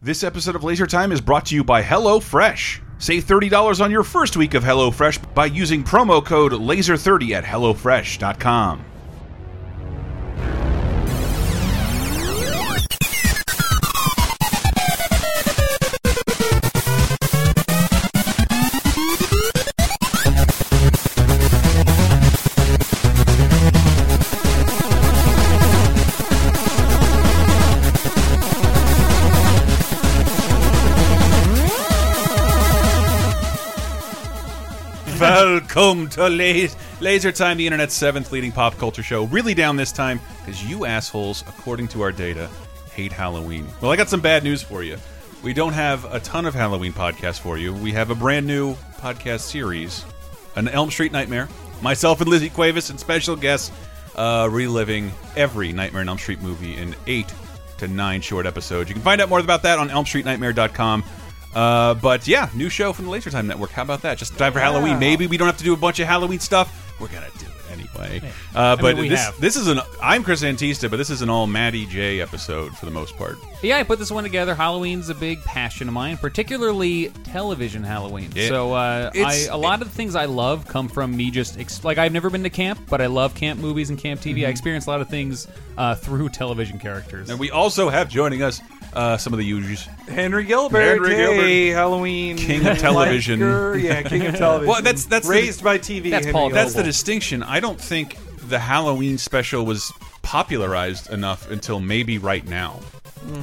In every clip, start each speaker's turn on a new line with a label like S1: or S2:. S1: This episode of Laser Time is brought to you by HelloFresh. Save $30 on your first week of HelloFresh by using promo code LASER30 at HelloFresh.com. Welcome to Laser, Laser Time, the internet's seventh leading pop culture show. Really down this time because you assholes, according to our data, hate Halloween. Well, I got some bad news for you. We don't have a ton of Halloween podcasts for you. We have a brand new podcast series, an Elm Street Nightmare. Myself and Lizzie Cuevas and special guests uh, reliving every Nightmare on Elm Street movie in eight to nine short episodes. You can find out more about that on ElmStreetNightmare.com. Uh, but yeah, new show from the Laser Time Network. How about that? Just in time for Halloween. Maybe we don't have to do a bunch of Halloween stuff. We're gonna do it anyway. Uh, but
S2: we
S1: this,
S2: have.
S1: this is an. I'm Chris Antista, but this is an all Maddie J episode for the most part.
S2: Yeah, I put this one together. Halloween's a big passion of mine, particularly television Halloween.
S1: Yeah.
S2: So uh, I,
S1: It's-
S2: a lot of the things I love come from me just ex- like I've never been to camp, but I love camp movies and camp TV. I experience a lot of things uh, through television characters.
S1: Mm-hmm. And we also have joining us uh, some of the users.
S3: Henry Gilbert.
S1: Henry
S3: hey,
S1: Gilbert.
S3: Halloween.
S1: King of television.
S3: Liker. Yeah, king of television.
S1: Well, that's- that's the-
S3: raised by TV.
S2: That's
S3: Henry
S2: Paul
S3: Gilbert.
S1: That's the distinction. I don't think the Halloween special was popularized enough until maybe right now.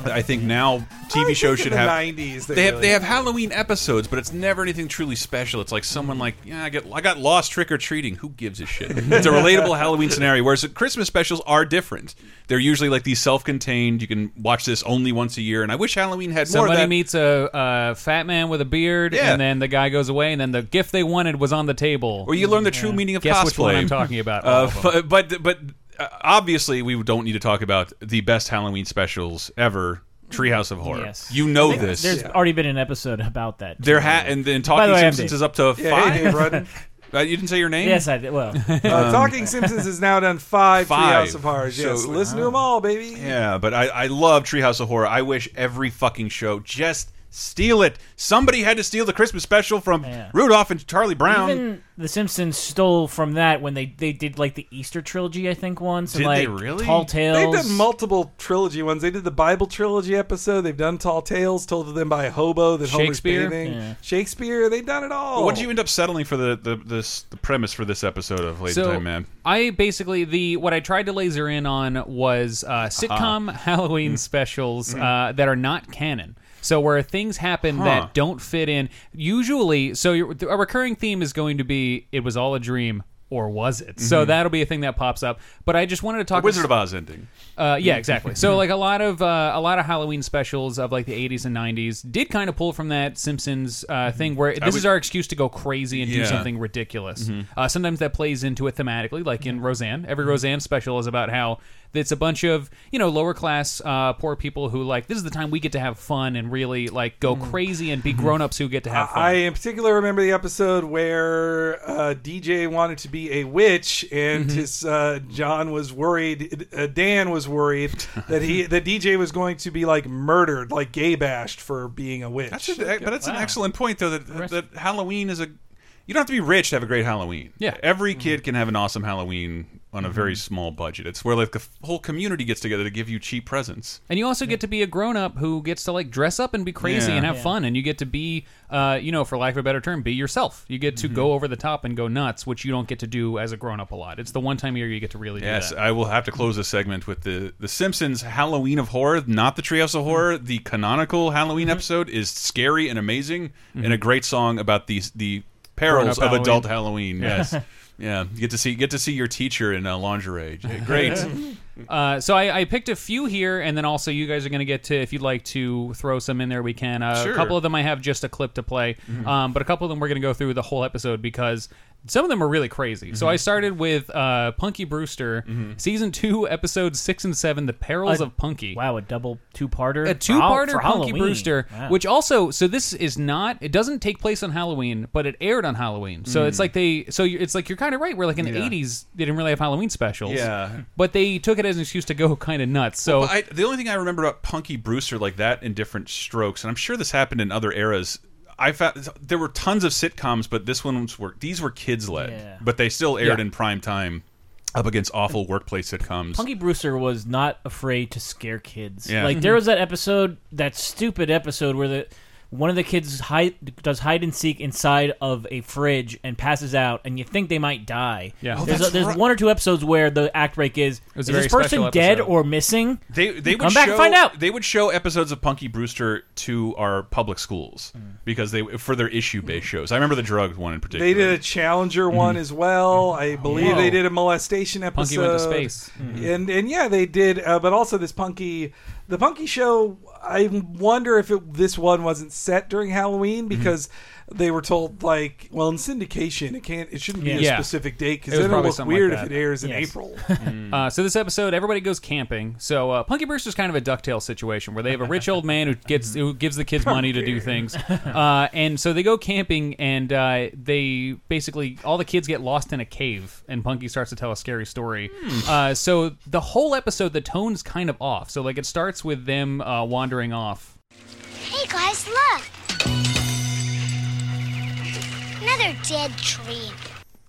S1: I think now
S3: Hmm. I
S1: TV
S3: think
S1: shows
S3: in
S1: should
S3: the
S1: have
S3: 90s. They,
S1: They have
S3: really-
S1: they have Halloween episodes, but it's never anything truly special. It's like someone like yeah, I get I got lost trick or treating. Who gives a shit? It's a relatable Halloween scenario. Whereas the Christmas specials are different. They're usually like these self-contained. You can watch this only once a year. And I wish Halloween had more of
S2: Somebody
S1: that.
S2: meets a, a fat man with a beard,
S1: Yeah.
S2: and then the guy goes away, and then the gift they wanted was on the table.
S1: Or you learn the true meaning of
S2: Guess
S1: cosplay.
S2: which one I'm talking about. All
S1: Uh,
S2: of them.
S1: but but, but uh, obviously, we don't need to talk about the best Halloween specials ever. Treehouse of Horror.
S4: Yes.
S1: You know this.
S4: There's already been an episode about that.
S1: There ha and then
S4: By
S1: Talking
S4: the way, I'm
S1: Simpsons
S4: Dave.
S1: is up to
S3: Yeah,
S1: five.
S3: hey, Dave Rudden.
S1: Uh, you didn't say your name.
S4: Yes, I did. Well,
S3: Uh, Talking Simpsons has now done five,
S1: Um, Five.
S3: Treehouse of Horrors. Yes,
S1: So-
S3: listen to them all, baby.
S1: Yeah, but I, I love Treehouse of Horror. I wish every fucking show just steal it. Somebody had to steal the Christmas special from
S4: Yeah.
S1: Rudolph and Charlie Brown.
S4: even The Simpsons stole from that when they they did like the Easter trilogy, I think once.
S1: Did
S4: and,
S1: they
S4: like,
S1: really?
S4: Tall
S3: They've
S4: Tales.
S3: done multiple trilogy ones. They did the Bible trilogy episode. They've done Tall Tales, told to them by a hobo that Homer's
S2: Shakespeare?
S3: bathing.
S4: Yeah.
S3: Shakespeare. They've done it all.
S1: What did you end up settling for the the, this, the premise for this episode of Late Time Man?
S2: I basically the what I tried to laser in on was
S1: Uh-huh.
S2: uh, sitcom Halloween
S1: Mm.
S2: specials
S1: Mm-hmm.
S2: uh, that are not canon. So where things happen
S1: Huh.
S2: that don't fit in, usually, so your, a recurring theme is going to be it was all a dream or was it? So that'll be a thing that pops up. But I just wanted to talk
S1: Mm-hmm. Wizard of Oz ending.
S2: uh, yeah, exactly. So like a lot of uh, a lot of Halloween specials of like the 80s and 90s did kind of pull from that Simpsons uh, thing where this
S1: Mm-hmm. would-
S2: is our excuse to go crazy and
S1: Yeah. Mm-hmm.
S2: do something ridiculous. Uh, sometimes that plays into it thematically, like in Roseanne. Every Roseanne special is about how it's a bunch of you know lower class uh, poor people who like this is the time we get to have fun and really like go crazy and be grown ups who get to have fun.
S3: I in particular remember the episode where uh, DJ wanted to be a witch, and
S1: Mm-hmm.
S3: his uh, John was worried. Uh, Dan was worried that he that DJ was going to be like murdered, like gay bashed for being a witch.
S1: That's a, but that's an
S4: Wow.
S1: excellent point though that that Halloween is a you don't have to be rich to have a great Halloween.
S2: Yeah. Mm-hmm.
S1: every kid can have an awesome Halloween on a very small budget. It's where like the f- whole community gets together to give you cheap presents.
S2: And you also get to be a grown up who gets to like dress up and be crazy
S1: Yeah.
S2: and have
S4: Yeah.
S2: fun, and you get to be, uh, you know, for lack of a better term, be yourself. You get to go over the top and go nuts, which you don't get to do as a grown up a lot. It's the one time a year you get to really do
S1: Yes,
S2: that.
S1: I will have to close this segment with the the Simpsons Halloween of Horror, not the Treehouse
S2: Mm-hmm.
S1: of Horror. The canonical Halloween episode is scary and amazing, and a great song about the the perils
S2: Mm-hmm. Grown-up
S1: of adult Halloween. Yes, yeah, you get to see get to see your teacher in uh, lingerie. Great.
S2: Uh, so I, I picked a few here, and then also you guys are going to get to, if you'd like to throw some in there, we can. Uh,
S1: Sure. Mm-hmm.
S2: A couple of them I have just a clip to play, um, but a couple of them we're going to go through the whole episode because some of them are really crazy. So
S1: Mm-hmm.
S2: I started with uh, Punky Brewster, season two, episodes six and seven, The Perils
S4: Uh,
S2: of Punky.
S4: Wow, a double two-parter.
S2: a two-parter
S4: for,
S2: Punky
S4: Halloween.
S2: Brewster,
S4: Wow.
S2: which also so this is not it doesn't take place on Halloween, but it aired on Halloween. So
S4: Hmm.
S2: it's like they so you it's like you're kind of right. We're like in the
S1: Yeah.
S2: '80s, they didn't really have Halloween specials.
S1: Yeah.
S2: but they took it it as an excuse to go kind of nuts. So
S1: I, the only thing I remember about Punky Brewster like that in different strokes, and I'm sure this happened in other eras. I found there were tons of sitcoms, but this one's were these were kids led,
S4: Yeah.
S1: but they still aired
S2: Yeah.
S1: in prime time, up against awful workplace sitcoms.
S4: Punky Brewster was not afraid to scare kids.
S1: Yeah.
S4: Like there was that episode, that stupid episode where the one of the kids hide does hide and seek inside of a fridge and passes out, and you think they might die.
S2: Yeah. Oh,
S4: there's,
S1: that's
S4: a, there's
S1: right.
S4: one or two episodes where the act break is:
S2: was
S4: is
S2: a
S4: this
S2: very
S4: person
S2: special
S4: dead
S2: episode.
S4: or missing?
S1: They they would
S4: Come back
S1: show,
S4: and find out.
S1: They would show episodes of Punky Brewster to our public schools
S4: Mm.
S1: because they for their issue based shows. I remember the drugs one in particular.
S3: They did a Challenger
S1: Mm-hmm.
S3: one as well. I believe
S2: Whoa.
S3: they did a molestation episode.
S2: Oh. Punky went to space. Mm-hmm.
S3: and and yeah, they did. Uh, but also this Punky, the Punky show. I wonder if it, this one wasn't set during Halloween
S1: Mm-hmm.
S3: because they were told like, well, in syndication, it can't, it shouldn't be a
S2: Yeah.
S3: specific date because
S2: It was
S3: then it'll
S2: probably
S3: look
S2: something like
S3: weird
S2: that.
S3: if it airs in
S4: Yes.
S3: April.
S1: Mm.
S2: Uh, so this episode, everybody goes camping. So uh, Punky Brewster's kind of a Ducktales situation where they have a rich old man who gets who gives the kids money to do things, uh, and so they go camping and uh, they basically all the kids get lost in a cave, and Punky starts to tell a scary story. Uh, so the whole episode, the tone's kind of off. So like it starts with them uh, wandering off.
S5: Hey guys, look! Another dead tree.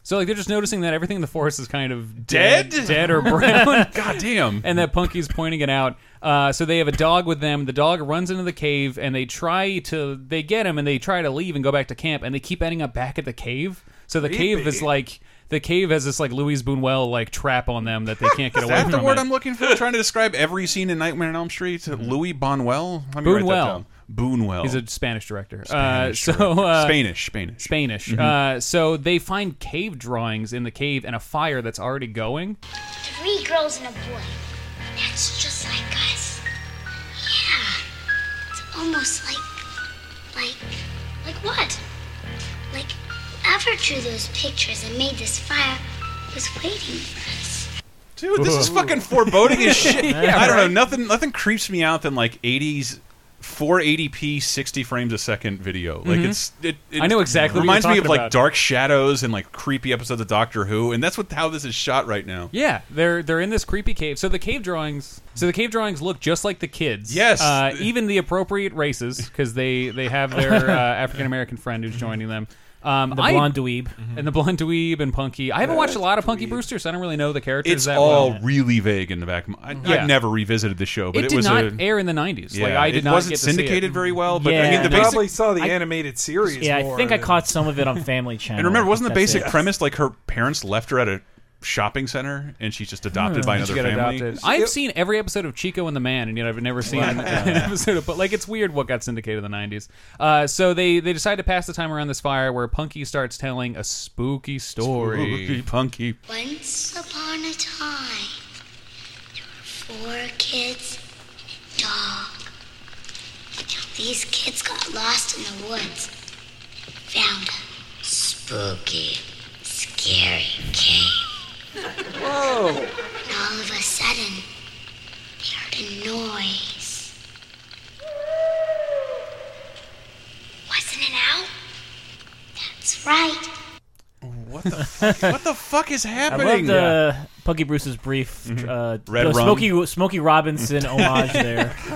S2: So like they're just noticing that everything in the forest is kind of
S1: Dead?
S2: dead, dead or brown.
S1: God damn.
S2: and that Punky's pointing it out. Uh, so they have a dog with them. The dog runs into the cave, and they try to they get him, and they try to leave and go back to camp, and they keep ending up back at the cave. So the cave is like the cave has this like Louise Boonwell like trap on them that they can't get
S1: is
S2: away
S1: that
S2: from.
S1: the word
S2: it.
S1: I'm looking for? Trying to describe every scene in Nightmare on Elm Street.
S2: Mm-hmm.
S1: Louis Bonwell. Let me write that
S2: Boonwell.
S1: down. Boonwell.
S2: He's a Spanish director.
S1: Spanish
S2: uh,
S1: or-
S2: so uh,
S1: Spanish, Spanish. Mm-hmm.
S2: Spanish. Uh, so they find cave drawings in the cave and a fire that's already going.
S5: Three girls and a boy. That's just like us. Yeah. It's almost like. like. like what? Like, whoever drew those pictures and made this fire was waiting for us.
S1: Dude, this is fucking foreboding as shit. I don't know. Nothing nothing creeps me out than like 80s 480p 60 frames a second video. Like it's it, it
S2: Mm-hmm. I know exactly what
S1: reminds
S2: you're
S1: me of
S2: talking
S1: like
S2: about.
S1: dark shadows and like creepy episodes of Doctor Who and that's what how this is shot right now.
S2: Yeah, they're they're in this creepy cave. So the cave drawings, so the cave drawings look just like the kids.
S1: Yes.
S2: uh, even the appropriate races because they they have their uh, African American friend who's joining them. Um,
S4: The
S2: I- Mm-hmm.
S4: blonde dweeb.
S2: and the blonde dweeb and Punky. I haven't watched a lot of Punky Brewster, so I don't really know the characters
S1: It's
S2: that
S1: all
S2: well.
S1: really vague in the back. Of my, I,
S2: Yeah.
S1: I've never revisited the show, but
S2: It
S1: it,
S2: did
S1: was
S2: not
S1: a
S2: air in the '90s. like
S1: yeah,
S2: I did
S1: it
S2: not
S1: wasn't
S2: get to see it.
S1: syndicated very well, but I
S4: Yeah.
S1: mean the
S4: Probably
S1: basic
S3: Probably saw the
S4: I-
S3: animated series.
S4: Yeah, I
S3: more
S4: think I
S3: than-
S4: caught some of it on Family Channel.
S1: And remember,
S4: I
S1: wasn't the
S4: think that's
S1: basic
S4: it.
S1: premise like her parents left her at a shopping center and she's just adopted by another
S2: Hmm. She got
S1: family?
S2: adopted. I've seen every episode of Chico and the Man, and yet I've never seen an episode of. But like, it's weird what got syndicated in the '90s. Uh, so they they decide to pass the time around this fire, where Punky starts telling a spooky story.
S1: Spooky, punky
S5: Once upon a time, there were four kids and a dog. Now these kids got lost in the woods. Found a spooky, scary cave.
S3: Whoa!
S5: And all of a sudden, they heard a noise. Wasn't it owl? That's right.
S1: What the fuck is
S4: I
S1: happening?
S4: loved uh, Punky Bruce's brief
S2: Mm-hmm.
S4: uh,
S1: Red
S4: uh,
S1: rum.
S4: Smokey Smokey Robinson homage there.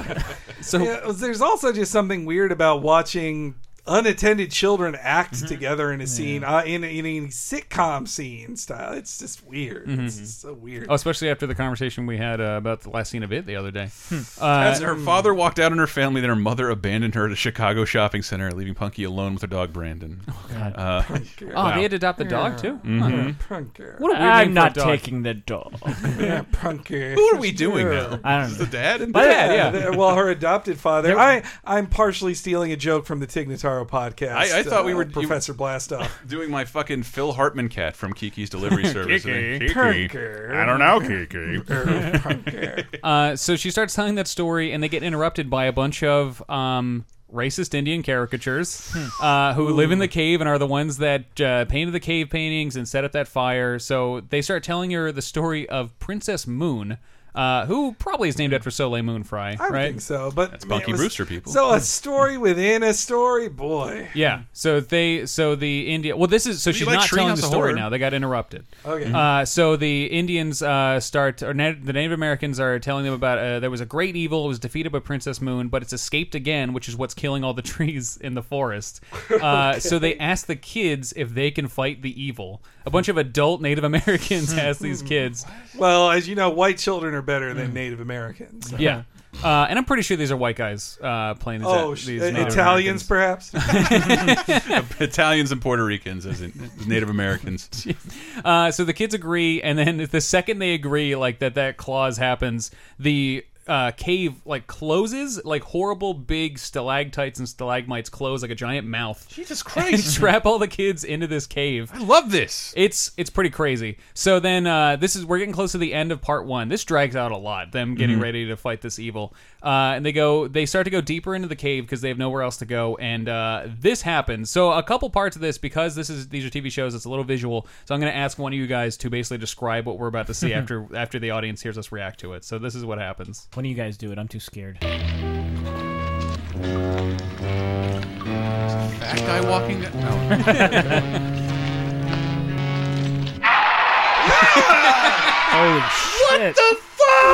S2: So
S3: Yeah, there's also just something weird about watching unattended children act together in a scene, uh, in, in a sitcom scene style. It's just weird. It's just so weird.
S2: Mm-hmm. Oh, especially after the conversation we had uh, about the last scene of it the other day. Uh,
S1: As her
S2: um,
S1: father walked out on her family, then her mother abandoned her at a Chicago shopping center, leaving Punky alone with her dog Brandon. Oh
S4: God.
S1: Uh,
S2: Oh, they had to adopt the dog too.
S3: Yeah, punker.
S2: What a weird name
S4: I'm
S2: for
S4: not
S2: a dog.
S4: taking the dog.
S3: Yeah, punker.
S1: who are we doing now?
S4: I don't
S1: The
S4: know.
S1: dad? And
S2: Yeah, yeah.
S3: the- well, her adopted father. I I'm partially stealing a joke from the Tignataro podcast. uh,
S1: I- I thought we were-
S3: Professor Blastoff.
S1: doing my fucking Phil Hartman cat from Kiki's Delivery Service.
S2: Kiki.
S3: Punker.
S1: I don't know, Kiki.
S3: punker.
S2: Uh, so she starts telling that story, and they get interrupted by a bunch of um, racist Indian caricatures
S1: Hmm.
S2: uh, who live in the cave and are the ones that uh, painted the cave paintings and set up that fire. So they start telling her the story of Princess Moon. uh, who probably is named after Soleil Moon Frye,
S3: I
S2: right?
S3: think so, but that's
S1: Bunky Brewster people.
S3: So a story within a story, boy.
S2: Yeah. So they so the India well this is so she's
S1: like
S2: not
S1: Shree
S2: telling
S1: House
S2: the
S1: of
S2: story
S1: Horror.
S2: now. They got interrupted.
S3: Okay.
S2: Uh, so the Indians uh, start or Na- the Native Americans are telling them about uh, there was a great evil it was defeated by Princess Moon but it's escaped again which is what's killing all the trees in the forest. Uh, So they ask the kids if they can fight the evil. A bunch of adult Native Americans ask
S3: Hmm.
S2: these kids.
S3: Well, as you know, white children are better
S1: Mm.
S3: than Native Americans.
S2: Yeah. Uh, and I'm pretty sure these are white guys uh, playing these.
S3: Oh,
S2: these
S3: sh-
S2: Native
S3: Italians,
S2: Americans.
S3: perhaps.
S1: Italians and Puerto Ricans as, in, as Native Americans.
S2: Uh, so the kids agree, and then the second they agree, like that that clause happens, the uh, cave like closes, like horrible big stalactites and stalagmites close like a giant mouth. Jesus Christ! trap all the kids into this cave.
S1: I love this.
S2: It's it's pretty crazy. So then uh, this is we're getting close to the end of part one. This drags out a lot. Them getting
S1: Mm-hmm.
S2: ready to fight this evil, uh, and they go they start to go deeper into the cave because they have nowhere else to go. And uh, this happens. So a couple parts of this because this is these are TV shows. It's a little visual. So I'm going to ask one of you guys to basically describe what we're about to see after after the audience hears us react to it. So this is what happens.
S4: When do you guys do it? I'm too scared.
S1: Fat guy walking. down- Oh.
S4: Holy Oh, shit!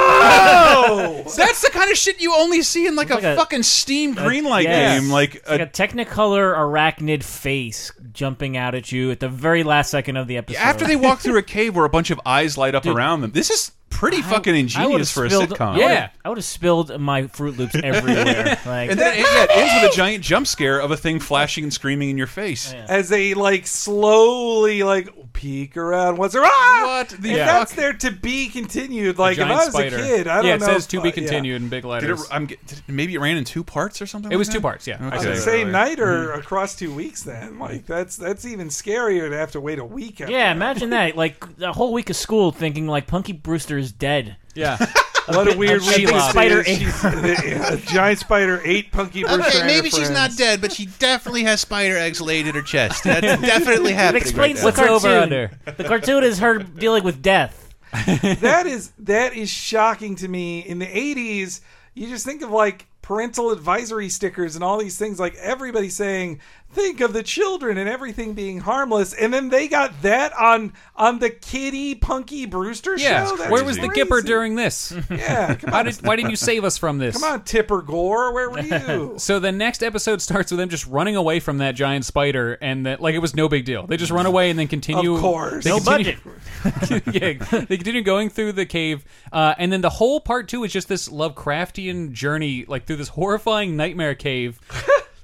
S1: That's the kind of shit you only see in like,
S4: It's
S1: a,
S4: like a-
S1: fucking Steam Greenlight
S4: yes.
S1: game. Like,
S4: It's like a technicolor arachnid face jumping out at you at the very last second of the episode.
S1: after they walk through a cave where a bunch of eyes light up around them, this is pretty fucking
S4: I would've
S1: ingenious for a
S4: spilled-
S1: sitcom.
S2: Yeah.
S4: I would have spilled my Fruit Loops everywhere. Like,
S1: And then it, yeah, it ends with a giant jump scare of a thing flashing and screaming in your face.
S4: Oh,
S3: as they like slowly like peek around what's ah!
S1: What the
S3: if
S1: fuck?
S3: that's there to be continued like if
S2: Giant
S3: i was
S2: spider.
S3: a kid i don't
S2: yeah, it
S3: know
S2: says
S3: if-
S2: to be
S3: yeah.
S2: continued in big
S1: Did it,
S2: letters.
S1: I'm, get- did it- maybe it ran in two parts or something.
S2: It
S1: like
S2: was
S1: that?
S2: two parts. Yeah. Mm.
S1: Okay. Hmm.
S3: The
S1: Yeah.
S3: same night or across two weeks then like that's that's even scarier to have to wait a week after
S4: yeah,
S3: that.
S4: imagine that. Like a whole week of school thinking like Punky Brewster is dead.
S2: Yeah.
S3: what a weird
S4: a
S3: way
S4: big
S3: to
S4: spider
S3: say it. She's- yeah, a giant spider ate punky Brewster and her friends.
S1: dead, but she definitely has spider eggs laid in her chest. That's definitely
S4: It
S1: happening.
S4: explains the
S2: What's
S4: cartoon.
S2: over under?
S4: The cartoon is her dealing with death.
S3: that is that is shocking to me. In the eighties, you just think of like parental advisory stickers and all these things, like everybody saying, "Think of the children and everything being harmless," and then they got that on on the Kitty Punky Brewster
S2: Yeah.
S3: show. That's
S2: Where was the
S3: crazy.
S2: Gipper during this?
S3: Yeah, come
S2: How
S3: on,
S2: did, why didn't you save us from this?
S3: come on, Tipper Gore, where were you?
S2: So the next episode starts with them just running away from that giant spider, and that like it was no big deal. They just run away and then continue.
S3: Of course.
S2: they
S3: No
S2: continue, budget. yeah, they continue going through the cave, uh, and then the whole part two is just this Lovecraftian journey, like through this horrifying nightmare cave.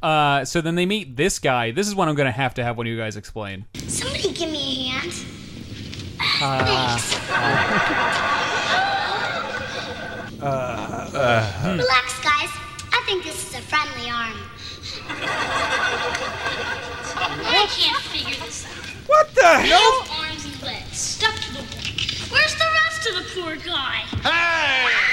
S2: Uh, so then they meet this guy. This is what I'm going to have to have one of you guys explain.
S5: Somebody give me a hand.
S3: Uh,
S5: Thanks.
S2: Uh,
S5: Relax, guys. I think this is a friendly arm.
S6: I can't figure this out.
S3: what the hell?
S6: No arms and legs stuck to the wall. Where's the rest of the poor guy?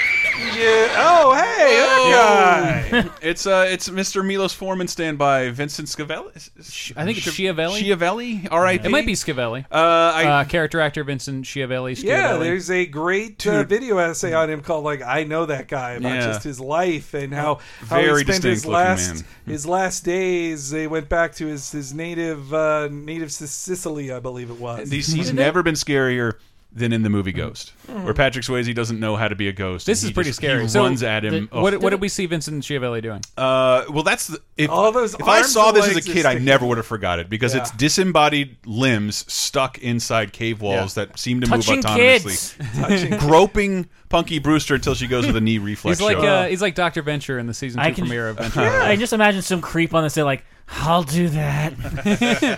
S3: Yeah. Oh, hey, that guy.
S1: It's uh, it's Mr. Milos Forman standby. Vincent Scavelli.
S2: I think it's Schiavelli.
S1: Schiavelli. R.I.P.
S2: It might be Scavelli.
S1: Uh, I,
S2: Uh, character actor Vincent Schiavelli.
S3: Yeah,
S2: Schiavelli.
S3: there's a great uh, video essay on him called like I know that guy about
S1: Yeah.
S3: just his life and how how
S1: Very
S3: he spent his
S1: distinct-looking
S3: last
S1: man. Hmm.
S3: his last days. They went back to his his native uh, native Sic- Sicily, I believe it was.
S1: These, he's never been scarier than in the movie Ghost,
S3: Hmm.
S1: where Patrick Swayze doesn't know how to be a ghost. and
S2: This is
S1: he
S2: pretty
S1: just-
S2: scary.
S1: He
S2: So
S1: runs at him.
S2: Did-
S1: Oh.
S2: what, what did we see Vincent Schiavelli doing?
S1: Uh, well, that's the, if,
S3: All those
S1: if I
S3: arms
S1: saw
S3: and
S1: this as a
S3: legs are
S1: kid, I
S3: sticking
S1: never would have forgot it because it's
S3: Yeah.
S1: disembodied limbs stuck inside cave walls that seem to
S4: Touching
S1: move autonomously,
S4: kids.
S3: Touching-
S1: groping Punky Brewster until she goes with a knee reflex.
S2: He's like
S1: show.
S2: uh, he's like Doctor Venture in the season two
S4: I can-
S2: premiere of Venture.
S4: I just imagine some creep on the set like, I'll do that.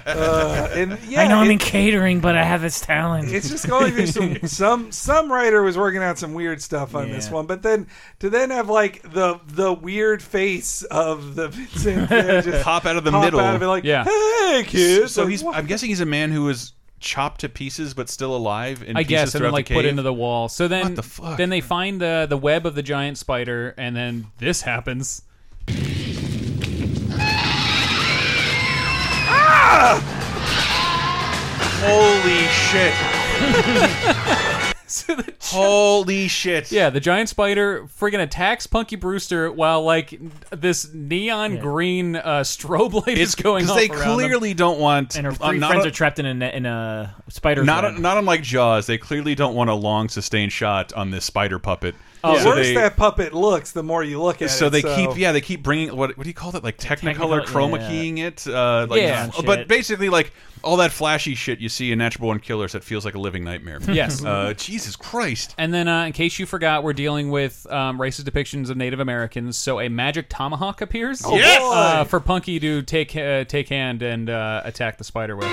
S3: uh, and yeah,
S4: I know I'm
S3: it-
S4: in catering, but I have this talent.
S3: it's just going through some some some writer was working out some weird stuff on this
S4: Yeah.
S3: one, but then to then have like the the weird face of the Vincent there just
S1: pop out of the
S3: pop
S1: middle.
S3: out of it like
S2: Yeah.
S3: hey kid.
S1: so
S3: Like,
S1: he's.
S3: what?
S1: I'm guessing he's a man who was chopped to pieces but still alive. In
S2: I guess,
S1: pieces
S2: and then
S1: throughout
S2: like
S1: the
S2: put
S1: cave.
S2: into the wall. So then,
S1: What the fuck?
S2: then they find the the web of the giant spider, and then this happens.
S1: Holy shit!
S2: so the
S1: Holy shit!
S2: Yeah, the giant spider friggin' attacks Punky Brewster while like this neon green uh, strobe light is
S1: it's
S2: going
S1: because
S2: off
S1: they
S2: around them.
S1: clearly don't want
S4: and her
S1: uh,
S4: three
S1: not
S4: friends
S1: a-
S4: are trapped in a net- in a spider.
S1: not
S4: web.
S1: not unlike Jaws, they clearly don't want a long sustained shot on this spider puppet. Oh,
S3: The worse that puppet looks, the more you look at
S1: so
S3: it.
S1: they keep yeah they keep bringing what what do you call that like technicolor
S4: Technicolor-
S1: chroma
S4: yeah.
S1: keying it uh like,
S2: Yeah.
S1: f- but
S4: Shit.
S1: basically like all that flashy shit you see in natural born killers that feels like a living nightmare
S2: Yes.
S1: uh jesus christ
S2: And then, uh, in case you forgot, we're dealing with um, racist depictions of Native Americans. So a magic tomahawk appears.
S1: Yes! Oh, boy!
S2: Uh, for Punky to take uh, take hand and uh, attack the spider with.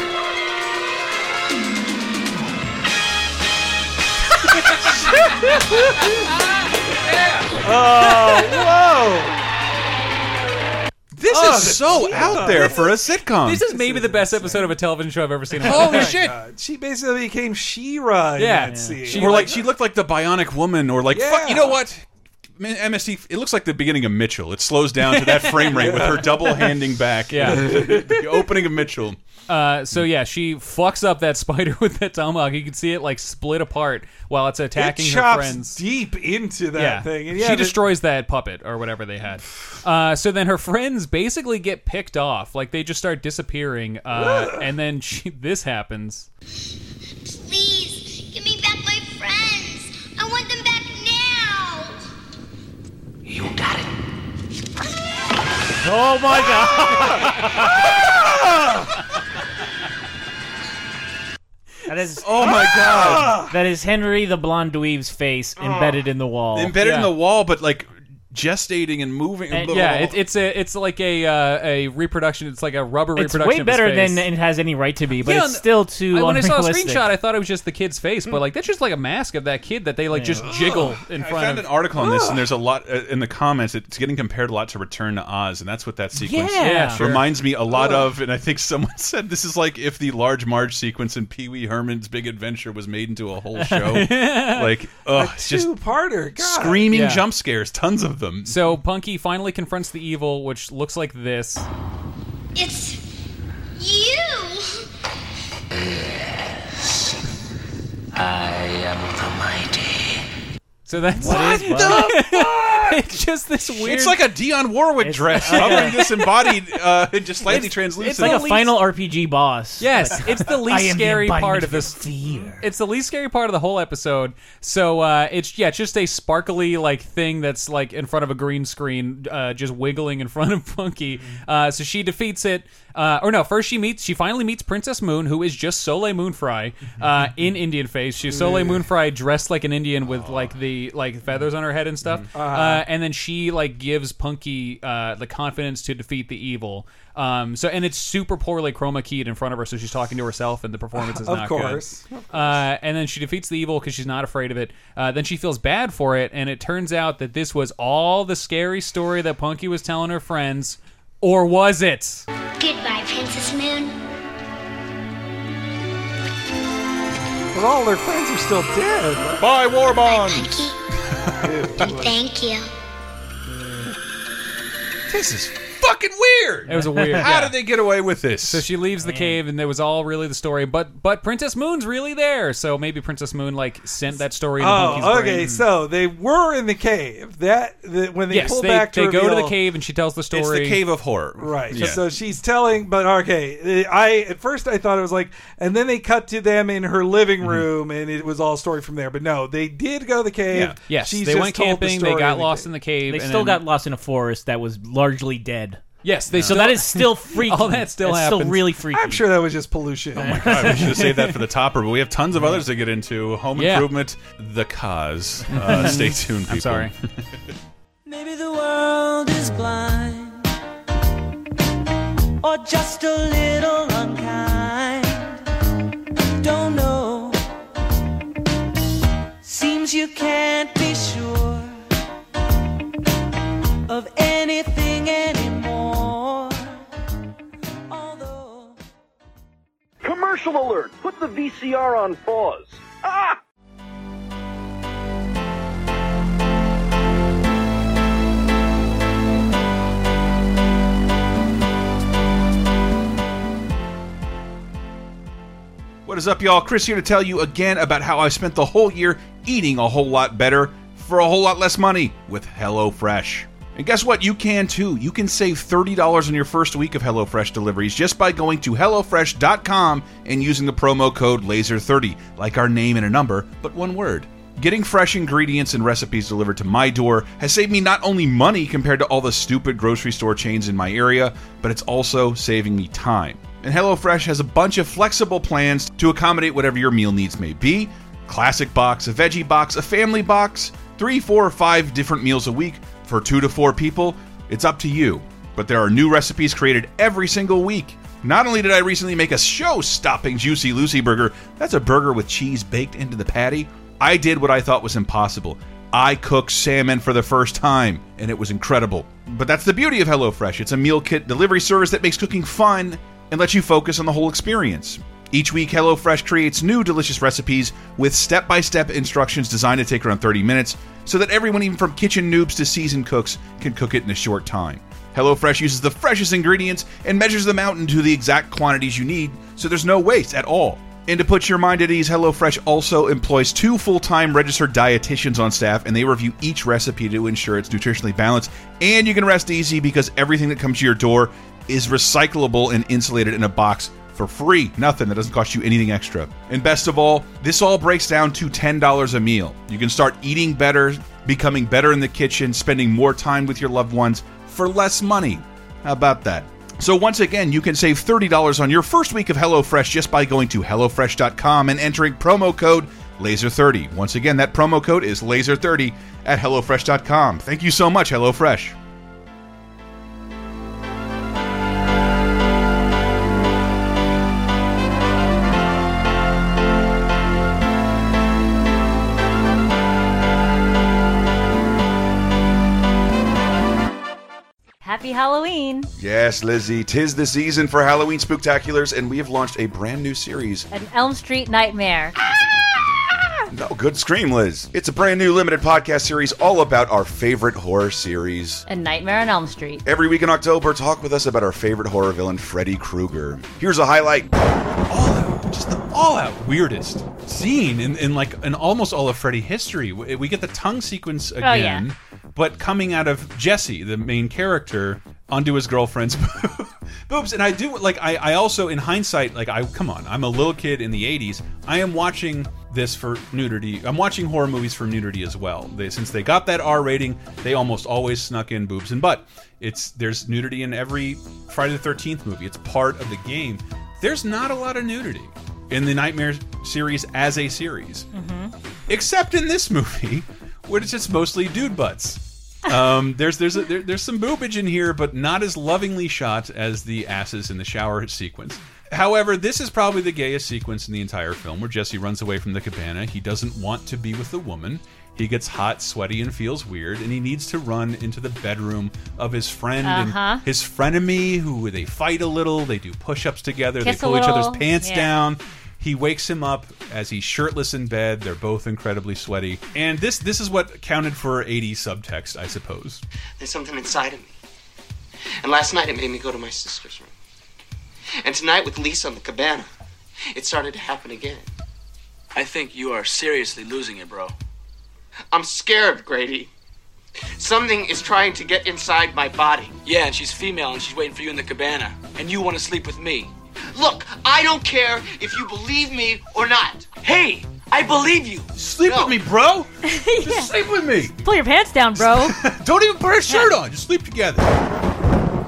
S4: Oh,
S3: Whoa! Oh!
S1: this is so out there for a sitcom
S2: This is maybe the best episode of a television show I've ever seen. in my life.
S1: holy shit
S3: Oh She basically became She-Ra in
S2: Yeah.
S3: that scene.
S2: She-
S1: or like she looked like the bionic woman or like fuck
S3: Yeah.
S1: you know what M- MST, it looks like the beginning of Mitchell. It slows down to that frame rate with her double handing back.
S2: Yeah.
S1: the opening of Mitchell.
S2: Uh, so yeah, she fucks up that spider with that tomahawk. You can see it like split apart while it's
S3: it
S2: attacking her
S3: chops
S2: friends.
S3: deep into that
S2: yeah.
S3: thing. And yeah,
S2: she
S3: the-
S2: destroys that puppet or whatever they had. Uh, so then her friends basically get picked off. Like they just start disappearing. Uh, and then she, this happens.
S5: Please, give me back my friends. I want them back now.
S7: You got it.
S4: Oh my god! that is
S1: Oh my god!
S4: Ah! that is Henry the blonde dweeb's face embedded in the wall.
S1: Embedded in
S2: Yeah.
S1: the wall, but like gestating and moving.
S4: And-
S2: Yeah, it, it's a it's like a uh, a reproduction. It's like a rubber
S4: it's
S2: reproduction.
S4: way better
S2: of his face.
S4: than it has any right to be, but
S2: Yeah,
S4: it's
S2: and-
S4: still too.
S2: I, when I saw a
S4: unrealistic.
S2: screenshot, I thought it was just the kid's face, but like that's just like a mask of that kid that they like just jiggle in
S1: Hmm. I
S2: front
S1: found
S2: of.
S1: an article on this, and there's a lot uh, in the comments. It's getting compared a lot to Return to Oz, and that's what that sequence
S4: Yeah. Yeah,
S2: sure.
S1: reminds me a lot of. And I think someone said this is like if the Large Marge sequence in Pee Wee Herman's Big Adventure was made into a whole show. like, ugh, it's just
S3: two-parter. God.
S1: screaming
S2: Yeah.
S1: jump scares, tons of them.
S2: so Punky finally confronts the evil, which looks like this.
S5: It's you.
S7: I am the mighty.
S2: So that's
S1: What the
S2: it's just this weird.
S1: It's like a Dion Warwick dress covering disembodied, uh, just slightly translucent.
S4: It's like a
S2: least-
S4: final RPG boss.
S2: yes, it's the least scary part of this.
S4: fear.
S2: It's the least scary part of the whole episode. So uh, it's yeah, it's just a sparkly like thing that's like in front of a green screen, uh, just wiggling in front of Punky. Uh, so she defeats it. Uh, or no, first she meets. She finally meets Princess Moon, who is just Soleil Moonfry uh, in Indian face. She's Soleil Moonfry dressed like an Indian with like the like feathers on her head and stuff. Uh, and then she like gives Punky uh, the confidence to defeat the evil. Um, so and it's super poorly chroma keyed in front of her, so she's talking to herself, and the performance is
S3: Of
S2: not good.
S3: course.
S2: Uh, and then she defeats the evil because she's not afraid of it. Uh, then she feels bad for it, and it turns out that this was all the scary story that Punky was telling her friends, or was it?
S5: Goodbye, Princess Moon.
S3: But all their friends are still dead.
S1: Bye, war bonds.
S5: Punky. and thank you.
S1: This is fucking weird.
S2: It was a weird.
S1: How
S2: yeah.
S1: did they get away with this?
S2: so she leaves the cave, and that was all really the story. But but Princess Moon's really there, so maybe Princess Moon like sent that story. Into Punky's
S3: Oh, okay.
S2: brain.
S3: So they were in the cave. That the, when they
S2: yes,
S3: pull
S2: they,
S3: back to
S2: they go to the
S3: reveal-
S2: cave, and she tells the story.
S1: it's the cave of horror,
S3: Right.
S1: Yeah.
S3: So she's telling, but okay. I at first I thought it was like, and then they cut to them in her
S1: Mm-hmm.
S3: living room, and it was all story from there. But no, they did go to the cave.
S1: Yeah.
S2: Yes,
S3: She's
S2: they
S3: just
S2: went
S3: told the
S2: camping. they
S3: story
S2: got lost
S3: cave.
S2: in the cave.
S4: They
S2: and
S4: still
S2: then-
S4: got lost in a forest that was largely dead.
S2: Yes, they
S4: So
S2: still
S4: that is still freaky.
S2: All that still
S4: That's
S2: happens.
S4: still really freaky.
S3: I'm sure that was just pollution.
S1: Oh
S3: Oh
S1: God, we should have saved that for the topper, but we have tons of others to get into. Home
S2: Yeah.
S1: Improvement, The Cause. Uh, stay tuned, people.
S2: I'm sorry.
S8: Maybe the world is blind or just a little unkind. Don't know. Seems you can't be sure of anything anymore. Although.
S9: Commercial alert! Put the VCR on pause. Ah!
S1: What What is up, y'all? Chris here to tell you again about how I spent the whole year eating a whole lot better for a whole lot less money with HelloFresh. And guess what? You can too. You can save $30 on your first week of HelloFresh deliveries just by going to HelloFresh.com and using the promo code LASER30, like our name and a number, but one word. Getting fresh ingredients and recipes delivered to my door has saved me not only money compared to all the stupid grocery store chains in my area, but it's also saving me time. And HelloFresh has a bunch of flexible plans to accommodate whatever your meal needs may be classic box, a veggie box, a family box, three, four, or five different meals a week for two to four people. It's up to you. But there are new recipes created every single week. Not only did I recently make a show stopping Juicy Lucy burger, that's a burger with cheese baked into the patty. I did what I thought was impossible. I cooked salmon for the first time, and it was incredible. But that's the beauty of HelloFresh. It's a meal kit delivery service that makes cooking fun and lets you focus on the whole experience. Each week, HelloFresh creates new delicious recipes with step by step instructions designed to take around 30 minutes so that everyone, even from kitchen noobs to seasoned cooks, can cook it in a short time. HelloFresh uses the freshest ingredients and measures them out into the exact quantities you need so there's no waste at all. And to put your mind at ease, HelloFresh also employs two full time registered dietitians on staff, and they review each recipe to ensure it's nutritionally balanced. And you can rest easy because everything that comes to your door is recyclable and insulated in a box for free. Nothing that doesn't cost you anything extra. And best of all, this all breaks down to $10 a meal. You can start eating better, becoming better in the kitchen, spending more time with your loved ones for less money. How about that? So once again, you can save $30 on your first week of HelloFresh just by going to HelloFresh.com and entering promo code LASER30. Once again, that promo code is LASER30 at HelloFresh.com. Thank you so much, HelloFresh.
S10: Happy Halloween!
S1: Yes, Lizzie, tis the season for Halloween Spooktaculars, and we have launched a brand new series.
S10: An Elm Street nightmare.
S1: No, good scream, Liz. It's a brand new limited podcast series all about our favorite horror series.
S10: A Nightmare on Elm Street.
S1: Every week in October, talk with us about our favorite horror villain, Freddy Krueger. Here's a highlight.
S2: Just the all-out weirdest scene in, in like in almost all of Freddy history. We we get the tongue sequence
S10: yeah.
S2: again, but coming out of Jesse, the main character, onto his girlfriend's boobs. And I do like I, I also in hindsight like I come on I'm a little kid in the '80s. I am watching this for nudity. I'm watching horror movies for nudity as well. They, since they got that R rating, they almost always snuck in boobs and butt. It's there's nudity in every Friday the Thirteenth movie. It's part of the game. There's not a lot of nudity in the Nightmare series as a series, except in this movie, where it's just mostly dude butts. Um, there's there's a, there, there's some boobage in here, but not as lovingly shot as the asses in the shower sequence. However, this is probably the gayest sequence in the entire film, where Jesse runs away from the cabana. He doesn't want to be with the woman. He gets hot, sweaty, and feels weird, and he needs to run into the bedroom of his friend
S10: Uh-huh.
S2: and his frenemy, who they fight a little. They do push-ups together.
S10: Kiss
S2: they
S10: a
S2: pull each
S10: little,
S2: other's pants
S10: yeah.
S2: down down. He wakes him up as he's shirtless in bed. They're both incredibly sweaty. And this this is what counted for 80 subtext, I suppose.
S11: There's something inside of me. And last night it made me go to my sister's room. And tonight with Lisa on the cabana, it started to happen again.
S12: I think you are seriously losing it, bro.
S11: I'm scared, Grady. Something is trying to get inside my body.
S12: Yeah, and she's female and she's waiting for you in the cabana. And you want to sleep with me.
S11: Look, I don't care if you believe me or not. Hey, I believe you.
S1: Sleep with me, bro. Just sleep with me.
S10: Pull your pants down, bro.
S1: Don't even put a shirt on. Just sleep together.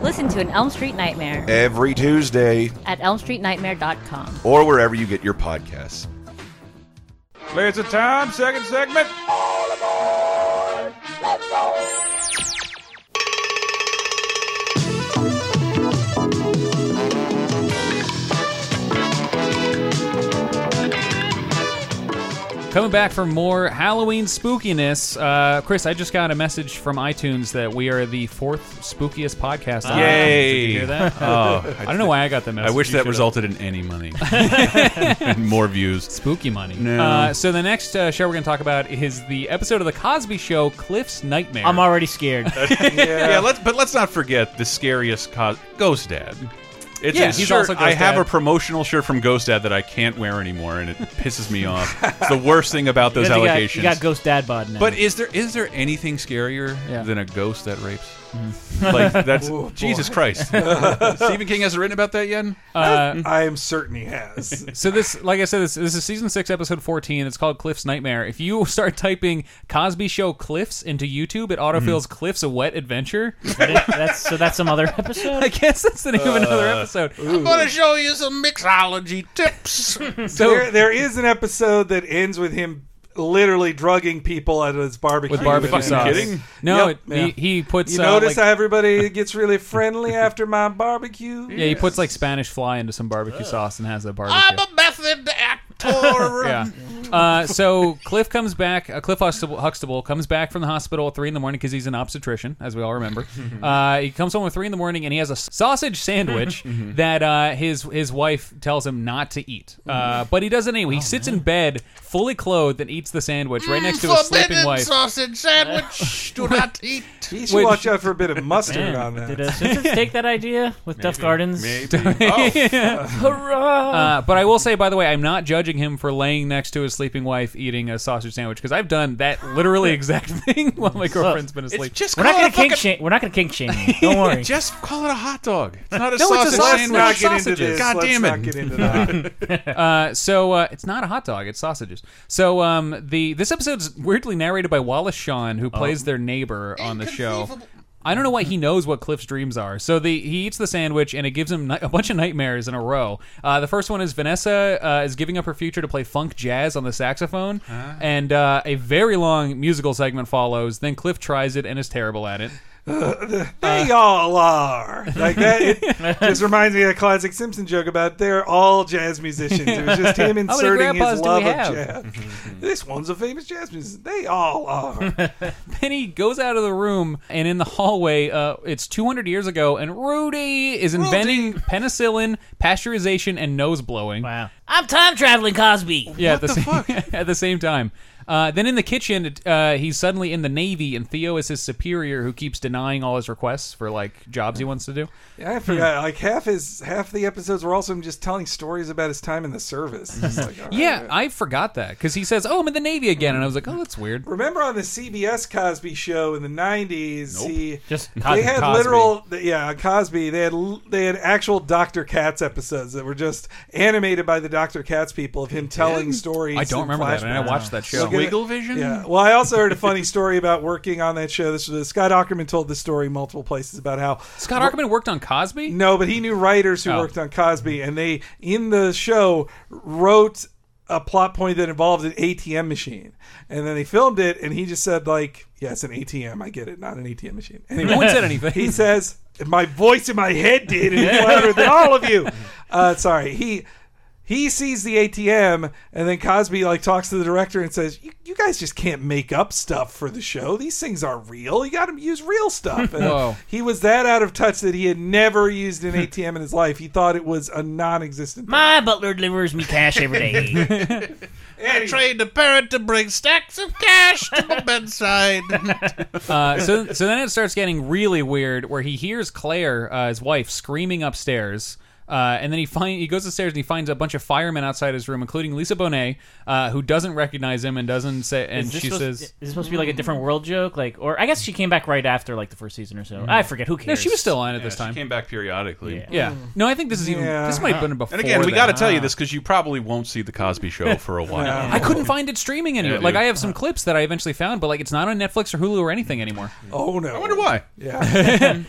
S10: Listen to An Elm Street Nightmare
S1: Every Tuesday,
S10: at elmstreetnightmare.com.
S1: or wherever you get your podcasts.
S3: Clears the time, second segment.
S2: Coming back for more Halloween spookiness. Uh, Chris, I just got a message from iTunes that we are the fourth spookiest podcast. on iTunes.
S1: Yay.
S2: Did you hear that?
S1: Oh,
S2: I don't know why I got that message.
S1: I wish
S2: You
S1: that
S2: should've-
S1: resulted in any money and more views.
S2: Spooky money.
S1: No.
S2: Uh, so the next uh, show we're going to talk about is the episode of the Cosby Show, Cliff's Nightmare.
S4: I'm already scared.
S1: yeah, let's, but let's not forget the scariest cos- Ghost Dad. It's
S2: yeah,
S1: a
S2: he's
S1: shirt.
S2: also Ghost
S1: I have
S2: Dad.
S1: a promotional shirt from Ghost Dad that I can't wear anymore, and it pisses me off. It's the worst thing about those
S4: you got,
S1: allegations.
S4: You got Ghost Dad bod now.
S1: But is there is there anything scarier than a ghost that rapes?
S4: Mhm.
S1: Like that's
S4: Oh, boy.
S1: Jesus Christ. Stephen King has written about that yet?
S2: Uh,
S3: I am certain he has.
S2: so this, like I said, this, this is season six, episode fourteen. It's called Cliff's Nightmare. If you start typing Cosby Show Cliffs into YouTube, it autofills
S4: Mm-hmm.
S2: Cliff's a Wet Adventure.
S4: that's so. That's some other episode.
S2: I guess that's the name of another
S3: Uh,
S2: episode.
S1: I'm
S3: gonna
S1: show you some mixology tips.
S2: So-
S3: there, there is an episode that ends with him literally drugging people at his barbecue.
S2: With barbecue
S3: And-
S2: sauce. Kidding? No, it- he- he puts,
S3: You
S2: uh,
S3: notice
S2: like-
S3: how everybody gets really friendly after my barbecue.
S2: Yeah, he puts like Spanish fly into some barbecue sauce and has a barbecue.
S1: a method actor.
S2: yeah. Uh, so Cliff comes back. Uh, Cliff Huxtable, Huxtable comes back from the hospital at three in the morning because he's an obstetrician, as we all remember. Uh, he comes home at three in the morning and he has a sausage sandwich that uh, his his wife tells him not to eat, uh, but he does it anyway. He sits in bed, fully clothed, and eats the sandwich right next to
S13: Mm,
S2: his sleeping wife.
S1: sausage sandwich. Do not eat.
S3: You should watch out for a bit of mustard on that.
S4: Did uh, Simpsons take that idea with Duff Gardens? Hurrah!
S2: Uh, but I will say, by the way, I'm not judging him for laying next to his sleeping wife eating a sausage sandwich because I've done that literally exact thing while my girlfriend's been asleep.
S4: we're not gonna kink shame. We're not gonna kink shame. you. Don't worry.
S1: Just call it a hot dog. It's not a
S2: No,
S1: sausage
S2: it's a sausage.
S1: sandwich.
S2: Let's not get into this.
S1: God
S2: Let's
S1: damn it.
S2: not get into uh, so uh, it's not a hot dog; it's sausages. So um, the this episode's weirdly narrated by Wallace Shawn, who plays their neighbor on the show. I don't know why he knows what Cliff's dreams are. So the he eats the sandwich, and it gives him ni- a bunch of nightmares in a row. Uh, the first one is Vanessa uh, is giving up her future to play funk jazz on the saxophone, and uh, a very long musical segment follows. Then Cliff tries it and is terrible at it.
S3: They all are. Like that it just reminds me of that classic Simpson joke about they're all jazz musicians. It was just him
S2: How many
S3: inserting his
S2: grandpas do we
S3: love of
S2: have?
S3: jazz. this one's a famous jazz musician. They all are.
S2: Penny goes out of the room, and in the hallway, uh, it's 200 years ago, and Rudy is inventing penicillin, pasteurization, and nose blowing. Wow.
S4: I'm time traveling, Cosby.
S2: Yeah, at the, same, at the same time. Uh, then in the kitchen, it- uh, he's suddenly in the Navy, and Theo is his superior who keeps denying all his requests for like jobs he wants to do.
S3: Yeah, I forgot. Like half his half the episodes were also him just telling stories about his time in the service. It's like, all right.
S2: Yeah, I forgot that because he says, "Oh, I'm in the Navy again," and I was like, "Oh, that's weird."
S3: Remember on the CBS Cosby Show in the '90s, he
S2: Just
S3: they
S2: Cosby-
S3: had
S2: Cosby.
S3: literal, yeah, Cosby. They had l- they had actual Doctor Katz episodes that were just animated by the Doctor Katz people of him telling stories.
S2: I don't
S3: and
S2: remember that, and I
S3: flashbacks.
S2: watched that show.
S3: Look at it.
S1: Squigglevision?
S3: Yeah. Well, I also heard a funny story about working on that show. This was Scott Ackerman told this story multiple places about how
S2: Scott Ackerman worked on Cosby.
S3: no, but he knew writers who
S2: Oh.
S3: worked on Cosby, and they in the show wrote a plot point that involved an ATM machine, and then they filmed it, and he just said like, "Yeah, it's an ATM. I get it, not an ATM machine." Anyway,
S2: No one said anything.
S3: He says, "My voice in my head did, and it's louder than all of you." Uh, sorry, he. He sees the ATM, and then Cosby like talks to the director and says, "You, you guys just can't make up stuff for the show. These things are real. You got to use real stuff." And
S2: Whoa.
S3: he was that out of touch that he had never used an ATM in his life. He thought it was a non-existent.
S4: My butler delivers me cash every day.
S1: I trained a parrot to bring stacks of cash to my bedside.
S2: Uh, so so then it starts getting really weird where he hears Claire, uh, his wife, screaming upstairs. Uh, and then he find he goes upstairs and he finds a bunch of firemen outside his room, including Lisa Bonet, uh, who doesn't recognize him and doesn't say. And
S4: Is this
S2: she
S4: supposed-
S2: says,
S4: "Is this supposed to be like a different world joke?" Like, or I guess she came back right after like the first season or so.
S2: Mm.
S4: I forget. Who cares?
S2: No, she was still on at this
S1: She
S2: time.
S1: came back periodically.
S3: Mm.
S2: Yeah. No, I think this is even. This might have been before.
S1: And again, we
S2: that.
S1: got to tell you this because you probably won't see the Cosby Show for a while.
S2: I couldn't find it streaming anywhere.
S1: Yeah,
S2: like
S1: dude.
S2: I have some clips that I eventually found, but like it's not on Netflix or Hulu or anything anymore.
S3: Oh no! I
S1: wonder why.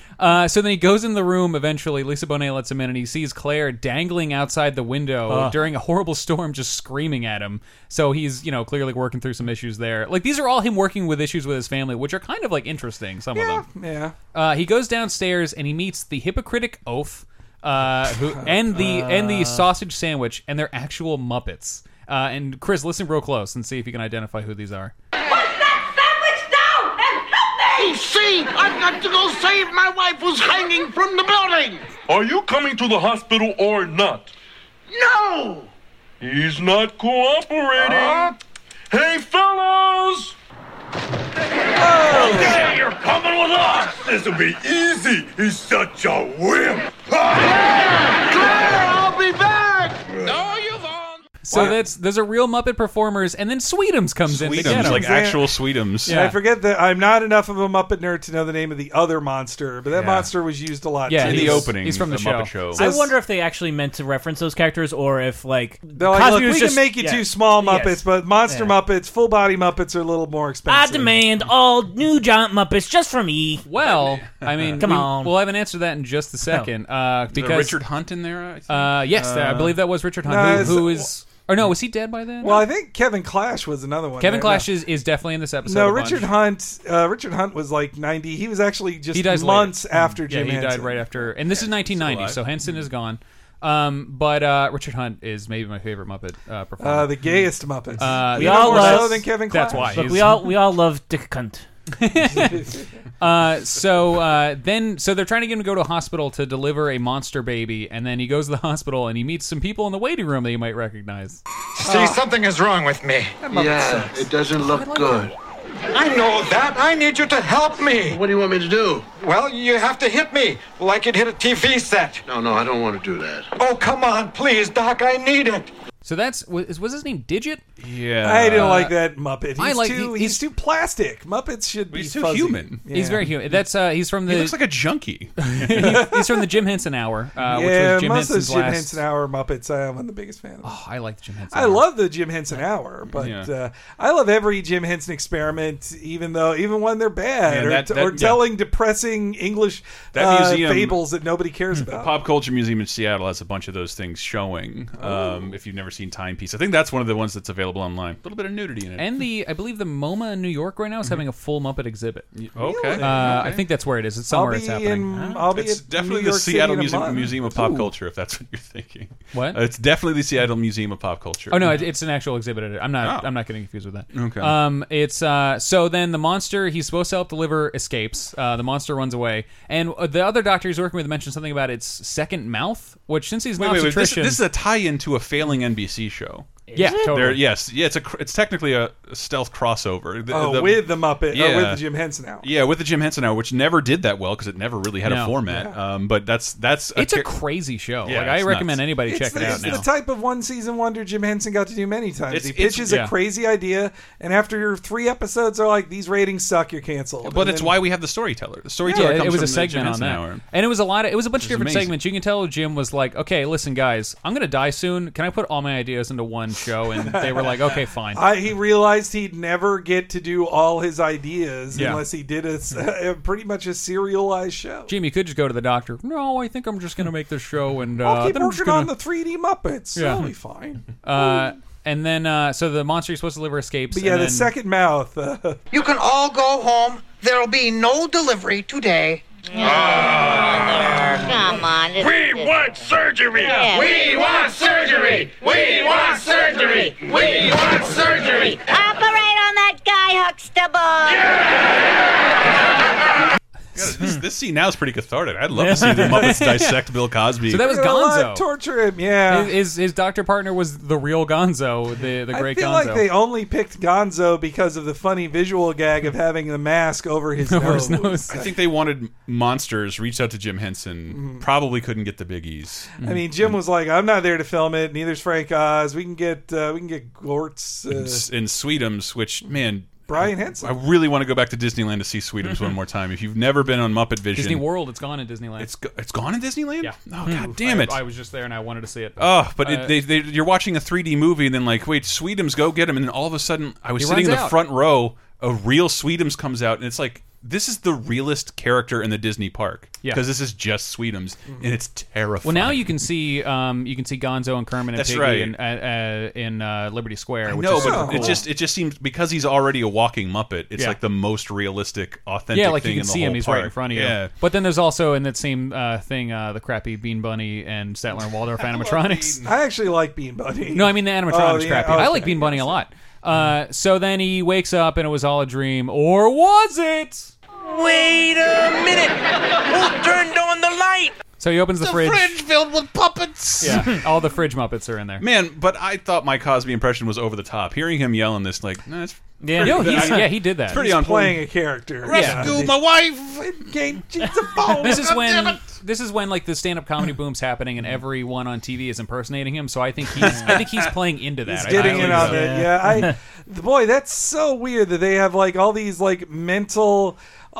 S2: Uh, so then he goes in the room eventually. Lisa Bonet lets him in, and he sees Claire dangling outside the window
S4: Ugh.
S2: during a horrible storm, just screaming at him. So he's, you know, clearly working through some issues there. Like, these are all him working with issues with his family, which are kind of, like, interesting, some of them.
S3: Yeah.
S2: Uh, he goes downstairs, and he meets the hypocritic oaf uh, who, and, the, and the sausage sandwich, and they're actual Muppets. Uh, and Chris, listen real close and see if you can identify who these are.
S14: Sandwich down and help me! See, I've got to go save my wife who's hanging from the building.
S15: Are you coming to the hospital or not?
S14: No!
S15: He's not cooperating. Hey, fellas!
S3: Oh.
S15: Okay, you're coming with us! This'll be easy. He's such a wimp. Ah!
S2: So that's those are real Muppet performers, and then Sweetums comes in. to get
S1: Sweetums,
S2: 'em.
S1: like actual Sweetums.
S3: And I forget that I'm not enough of a Muppet nerd to know the name of the other monster, but that
S1: Yeah.
S3: monster was used a lot.
S1: Yeah,
S3: too.
S1: in the opening,
S2: he's from the the Muppet
S1: Show.
S4: I wonder if they actually meant to reference those characters, or if like
S3: They're Oh, like, look,
S4: Cosby was
S3: we
S4: just-
S3: can make you
S4: yeah.
S3: two small Muppets,
S4: Yes.
S3: but monster
S4: Yeah.
S3: Muppets, full body Muppets are a little more
S4: I
S3: expensive.
S4: demand all new giant Muppets just for me.
S2: Well, I mean,
S4: come
S2: we,
S4: on. Oh.
S2: We'll have an answer to that in just a second. Uh,
S1: Is there
S2: because
S1: Richard Hunt in there. I think?
S2: Uh, yes, I
S1: Uh,
S2: believe that was Richard Hunt,
S1: no,
S2: who,
S1: it's-
S2: who is. Or no, was he dead by then?
S3: Well, I think Kevin Clash was another one.
S2: Kevin
S3: there.
S2: Clash
S3: No.
S2: is, is definitely in this episode.
S3: No,
S2: a bunch.
S3: Richard Hunt. Uh, Richard Hunt was like ninety. He was actually just
S2: he dies
S3: months
S2: later. Mm,
S3: after
S2: yeah,
S3: Jim
S2: he died
S3: Henson.
S2: right after, and this is 1990,
S3: still
S2: so Henson is gone. Um, but uh, Richard Hunt is maybe my favorite Muppet uh, performer.
S3: Uh, the gayest Muppet.
S2: Uh,
S3: We Even all more love- so than Kevin
S2: That's why
S3: Clash.
S4: Look,
S2: he's-
S4: we all we all love Dick Cunt.
S2: Uh, so uh, then, so they're trying to get him to go to a hospital to deliver a monster baby, and then he goes to the hospital and he meets some people in the waiting room that he might recognize.
S13: See,
S3: Oh.
S2: Oh.
S13: something is wrong with me.
S7: Yeah, it doesn't look good. I know that. I need you to help me. What do you want me to do?
S13: Well, you have to hit me like you'd hit a TV set.
S7: No, no, I don't want to do that.
S13: Oh, come on, please, Doc, I need it.
S2: So that's was, was his name Digit?
S1: Yeah,
S3: I didn't like that Muppet. He's
S2: I like-
S3: too.
S2: he-
S3: he's, too plastic. Muppets should be
S1: he's too
S3: fuzzy.
S1: human.
S2: He's very human. That's uh, he's from the.
S1: He looks like a junkie.
S2: he's from the Jim Henson Hour, uh,
S3: yeah,
S2: which was Jim
S3: most
S2: Henson's
S3: of the Jim
S2: last.
S3: Henson Hour Muppets. I am I'm the biggest fan of. Oh,
S2: I like the Jim Henson.
S3: I
S2: Hour.
S3: love the Jim Henson Hour, but
S2: Yeah.
S3: uh, I love every Jim Henson experiment, even though even when they're bad
S1: Man,
S3: or,
S1: that- that-
S3: or
S1: yeah.
S3: telling depressing English
S1: That
S3: uh,
S1: museum-
S3: fables that nobody cares
S1: The
S3: about.
S1: Pop Culture Museum in Seattle has a bunch of those things showing. Um, if you've never seen Timepiece, I think that's one of the ones that's available online. A little bit of nudity in it. Mm-hmm.
S2: And the I believe the MoMA in New York right now is having a full Muppet exhibit.
S1: okay.
S2: Uh,
S1: Really?
S2: I
S1: Okay.
S2: think that's where it is. It's
S3: I'll
S2: somewhere
S3: be
S2: it's happening. Ah,
S3: in- I'll be
S1: it's
S3: at
S1: definitely
S3: New
S1: the
S3: York City
S1: Seattle
S3: in a
S1: Museum,
S3: month.
S1: Museum of Pop
S2: Ooh.
S1: Culture, if that's what you're thinking.
S2: What?
S1: Uh, it's definitely the Seattle Museum of Pop Culture.
S2: Oh no, it, it's an actual exhibit. I'm not.
S1: Oh.
S2: I'm not getting confused with that.
S1: Okay.
S2: Um, it's uh. So then the monster he's supposed to help deliver escapes. Uh, the monster runs away, and uh, the other doctor he's working with mentioned something about its second mouth. Which since he's
S1: Wait,
S2: not
S1: wait, wait. This,
S2: obstetrician,
S1: this is a tie-in to a failing NBC show.
S2: Yeah, it? totally.
S1: There- yes, yeah. It's a cr- it's technically a, a stealth crossover. The-
S3: Oh,
S1: the-
S3: with the Muppet, or
S1: Yeah.
S3: with the Jim Henson Hour.
S1: Yeah, with the Jim Henson Hour, which never did that well because it never really had
S2: No.
S1: a format. Um, but that's that's
S2: It's a
S1: char-
S2: crazy show.
S1: Yeah,
S2: Like, I
S1: it's
S2: recommend
S1: nuts.
S2: anybody
S3: It's
S2: check
S3: the,
S2: it out
S3: it's
S2: now.
S3: the type of one season wonder Jim Henson got to do many times.
S1: It's-
S3: he
S1: it's-
S3: pitches
S1: yeah.
S3: a crazy idea, and after your three episodes are like, these ratings suck, you're canceled.
S1: But
S3: And
S1: it's
S3: then-
S1: why we have the storyteller. The
S2: yeah,
S1: storyteller
S2: it
S1: comes
S2: was
S1: from
S2: a
S1: the Jim
S2: segment on
S1: Henson
S2: that,
S1: Hour.
S2: and it was a lot. Of, it was a bunch
S1: Which
S2: of
S1: is
S2: different
S1: amazing.
S2: segments. You can tell Jim was like, "Okay, listen, guys, I'm gonna die soon. Can I put all my ideas into one show?" And they were like, "Okay, fine."
S3: I, he realized he'd never get to do all his ideas
S2: Yeah.
S3: unless he did a, s- a- pretty much a serialized show.
S2: Jim, you could just go to the doctor. No, I think I'm just gonna make this show, and uh,
S3: I'll keep
S2: then I'm just
S3: working
S2: gonna-
S3: on the 3D Muppets.
S2: Yeah.
S3: That'll be fine.
S2: Uh, and then, uh, so the monster you're supposed to deliver escapes.
S3: But yeah,
S2: and
S3: the
S2: then-
S3: second mouth. Uh,
S16: You can all go home. There'll be no delivery today.
S17: Come on. This,
S15: We
S17: this-
S15: want surgery!
S17: Ah. Yeah.
S15: We want surgery! We want surgery! We want surgery!
S17: Operate on that guy, Huxtable.
S1: God,
S2: Hmm.
S1: this, this scene now is pretty cathartic. I'd love to see the Muppets dissect Bill Cosby.
S2: So that was
S3: They're alive,
S2: Gonzo.
S3: Torture him, yeah.
S2: His, his his doctor partner was the real Gonzo, the the
S3: I
S2: great
S3: feel
S2: Gonzo.
S3: like they only picked Gonzo because of the funny visual gag of having the mask over his nose.
S1: I think they wanted monsters. Reached out to Jim Henson. Probably couldn't get the biggies.
S3: Mm-hmm.
S2: Mm-hmm.
S3: I mean, Jim was like, "I'm not there to film it. Neither's Frank Oz. We can get uh, we can get Gort's."
S1: in,
S3: Uh,
S1: in Sweetums, which man,
S3: Brian Henson.
S1: I really want to go back to Disneyland to see Sweetums one more time. If you've never been on Muppet Vision,
S2: Mm-hmm. Disney World, it's gone in Disneyland. It's
S1: it's gone in Disneyland.
S2: Yeah. Hmm.
S1: Oh god damn
S2: I-
S1: it!
S2: I, was just there and I wanted to see it.
S1: Oh, but
S2: Uh,
S1: it, they, they, you're watching a 3D movie and then like, wait, Sweetums, go get him, and then all of a sudden, I was
S2: He
S1: sitting in
S2: runs
S1: the
S2: out.
S1: front row. A real Sweetums comes out, and it's like this is the realest character in the Disney park.
S2: Yeah.
S1: because this is just Sweetums,
S2: Mm-hmm.
S1: and it's
S2: well,
S1: terrifying.
S2: now you can see um you can see Gonzo and Kermit and
S1: That's
S2: Piggy
S1: right.
S2: in, uh, uh, in uh, Liberty Square. Which
S1: no,
S2: is super
S1: but it
S2: cool.
S1: just it just seems because he's already a walking Muppet. It's
S2: Yeah.
S1: like the most realistic, authentic.
S2: yeah, like you
S1: thing
S2: can
S1: in the
S2: see him;
S1: whole
S2: he's right in
S1: park.
S2: front of you.
S1: Yeah.
S2: But then there's also in that same uh, thing uh, the crappy Bean Bunny and Statler and Waldorf animatronics.
S3: I actually like Bean Bunny.
S2: No, I mean the animatronics
S3: Oh, yeah,
S2: crappy. I
S3: okay.
S2: like Bean Bunny a lot. Uh, so then he wakes up and it was all a dream, or was it?
S14: Wait a minute! Who turned on the light?
S2: So he opens the, fridge.
S14: filled with puppets.
S2: Yeah, all the fridge Muppets are in there.
S1: Man, but I thought my Cosby impression was over the top. Hearing him yell in this, like, nah, it's,
S2: Yeah. No, he's- yeah, he did that.
S1: It's pretty
S2: He's
S1: on point.
S2: playing a character. Rescue
S1: my wife!
S3: she's a phone!
S2: this is when this is when like the stand-up comedy boom's happening and everyone on TV is impersonating him. So I think he's I think he's playing into that.
S3: He's
S2: I
S3: getting
S2: think
S3: in on
S2: so.
S3: it. Yeah, I. the- boy, that's so weird that they have like all these like mental. Uh,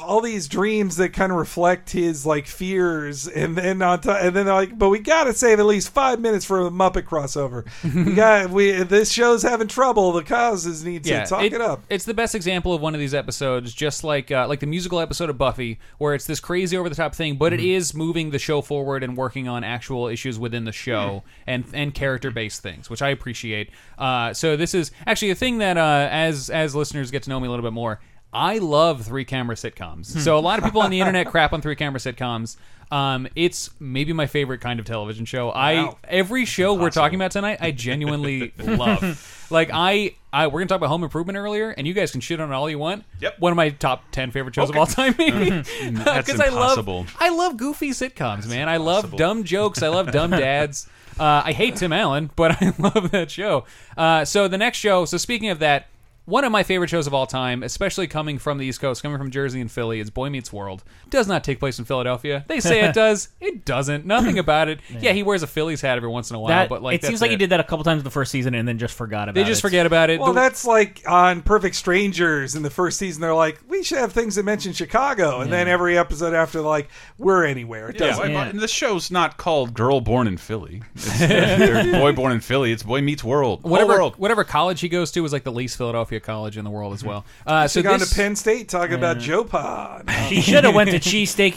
S3: all these dreams that kind of reflect his like fears, and then on top, and then like, but we gotta save at least five minutes for a Muppet crossover. we got we this show's having trouble. The causes need to talk it, up.
S2: It's the best example of one of these episodes, just like uh, like the musical episode of Buffy, where it's this crazy over the top thing, but it
S3: Mm-hmm.
S1: Mhm.
S2: is moving the show forward and working on actual issues within the
S3: Mm-hmm.
S2: show and and character based things, which I appreciate. Uh, so this is actually a thing that uh, as as listeners get to know me a little bit more. I love three camera sitcoms.
S1: Hmm.
S2: So a lot of people on the internet crap on three camera sitcoms. Um, it's maybe my favorite kind of television show. I
S1: Wow.
S2: every show we're talking about tonight, I genuinely love. Like I, I, we're gonna talk about Home Improvement earlier, and you guys can shit on it all you want. Yep. One of my top ten favorite shows of all time, maybe.
S4: Mm-hmm.
S1: Mhm. That's
S2: Because I
S1: impossible.
S2: love, I love goofy sitcoms, man. I love dumb jokes. I love dumb dads. Uh, I hate Tim Allen, but I love that show. Uh, so the next show. So speaking of that, one of my favorite shows of all time, especially coming from the East Coast, coming from Jersey and Philly, is Boy Meets World. Does not take place in Philadelphia. They say it does. It doesn't. Nothing about it. Yeah, he wears a Phillies hat every once in a while,
S4: That-
S2: but like
S4: it seems
S2: that's
S4: like he did that a couple times in the first season and then just forgot about it.
S2: They just forget about it.
S3: Well,
S2: The-
S3: that's like on Perfect Strangers in the first season. They're like, we should have things that mention Chicago, and then every episode after, they're like, we're anywhere. It
S1: Yeah,
S3: doesn't.
S1: I- and the show's not called "Girl Born in Philly." It's or "Boy Born in Philly." It's "Boy Meets World." Whole
S2: whatever
S1: world.
S2: whatever college he goes to is like the least Philadelphia college in the world as well. Uh, so
S3: Should've Mm-hmm. gone
S2: this,
S3: to Penn State talking about Joe Pod.
S4: He should have went to Cheesesteak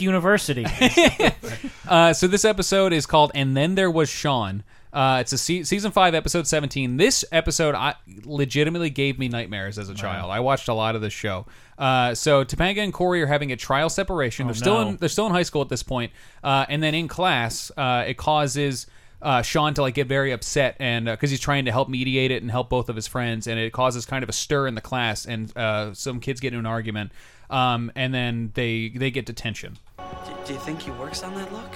S4: University.
S2: Uh, so this episode is called "And Then There Was Sean." Uh, it's a se- season five, episode seventeen. This episode I legitimately gave me nightmares as a child. I watched a lot of this show. Uh, so Topanga and Corey are having a trial separation.
S4: Oh,
S2: they're still
S4: no.
S2: in they're still in high school at this point. Uh, and then in class, uh, it causes. Uh, Sean to like get very upset and because he's trying to help mediate it and help both of his friends and it causes kind of a stir in the class and uh, some kids get into an argument um, and then they they get detention
S18: D- do you think he works on that look?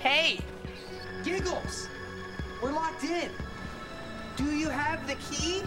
S18: Hey!
S19: Giggles! We're locked in. Do you have the key?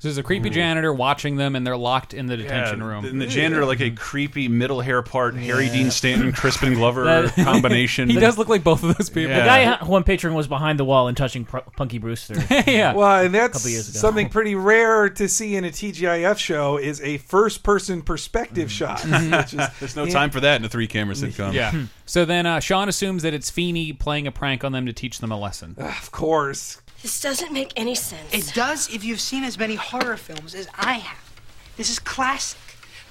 S2: So there's a creepy janitor watching them, and they're locked in the detention
S1: Hmm. Yeah,
S2: room.
S1: And the janitor, like a creepy middle hair part, Harry Dean Stanton, Crispin Glover
S2: That-
S1: combination.
S2: he does look like both of those people.
S4: The guy who I'm picturing was behind the wall and touching Pr- Punky Brewster. yeah.
S3: Well, and
S4: a
S3: that's
S4: couple years ago.
S3: something pretty rare to see in a TGIF show is a first-person
S4: Mm.
S3: perspective shot. which
S2: Mm-hmm.
S3: is-
S1: There's no time for that in a three camera sitcom.
S2: Yeah. so then uh, Sean assumes that it's Feeney playing a prank on them to teach them a lesson.
S3: Of course.
S19: This doesn't make any sense. It does if you've seen as many horror films as I have. This is classic.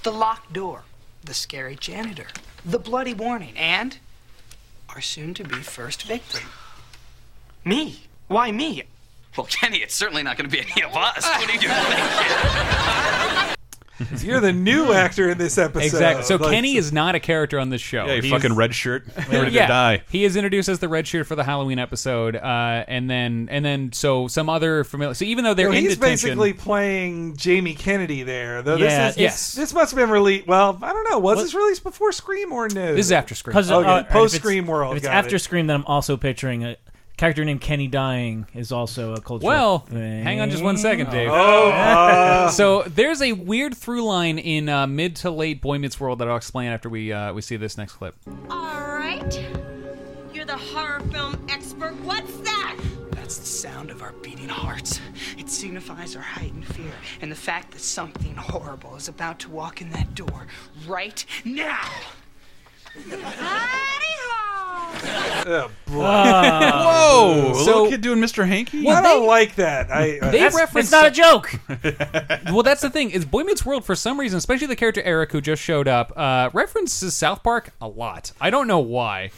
S19: The locked door, the scary janitor, the bloody warning, and our soon to be first victim.
S11: Me? Why me? Well, Kenny, it's certainly not going to be any of us. What do you
S3: You're the new actor in this episode.
S2: Exactly. So
S3: Like,
S2: Kenny is not a character on this show.
S1: Yeah, you
S2: He's-
S1: fucking red shirt. Ready to
S2: Yeah.
S1: die.
S2: He is introduced as the red shirt for the Halloween episode, uh, and then and then so some other familiar. So even though they're
S3: Well,
S2: in
S3: he's
S2: detention,
S3: basically playing Jamie Kennedy there. Though
S2: Yeah,
S3: this is
S2: yes.
S3: this must have been released. Well, I don't know. Was
S2: What-
S3: this released before Scream or no?
S2: This is after Scream.
S4: Because
S3: Okay, post Scream world.
S4: If it's
S3: got
S4: after
S3: it.
S4: Scream, then I'm also picturing a character named Kenny dying is also a cultural.
S2: Well,
S4: thing.
S2: hang on just one second, Dave.
S4: Oh, uh.
S2: so there's a weird through line in uh, mid to late Boy Meets World that I'll explain after we uh, we see this next clip.
S20: All right. You're the horror film expert. What's that?
S19: That's the sound of our beating hearts. It signifies our heightened fear and the fact that something horrible is about to walk in that door right now.
S3: Oh, boy.
S1: Whoa!
S2: So-
S1: little kid doing Mr. Hanky.
S3: I don't like that. I, I
S2: They reference
S3: reference
S4: joke.
S2: well, that's the thing is Boy Meets World for some reason, especially the character Eric who just showed up, uh, references South Park a lot. I don't know why.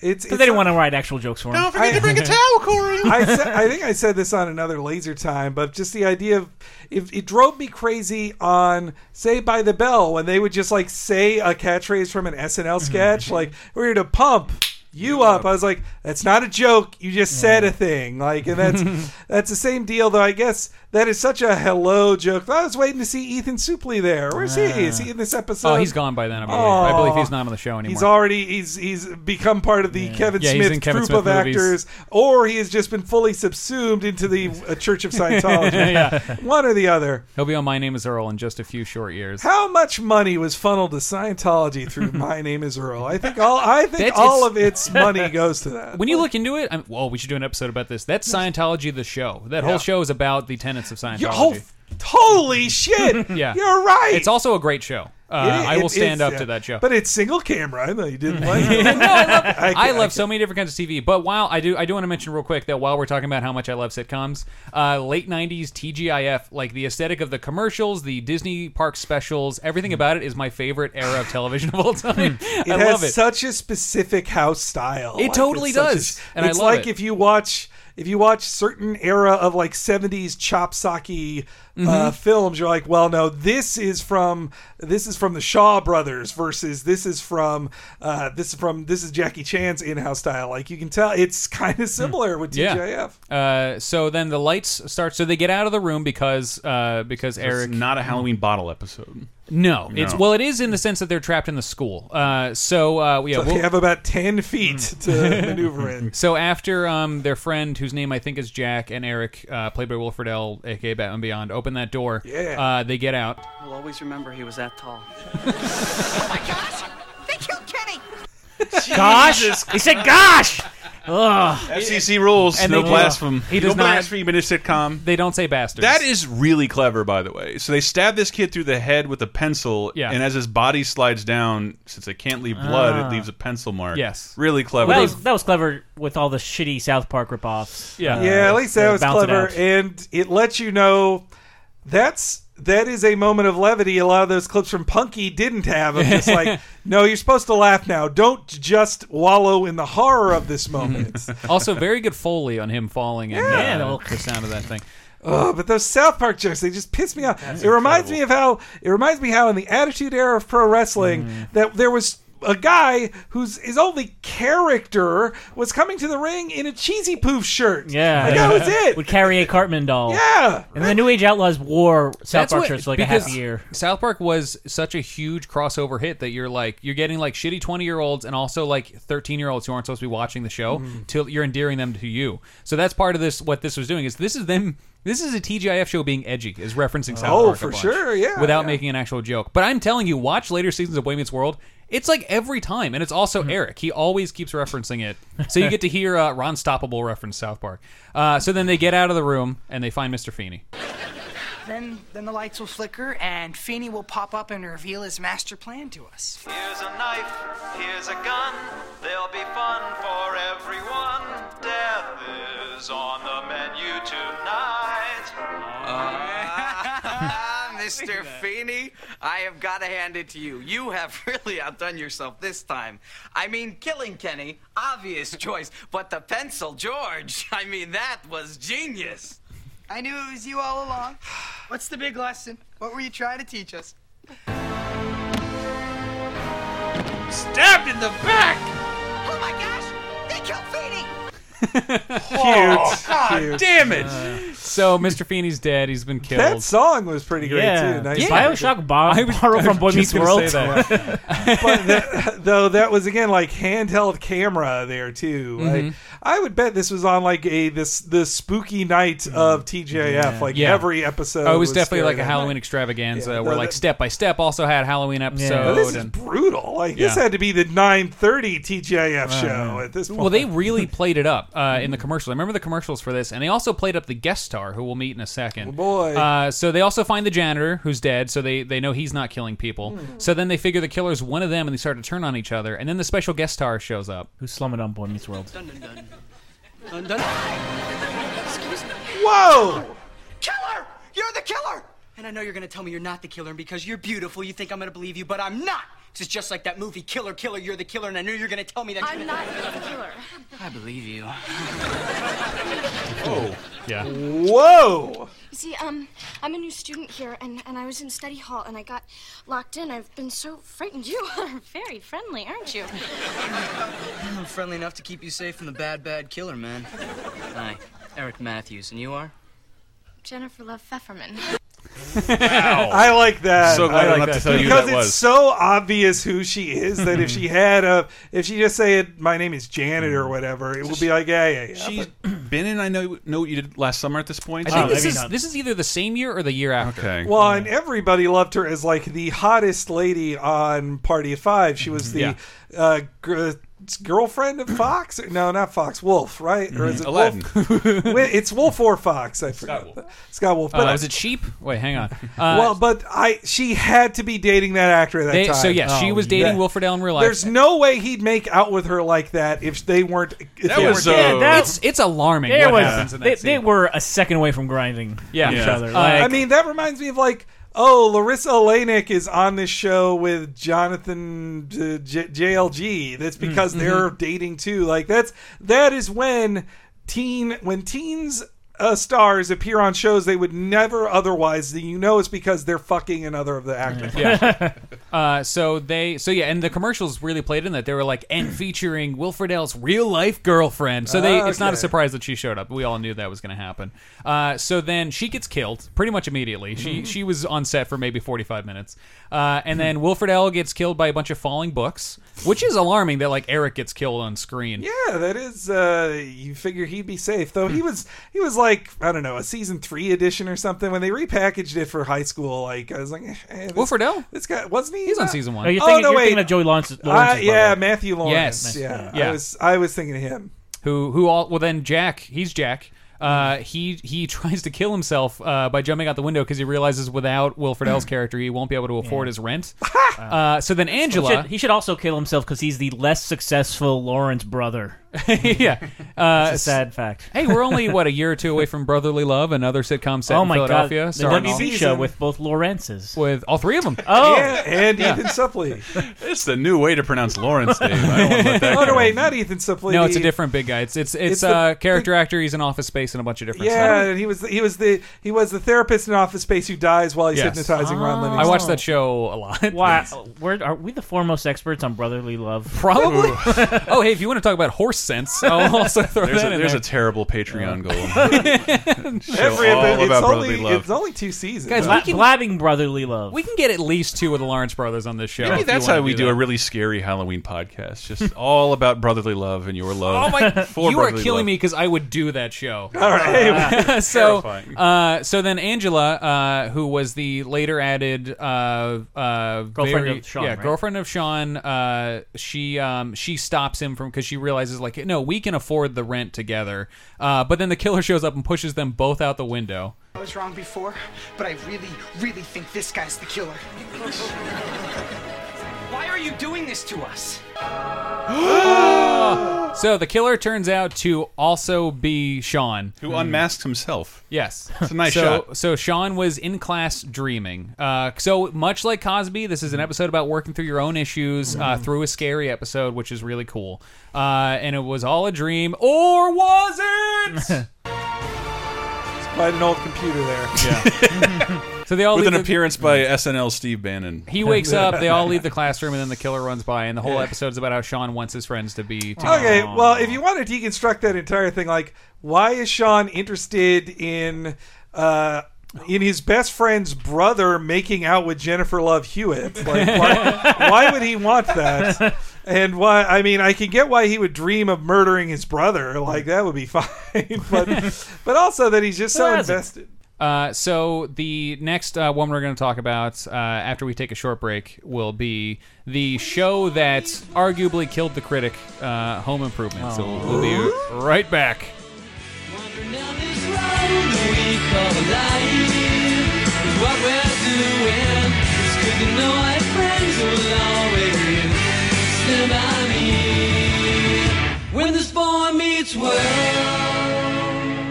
S3: It's
S4: Because they didn't want to write actual jokes for him.
S3: Corey. I, sa- I think I said this on another laser time, but just the idea of if it drove me crazy on say by the
S2: Mm-hmm.
S3: bell when they would just like say a catchphrase from an SNL sketch, like we're here to pump you up. I was like, that's not a joke. You just
S2: Mm.
S3: said a thing. Like, and that's that's the same deal. Though I guess that is such a hello joke. I was waiting to see Ethan Supley there. Where's he? Is he in this episode?
S2: Oh, he's gone by then. I believe. I believe
S3: Aw.
S2: he's not on the show anymore.
S3: He's already he's he's become part of the Kevin
S2: Yeah, he's in
S3: Smith
S2: Kevin
S3: troupe
S2: Smith
S3: of actors,
S2: movies.
S3: or he has just been fully subsumed into the uh, Church of Scientology.
S2: Yeah.
S3: One or the other.
S2: Oh, He'll be on My Name Is Earl in just a few short years.
S3: How much money was funneled to Scientology through My Name Is Earl? I think all I think
S2: That's-
S3: all
S2: it's-
S3: of its money goes to that.
S2: When you look into it, I'm, well, we should do an episode about this. That's Scientology, the show. That
S3: Yeah.
S2: whole show is about the tenets of Scientology.
S3: Yo, ho-
S2: oh,
S3: holy shit!
S2: yeah,
S3: you're right.
S2: It's also a great show. Uh,
S3: It-
S2: I will
S3: it
S2: stand
S3: is,
S2: up
S3: yeah.
S2: to that show.
S3: But it's single camera. I know you didn't like
S2: no,
S3: it.
S2: I love, I
S3: can't-
S2: love so many different kinds of TV. But while I do, I do want to mention real quick that while we're talking about how much I love sitcoms, uh, late '90s TGIF, like the aesthetic of the commercials, the Disney park specials, everything about it is my favorite era of television of all time.
S3: It
S2: I
S3: has
S2: love it.
S3: such a specific house style.
S2: It totally
S3: it's such
S2: does,
S3: a-
S2: and I
S3: it's
S2: love
S3: like
S2: it.
S3: if you watch if you watch certain era of like seventies chop socky uh,
S2: Mhm.
S3: films, you're like, well, no, this is from this is from the Shaw Brothers versus this is from uh, this is from this is Jackie Chan's in house style. Like you can tell, it's
S2: Hmm.
S3: kind of similar with TJF.
S2: Uh, so then the lights start. So they get out of the room because uh, because
S1: So it's
S2: Eric.
S1: not a Halloween bottle episode.
S2: No, it's
S1: No.
S2: well, it is in the sense that they're trapped in the school. Uh, so uh, yeah,
S3: So they
S2: we'll- Mm.
S3: have about ten feet to maneuver in.
S2: So after um, their friend, whose name I think is Jack, and Eric, uh, played by Wilfred L, aka Batman Beyond, open that door.
S18: Yeah.
S2: Uh, they get out.
S18: We'll always remember he was that tall.
S14: Oh my gosh! They killed Kenny!
S4: Gosh, he said, "Gosh."
S2: Ugh.
S1: FCC rules.
S2: And
S1: no
S2: they-
S1: blasphemy.
S2: He does
S1: no
S2: not-
S1: blaspheme in a sitcom.
S2: They don't say bastards.
S1: That is really clever, by the way. So they stab this kid through the head with a pencil,
S2: Yeah.
S1: and as his body slides down, since they can't leave blood,
S4: Ah.
S1: it leaves a pencil mark.
S2: Yes.
S1: really clever.
S4: That was, that was clever with all the shitty South Park ripoffs. Uh,
S3: yeah, at least that
S4: to
S3: was
S4: bounce it
S3: clever,
S4: out.
S3: and it lets you know that's that is a moment of levity. A lot of those clips from Punky didn't have. of just like, no, you're supposed to laugh now. Don't just wallow in the horror of this moment.
S2: also very good foley on him falling and
S3: Yeah.
S2: uh, the sound of that thing.
S3: Oh, but those South Park jokes, they just piss me off. it reminds me of how it reminds me how in the Attitude Era of pro wrestling
S4: Mm.
S3: that there was a guy whose his only character was coming to the ring in a cheesy poof shirt.
S4: Yeah,
S3: Like, that was it.
S4: Would carry a Cartman doll.
S3: Yeah,
S4: and the New Age Outlaws wore South
S2: That's
S4: Park
S2: what-
S4: shirts for like a half
S2: because
S4: a year.
S2: South Park was such a huge crossover hit that you're like you're getting like shitty twenty year olds and also like thirteen year olds who aren't supposed to be watching the show
S4: Mm.
S2: till you're endearing them to you. So that's part of this. What this was doing is this is them. This is a TGIF show being edgy is referencing South
S3: Oh,
S2: Park a
S3: for
S2: bunch
S3: sure, yeah,
S2: without
S3: yeah.
S2: making an actual joke. But I'm telling you, watch later seasons of Boy Meets World. It's like every time, and it's also
S4: Mm-hmm.
S2: Eric. He always keeps referencing it, so you get to hear uh, Ron Stoppable reference South Park. Uh, so then they get out of the room and they find Mr. Feeney.
S19: Then, then the lights will flicker, and Feeney will pop up and reveal his master plan to us.
S21: Here's a knife, here's a gun, there'll be fun for everyone. Death is on the menu tonight.
S18: Mr. Ah, Feeney, I have got to hand it to you. You have really outdone yourself this time. I mean, killing Kenny, obvious choice, but the pencil, George, I mean, that was genius.
S14: I knew it was you all along. What's the big lesson? What were you trying to teach us?
S18: Stabbed in the back!
S14: Oh my gosh! They killed Feeney!
S3: Oh, God Cute.
S1: damn it!
S2: Uh, so Mr. Feeney's dead. He's been killed.
S3: That song was pretty great too. Nice
S4: Bioshock Bob
S2: I was-
S4: borrowed
S2: I
S4: from Boy
S2: was
S4: Meets
S2: just gonna
S4: World.
S2: say that.
S3: but that, though that was again like handheld camera there too. Like,
S2: Mhm.
S3: I would bet this was on like a this the spooky night of TJF. Like
S2: Mm-hmm. Yeah.
S3: every episode.
S2: Oh, it was, definitely like a
S3: scary.
S2: Halloween extravaganza where
S3: no,
S2: like
S3: that-
S2: step by step also had Halloween episode.
S3: Now, this is
S2: and-
S3: brutal. Like this
S2: Yeah.
S3: had to be the 9:30 TJF
S2: Oh,
S3: show
S2: man.
S3: at this point.
S2: Well, they really played it up uh, in the commercials. I remember the commercials for this, and they also played up the guest star who we'll meet in a second.
S3: Oh, boy.
S2: Uh, so they also find the janitor who's dead, so they they know he's not killing people.
S3: Hmm.
S2: So then they figure the killer's one of them, and they start to turn on each other. And then the special guest star shows up,
S4: who's slumming on Boy Meets World.
S18: Dun dun dun. Dun dun. Excuse me.
S3: Whoa!
S18: Killer! You're the killer! And I know you're gonna tell me you're not the killer, and because you're beautiful, you think I'm gonna believe you, but I'm not!
S6: This is just like that movie, Killer, Killer, You're the Killer, and I knew you were going to tell me that.
S20: I'm not a killer.
S6: I believe you.
S1: Oh.
S2: Yeah.
S3: Whoa.
S22: You see, um, I'm a new student here, and, and I was in study hall, and I got locked in. I've been so frightened. You are very friendly, aren't you?
S6: I'm friendly enough to keep you safe from the bad, bad killer, man. Hi, Eric Matthews, and you are?
S22: Jennifer Love Pfefferman.
S3: I like that.
S1: So glad I
S3: I
S1: don't
S3: like
S1: have to tell you who
S3: because
S1: that
S3: it's
S1: was.
S3: so obvious who she is that if she had a, if she just said my name is Janet or whatever, it would be like yeah, yeah, yeah.
S1: Mm. She's been in. I know know what you did last summer at this point. Oh,
S2: I think this is this is either the same year or the year after. Uh,
S1: Okay.
S3: Well, and everybody loved her as like the hottest lady on Party of Five. She was the
S1: Mm-hmm. Yeah.
S3: uh, gr- girlfriend of Fox. No, not Fox. Wolf, right? Or
S1: Mm-hmm.
S3: is it
S2: Aladdin.
S3: Wolf? Wait, it's Wolf or Fox. I forgot. Scott Wolf.
S2: Uh, was it Sheep? Wait, hang on. Uh,
S3: well, but I she had to be dating that actor at that
S2: They-
S3: time.
S2: so yes, she was dating
S3: That-
S2: Wilfred Allen in real life.
S3: There's no way he'd make out with her like that if they weren't. If
S2: That
S3: they
S2: was,
S3: weren't
S2: uh,
S3: dating.
S2: It's- it's alarming
S4: There
S2: what
S4: was-
S2: happens in that
S4: they,
S2: scene. Uh,
S4: they were a second away from grinding each other. Like,
S3: Uh, I mean, that reminds me of like, oh, Larissa Alanik is on this show with Jonathan uh, J- JLG.
S4: Mm,
S3: That's because
S4: mm-hmm.
S2: Mhm.
S3: they're dating too. Like that's that is when teen when teens. Uh, stars appear on shows they would never otherwise. You know, it's because they're fucking another of the actors.
S2: yeah. Uh, so they, so yeah, and the commercials really played in that. They were like, and featuring Wilfred L's real life girlfriend. So they, it's not
S1: Okay.
S2: a surprise that she showed up. We all knew that was going to happen. Uh, so then she gets killed pretty much immediately. She
S1: Mhm.
S2: she was on set for maybe forty five minutes, uh, and then Wilfred L gets killed by a bunch of falling books, which is alarming. That like Eric gets killed on screen.
S3: Yeah, that is. Uh, you figure he'd be safe, though.
S4: Hmm.
S3: He was. He was like I don't know a season three edition or something when they repackaged it for high school. Like I was like, eh, eh, this,
S2: Wilfred L.
S3: This guy wasn't he?
S2: He's on
S3: not-
S2: season one.
S4: Oh, you're thinking-
S3: no,
S4: you're
S3: wait.
S4: thinking of Joey Lawrence-
S3: Uh,
S4: Lawrence's
S3: yeah,
S4: brother.
S3: Matthew Lawrence.
S2: Yes.
S3: Yeah,
S2: Yeah.
S3: I was. I was thinking of him.
S2: who who all well then Jack he's Jack uh,
S4: Mm-hmm.
S2: he he tries to kill himself uh, by jumping out the window because he realizes without Wilfred L's character he won't be able to afford his rent. uh, so then Angela,
S4: He should, he should also kill himself because he's the less successful Lawrence brother.
S2: yeah, uh,
S4: It's a sad fact.
S2: hey, we're only what a year or two away from Brotherly Love, another sitcom set
S4: oh
S2: in
S4: my
S2: Philadelphia.
S4: god, the
S2: starring all-
S4: WB show with both Lawrences,
S2: with all three of them.
S4: Oh,
S3: Yeah, and
S2: Yeah.
S3: Ethan Suplee.
S1: It's the new way to pronounce Lawrence, Dave. I don't want to let that
S3: oh no,
S1: go.
S3: wait, not Ethan Suplee.
S2: No, it's a
S3: the-
S2: different big guy. It's it's it's,
S3: It's the-
S2: uh, character actor. He's in Office Space and a bunch of different
S3: Yeah,
S2: stuff.
S3: and he was. He was the. He was the therapist in Office Space who dies while he's
S2: Yes.
S3: hypnotizing
S4: Ah.
S3: Ron Livingston.
S2: I watched that show a lot.
S4: Wow, Oh. uh, we're, are we the foremost experts on brotherly love?
S2: Probably. oh, hey, if you want to talk about horse sense, I'll also throw
S1: there's
S2: that
S1: a,
S2: in
S1: there's
S2: there.
S1: a terrible Patreon goal. Show all
S3: epi- it's
S1: about brotherly
S3: only,
S1: love.
S3: It's only two seasons. Uh,
S2: Guys, we can-
S4: blabbing brotherly love.
S2: We can get at least two of the Lawrence brothers on this show. if
S1: Maybe
S2: you
S1: that's
S2: wanna
S1: how we do,
S2: that.
S1: a really scary Halloween podcast. Just all about brotherly love and your love.
S2: Oh my!
S1: for
S2: you are
S1: brotherly
S2: killing
S1: love.
S2: me because I would do that show.
S1: All right.
S2: Uh, so,
S1: Terrifying.
S2: uh, so then Angela, uh, who was the later added uh, uh,
S4: Girlfriend
S2: very-
S4: of Sean,
S2: yeah,
S4: right?
S2: girlfriend of Sean, uh, she um, she stops him from because she realizes like, no, we can afford the rent together. Uh, but then the killer shows up and pushes them both out the window.
S16: I was wrong before, but I really, really think this guy's the killer.
S6: Why are you doing this to us?
S2: So the killer turns out to also be Sean,
S1: Who unmasked himself.
S2: Yes,
S1: It's a nice
S2: so,
S1: shot.
S2: So Sean was in class dreaming. Uh, so much like Cosby, this is an episode about working through your own issues uh,
S1: Mm-hmm.
S2: through a scary episode, which is really cool. Uh, and it was all a dream, or was it?
S3: by an old computer there.
S2: Yeah. so they all
S1: with
S2: leave
S1: an
S2: the-
S1: appearance by SNL Steve Bannon.
S2: He wakes up. They all leave the classroom, and then the killer runs by, and the whole episode's about how Sean wants his friends to be. Together.
S3: Okay, well, if you want to deconstruct that entire thing, like, why is Sean interested in uh, in his best friend's brother making out with Jennifer Love Hewitt? Like, why, why would he want that? And why? I mean, I can get why he would dream of murdering his brother. Like, that would be fine. but but also that he's just so
S2: Who hasn't?
S3: invested.
S2: Uh, so the next uh, one we're going to talk about uh, after we take a short break will be the show that arguably killed the critic, uh, Home Improvement. So we'll be right back.
S14: What we're doing, it's good to know our friends will always stand by me. When this boy meets world.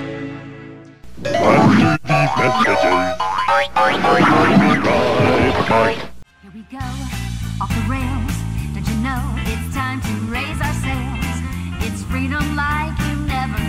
S23: Here we go, off the
S5: rails. Don't you know it's time to raise our sails? It's freedom like you never knew.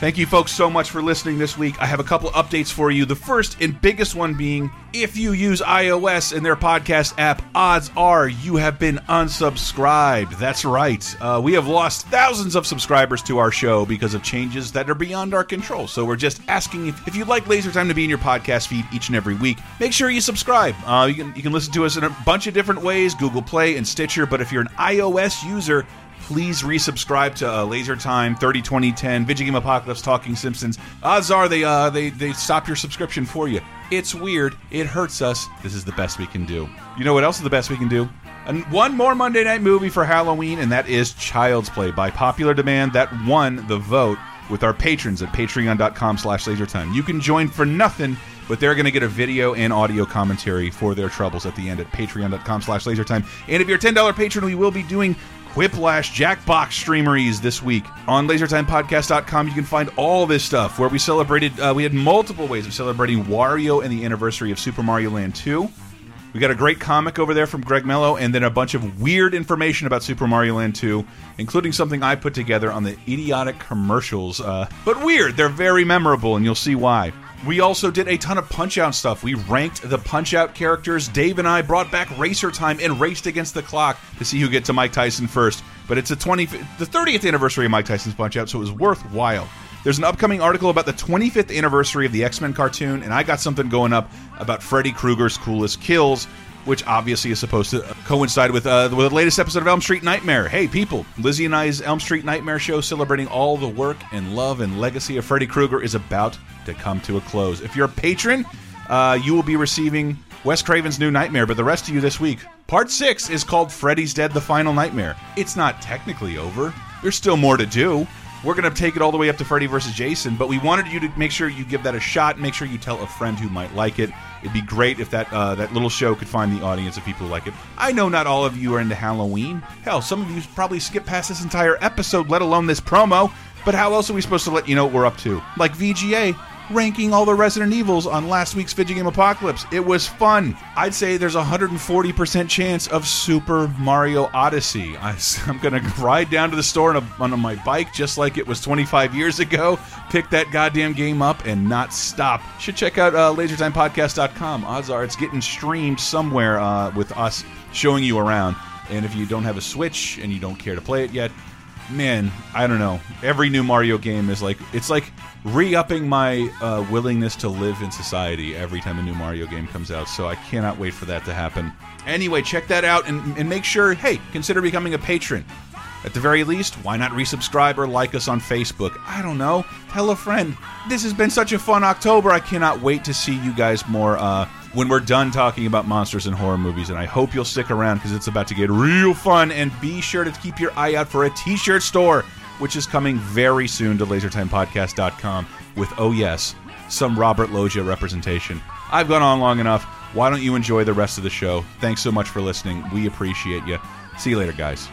S1: Thank you, folks, so much for listening this week. I have a couple updates for you. The first and biggest one being if you use iOS and their podcast app, odds are you have been unsubscribed. That's right. Uh, we have lost thousands of subscribers to our show because of changes that are beyond our control. So we're just asking if, if you'd like Laser Time to be in your podcast feed each and every week, make sure you subscribe. Uh, you, can, you can listen to us in a bunch of different ways Google Play and Stitcher. But if you're an iOS user, please resubscribe to uh, Laser Time, 30, 20, 10, Video Game Apocalypse, Talking Simpsons. Odds are they, uh, they, they stop your subscription for you. It's weird. It hurts us. This is the best we can do. You know what else is the best we can do? And one more Monday night movie for Halloween, and that is Child's Play. By popular demand, that won the vote with our patrons at patreon.com slash lasertime. You can join for nothing, but they're going to get a video and audio commentary for their troubles at the end at patreon.com slash lasertime. And if you're a $10 patron, we will be doing Whiplash Jackbox streameries this week on LaserTimePodcast.com. You can find all this stuff where we celebrated. Uh, we had multiple ways of celebrating Wario and the anniversary of Super Mario Land 2. We got a great comic over there from Greg Mello, and then a bunch of weird information about Super Mario Land 2, including something I put together on the idiotic commercials. Uh, but weird, they're very memorable, and you'll see why. We also did a ton of Punch Out stuff. We ranked the Punch Out characters. Dave and I brought back Racer Time and raced against the clock to see who gets to Mike Tyson first. But it's a 20, the 30th anniversary of Mike Tyson's Punch Out, so it was worthwhile. There's an upcoming article about the 25th anniversary of the X Men cartoon, and I got something going up about Freddy Krueger's coolest kills, which obviously is supposed to coincide with, uh, with the latest episode of Elm Street Nightmare. Hey, people, Lizzie and I's Elm Street Nightmare show celebrating all the work and love and legacy of Freddy Krueger is about to come to a close. If you're a patron, uh, you will be receiving Wes Craven's New Nightmare, but the rest of you this week, part six is called Freddy's Dead The Final Nightmare. It's not technically over, there's still more to do. We're going to take it all the way up to Freddy versus Jason, but we wanted you to make sure you give that a shot. Make sure you tell a friend who might like it. It'd be great if that uh, that little show could find the audience of people who like it. I know not all of you are into Halloween. Hell, some of you probably skip past this entire episode, let alone this promo. But how else are we supposed to let you know what we're up to? Like VGA ranking all the Resident Evils on last week's video game apocalypse. It was fun. I'd say there's a 140% chance of Super Mario Odyssey. I, am going to ride down to the store on, a, on my bike just like it was 25 years ago, pick that goddamn game up, and not stop. Should check out uh, lasertimepodcast.com. Odds are it's getting streamed somewhere uh, with us showing you around. And if you don't have a Switch and you don't care to play it yet, man, I don't know. Every new Mario game is like it's like re-upping my uh, willingness to live in society every time a new Mario game comes out. So I cannot wait for that to happen. Anyway, check that out and, and make sure. Hey, consider becoming a patron. At the very least, why not resubscribe or like us on Facebook? I don't know. Tell a friend. This has been such a fun October. I cannot wait to see you guys more uh, when we're done talking about monsters and horror movies. And I hope you'll stick around because it's about to get real fun. And be sure to keep your eye out for a t shirt store, which is coming very soon to lasertimepodcast.com with, oh, yes, some Robert Loggia representation. I've gone on long enough. Why don't you enjoy the rest of the show? Thanks so much for listening. We appreciate you. See you later, guys.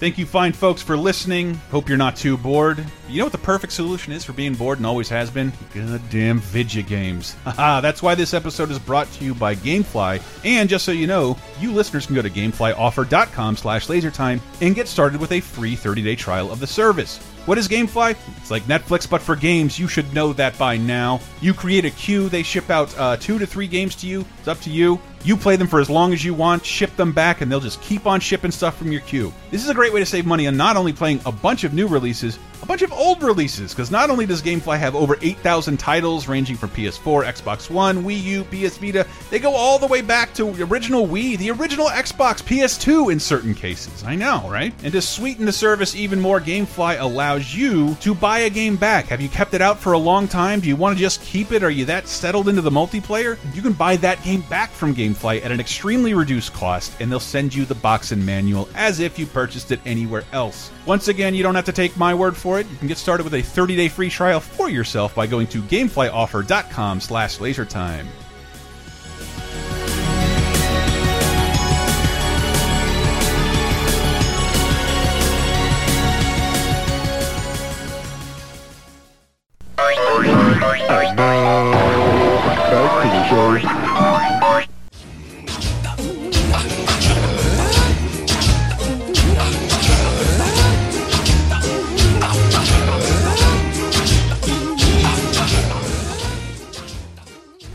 S1: Thank you, fine folks, for listening. Hope you're not too bored. You know what the perfect solution is for being bored and always has been? Goddamn video games. Haha, that's why this episode is brought to you by Gamefly. And just so you know, you listeners can go to gameflyoffer.com slash lasertime and get started with a free 30-day trial of the service. What is Gamefly? It's like Netflix, but for games. You should know that by now. You create a queue. They ship out uh, two to three games to you. It's up to you. You play them for as long as you want, ship them back, and they'll just keep on shipping stuff from your queue. This is a great way to save money on not only playing a bunch of new releases, a bunch of old releases because not only does GameFly have over 8,000 titles ranging from PS4, Xbox One, Wii U, PS Vita, they go all the way back to the original Wii, the original Xbox, PS2 in certain cases. I know, right? And to sweeten the service even more, GameFly allows you to buy a game back. Have you kept it out for a long time? Do you want to just keep it? Are you that settled into the multiplayer? You can buy that game back from GameFly at an extremely reduced cost, and they'll send you the box and manual as if you purchased it anywhere else. Once again, you don't have to take my word for it. You can get started with a 30-day free trial for yourself by going to gameflyoffer.com slash lasertime.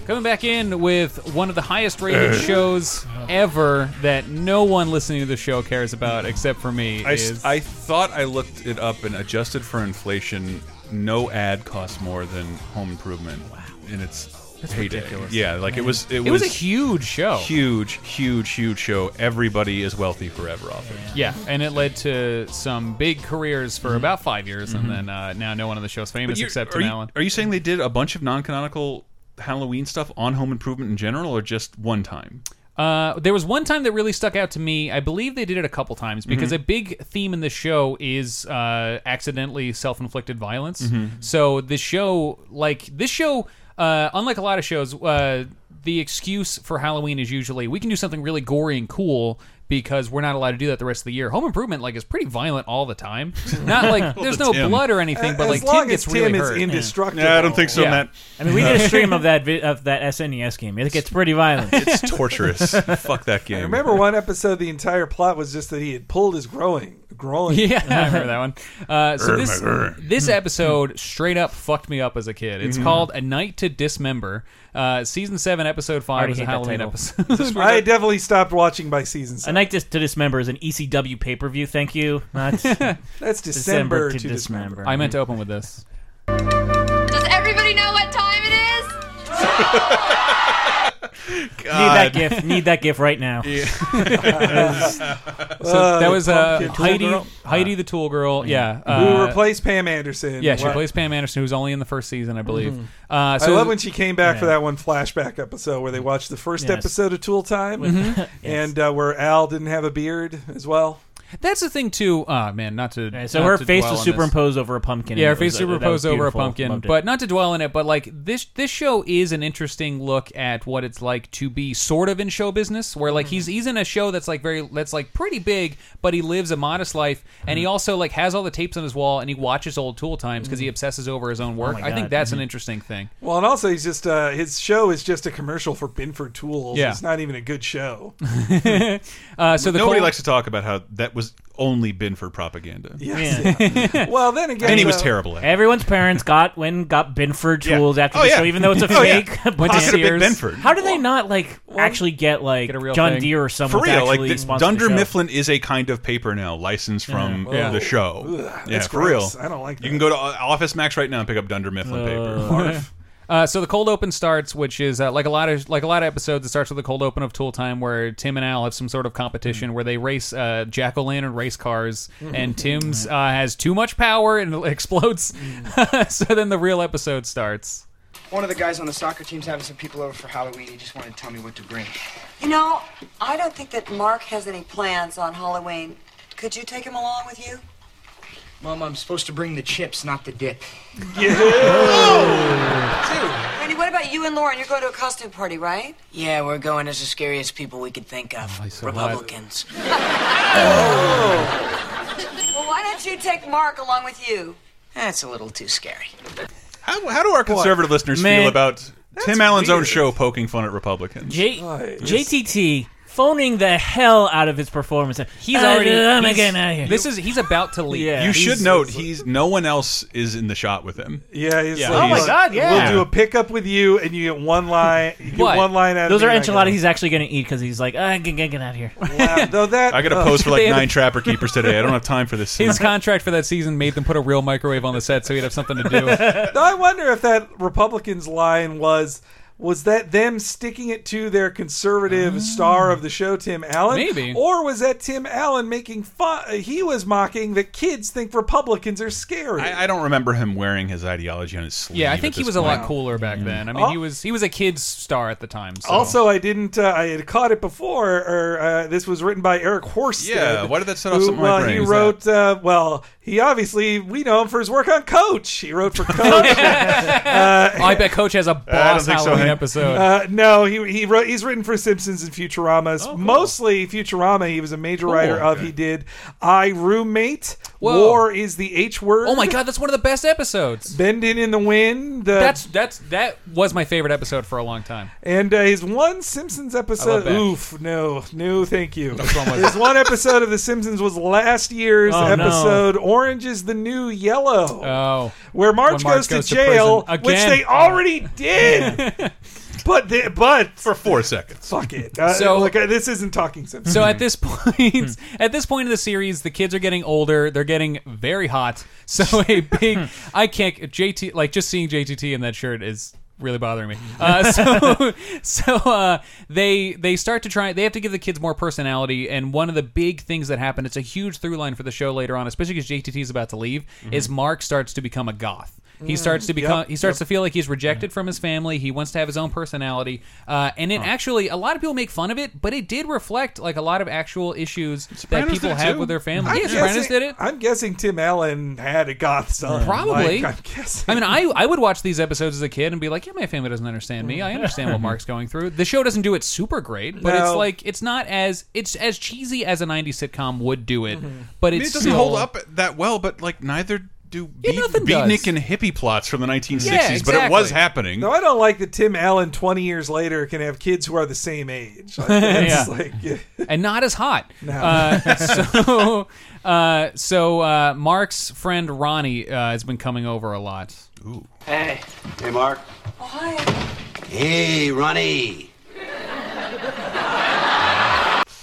S2: Coming back in with one of the highest rated
S1: Eh.
S2: shows ever that no one listening to the show cares about except for me.
S1: I,
S2: is
S1: I thought I looked it up and adjusted for inflation. No ad costs more than Home Improvement. Wow, and it's
S2: That's
S1: heyday.
S2: ridiculous.
S1: Yeah, like it
S2: Man.
S1: was. It,
S2: It was a huge show.
S1: Huge, huge, huge show. Everybody is wealthy forever off it.
S2: yeah, and it led to some big careers for about five years,
S1: Mhm.
S2: and then uh, now no one on the show's famous
S1: you-
S2: except
S1: are
S2: Tim
S1: you,
S2: Allen.
S1: Are you saying they did a bunch of non-canonical Halloween stuff on Home Improvement in general, or just one time?
S2: Uh, there was one time that really stuck out to me. I believe they did it a couple times because
S1: Mhm.
S2: a big theme in the show is uh, accidentally self-inflicted violence.
S1: Mhm.
S2: So the show, like this show, uh, unlike a lot of shows, uh, the excuse for Halloween is usually we can do something really gory and cool because we're not allowed to do that the rest of the year. Home Improvement, like, is pretty violent all the time. Not like there's no
S1: Tim.
S2: blood or anything, but
S3: As
S2: like
S3: long
S2: Tim gets
S3: as
S2: really
S3: Tim is
S2: hurt.
S3: indestructible.
S1: Yeah, I don't think so,
S2: Yeah.
S1: Matt.
S4: I mean, we did a stream of that vi- of that SNES game. It gets pretty violent.
S1: It's torturous. Fuck that game.
S3: I remember one episode. The entire plot was just that he had pulled his growing, growing.
S2: Yeah, I remember that one. Uh, so
S3: Grr,
S2: this
S3: my grr.
S2: this episode straight up fucked me up as a kid. It's
S3: Mhm.
S2: called A Night to Dismember. Uh, season seven, episode five
S4: Already
S2: is a
S4: hate that
S2: Halloween
S4: title.
S2: episode.
S3: I definitely stopped watching by season
S4: I
S3: seven.
S4: like this to dismember is an E ECW pay per view. Thank you. Not
S3: That's December to Dismember.
S2: I meant to open with this.
S20: Does everybody know what time it is?
S4: Need that gif. Need that gif right now.
S2: So that was uh, Heidi, Heidi the Tool Girl. Yeah,
S3: Who
S2: uh,
S3: replaced Pam Anderson?
S2: Yeah, she
S3: What-
S2: plays Pam Anderson, who's only in the first season, I believe.
S3: Mhm.
S2: Uh, so
S3: I love when she came back for
S2: Yeah.
S3: that one flashback episode where they watched the first
S2: Yes.
S3: episode of Tool Time,
S2: Mhm. Yes.
S3: and uh, where Al didn't have a beard as well.
S2: That's the thing too. Ah, man, not to.
S4: so
S2: not
S4: her
S2: to
S4: face
S2: dwell
S4: was
S2: on this.
S4: superimposed over a pumpkin,
S2: Yeah,
S4: and
S2: her
S4: it
S2: face
S4: was- uh, that was
S2: superimposed over a
S4: beautiful.
S2: pumpkin.
S4: Loved it.
S2: But not to dwell on it, but like this, this show is an interesting look at what it's like to be sort of in show business, where like
S4: Mm-hmm.
S2: he's he's in a show that's like very that's like pretty big, but he lives a modest life, and
S4: Mm-hmm.
S2: he also like has all the tapes on his wall, and he watches old Tool times because he obsesses over his
S4: Oh
S2: own work.
S3: my
S2: I think
S3: God.
S2: that's an
S4: Mm-hmm.
S3: Mhm.
S2: interesting thing.
S3: Well, and also he's just uh, his show is just a commercial for Binford Tools.
S2: Yeah.
S3: It's not even a good show.
S2: Uh, so the
S1: nobody
S2: Col-
S1: likes to talk about how that was only Binford propaganda.
S3: Yes. well, then again, uh,
S1: and he was
S3: though-
S1: terrible at. it.
S4: Everyone's parents got when got Binford tools after
S1: Oh,
S4: the
S1: yeah.
S4: show, even though it's a
S1: Oh, yeah.
S4: fake.
S1: Went to
S4: bunch of
S1: see a big
S4: Sears.
S1: Binford.
S4: How do they not like actually get like
S2: real
S4: John
S2: thing.
S4: Deere or
S1: For
S4: someone to
S1: real, like
S4: actually
S1: the-
S4: sponsor the
S1: Dunder
S4: show?
S1: Mifflin is a kind of paper now, licensed from
S3: Yeah.
S1: the
S3: Ugh.
S1: show.
S3: Ugh,
S1: yeah,
S3: that's
S1: for
S3: gross.
S1: real.
S3: I don't like
S1: You can go to uh, Office Max right now and pick up Dunder Mifflin paper.
S2: Uh, so the cold open starts, which is uh, like a lot of like a lot of episodes. It starts with the cold open of Tool Time, where Tim and Al have some sort of
S1: Mm.
S2: competition where they race uh, jack o' lantern race cars, and Tim's uh, has too much power and it explodes.
S1: Mm.
S2: so then the real episode starts.
S8: One of the guys on the soccer team's having some people over for Halloween. He just wanted to tell me what to bring.
S9: You know, I don't think that Mark has any plans on Halloween. Could you take him along with you?
S8: Mom, I'm supposed to bring the chips, not the dip.
S9: Randy, what about you and Lauren? You're going to a costume party, right?
S8: Yeah, we're going as the scariest people we could think of. Republicans.
S9: Well, why don't you take Mark along with you?
S8: That's a little too scary.
S1: How, how do our conservative listeners
S4: Man,
S1: feel about Tim Allen's own
S4: weird.
S1: show poking fun at Republicans?
S4: J- JTT phoning the hell out of his performance.
S2: He's
S4: Uh,
S2: already.
S4: I'm
S2: he's-
S4: getting out of here.
S2: This is he's about to leave.
S1: you should note he's no one else is in the shot with him.
S3: Yeah, he's
S1: Yeah.
S3: like,
S1: Oh my
S3: look,
S1: God, yeah.
S3: We'll do a pickup with you, and you get one line. You get one line out. of
S4: Those
S3: me
S4: are
S3: and I
S4: enchiladas
S3: go,
S4: he's actually going to eat because he's like, ah, get, get, get out of here.
S3: Wow, though that
S1: I got to
S3: oh.
S1: pose for like nine trapper keepers today. I don't have time for this. Scene.
S2: His contract for that season made them put a real microwave on the set so he'd have something to do.
S3: Though I wonder if that Republicans line was was that them sticking it to their
S1: Ah.
S3: conservative star of the show, Tim Allen?
S2: Maybe.
S3: Or was that Tim Allen making fun? He was mocking that kids think Republicans are scary.
S1: I, I don't remember him wearing his ideology on his sleeve.
S2: Yeah, I
S1: at
S2: think he
S1: this
S2: was a
S1: point.
S2: lot cooler back then. I mean, he was he was a kid's star at the time. So.
S3: Also, I didn't. Uh, I had caught it before. Or uh, this was written by Eric Horsted.
S1: Yeah, why did that set off
S3: who-
S1: something in my
S3: Well,
S1: brain?
S3: he
S1: Who's
S3: wrote. Uh, well, he obviously we know him for his work on Coach. He wrote for Coach. uh,
S2: Oh, I bet Coach has a boss
S3: think so,
S2: Halloween
S3: Hank.
S2: episode.
S3: Uh, no, he he wrote. He's written for Simpsons and Futurama. Mostly Futurama. He was a major
S2: Oh, Cool.
S3: writer of.
S2: Okay.
S3: He did I roommate.
S2: Whoa.
S3: War is the H word.
S2: oh my god, that's one of the best episodes.
S3: Bending in the wind. The,
S2: That's that's that was my favorite episode for a long time.
S3: And uh, his one Simpsons episode.
S2: that.
S3: Oof, no, no, thank you.
S2: wrong with
S3: his one episode of The Simpsons was last year's
S2: Oh, no.
S3: episode "Orange is the New Yellow,"
S2: Oh,
S3: where Marge,
S2: When
S3: goes,
S2: Marge goes
S3: to
S2: to
S3: jail,
S2: prison.
S3: which
S2: Again.
S3: they already did. but they, but for
S1: four seconds.
S3: Fuck it. Uh,
S2: So-
S3: look, uh, this isn't talking Simpsons.
S2: So at this
S3: Hmm.
S2: point, at this point in the series, the kids are getting older. They're getting very hot. So a big, I can't JT like just seeing JTT in that shirt is really bothering me. Uh, so so uh, they they start to try. They have to give the kids more personality. And one of the big things that happen, it's a huge through line for the show later on, especially because JTT is about to leave, is Mark starts to become a goth. He
S4: Mm.
S2: starts to become.
S4: Yep,
S2: He starts
S4: yep.
S2: to feel like he's rejected from his family. He wants to have his own personality, uh, and it actually a lot of people make fun of it, but it did reflect like a lot of actual issues that
S3: Sopranos
S2: people
S3: did it
S2: have
S3: too.
S2: with their family.
S3: I'm
S2: yeah, Sopranos
S3: guessing-
S2: did it.
S3: I'm guessing Tim Allen had a goth son.
S2: Probably.
S3: Like, I'm guessing.
S2: I mean, I I would watch these episodes as a kid and be like, yeah, my family doesn't understand me. I understand what Mark's going through. The show doesn't do it super great, but it's
S1: No.
S2: like it's not as it's as cheesy as a '90s sitcom would do it.
S1: I
S2: But
S1: mean,
S2: it's
S1: it doesn't
S2: still-
S1: hold up that well, but like neither do beat,
S2: nothing does.
S1: beatnik and hippie plots from the 1960s.
S2: Yeah,
S1: But it was
S2: exactly.
S1: happening.
S3: No, I don't like that Tim Allen 20 years later can have kids who are the same age. Like, that's
S2: Yeah.
S3: like,
S2: and not as hot. Uh, so, uh, so uh, Mark's friend Ronnie uh, has been coming over a lot. Ooh.
S10: Hey. Hey, Mark.
S9: Why?
S10: Hey, Ronnie.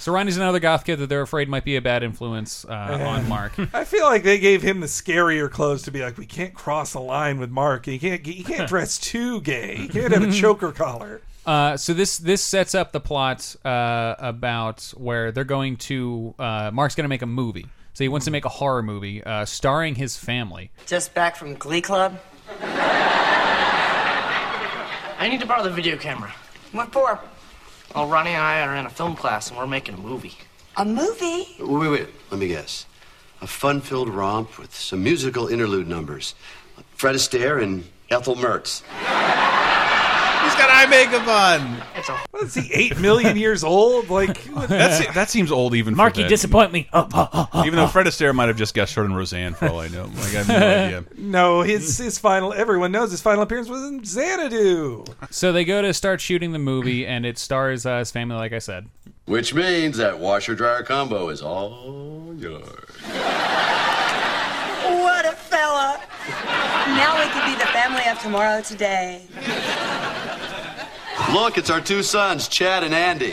S2: So Ronnie's another goth kid that they're afraid might be a bad influence uh, on Mark.
S3: I feel like they gave him the scarier clothes to be like, we can't cross a line with Mark. You can't, you can't dress too gay. You can't have a choker collar.
S2: Uh, so this this sets up the plot uh, about where they're going to uh, Mark's going to make a movie. So he wants to make a horror movie uh, starring his family.
S9: Just back from Glee Club?
S10: I need to borrow the video camera.
S9: What for?
S10: Well, Ronnie and I are in a film class and we're making a movie.
S9: A movie?
S10: Wait, wait, wait.
S12: Let me guess. A fun filled romp with some musical interlude numbers. Fred Astaire and Ethel Mertz.
S1: He's got eye makeup on.
S3: What is he, 8 million years old? Like, what-
S1: That's, that seems old even
S3: Mark,
S1: for
S3: you
S1: that.
S3: disappoint me.
S1: even though Fred Astaire might have just guest starred in Roseanne for all I know. Like, I have no idea.
S3: No, his his final. Everyone knows his final appearance was in Xanadu.
S2: So they go to start shooting the movie, and it stars uh, his family, like I said.
S12: Which means that washer dryer combo is all yours.
S9: What a fella! Now we could be the family of tomorrow today.
S12: Look, it's our two sons, Chad and Andy.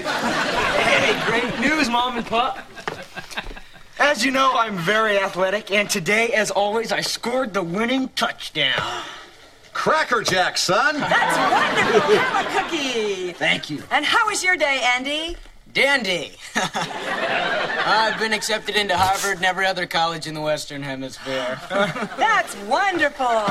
S10: Hey, great news, Mom and Pop.
S8: As you know, I'm very athletic, and today, as always, I scored the winning touchdown.
S12: Cracker Jack, son.
S9: That's wonderful! Have a cookie!
S10: Thank you.
S9: And how was your day, Andy?
S10: Dandy.
S6: I've been accepted into Harvard and every other college in the Western Hemisphere.
S9: That's wonderful!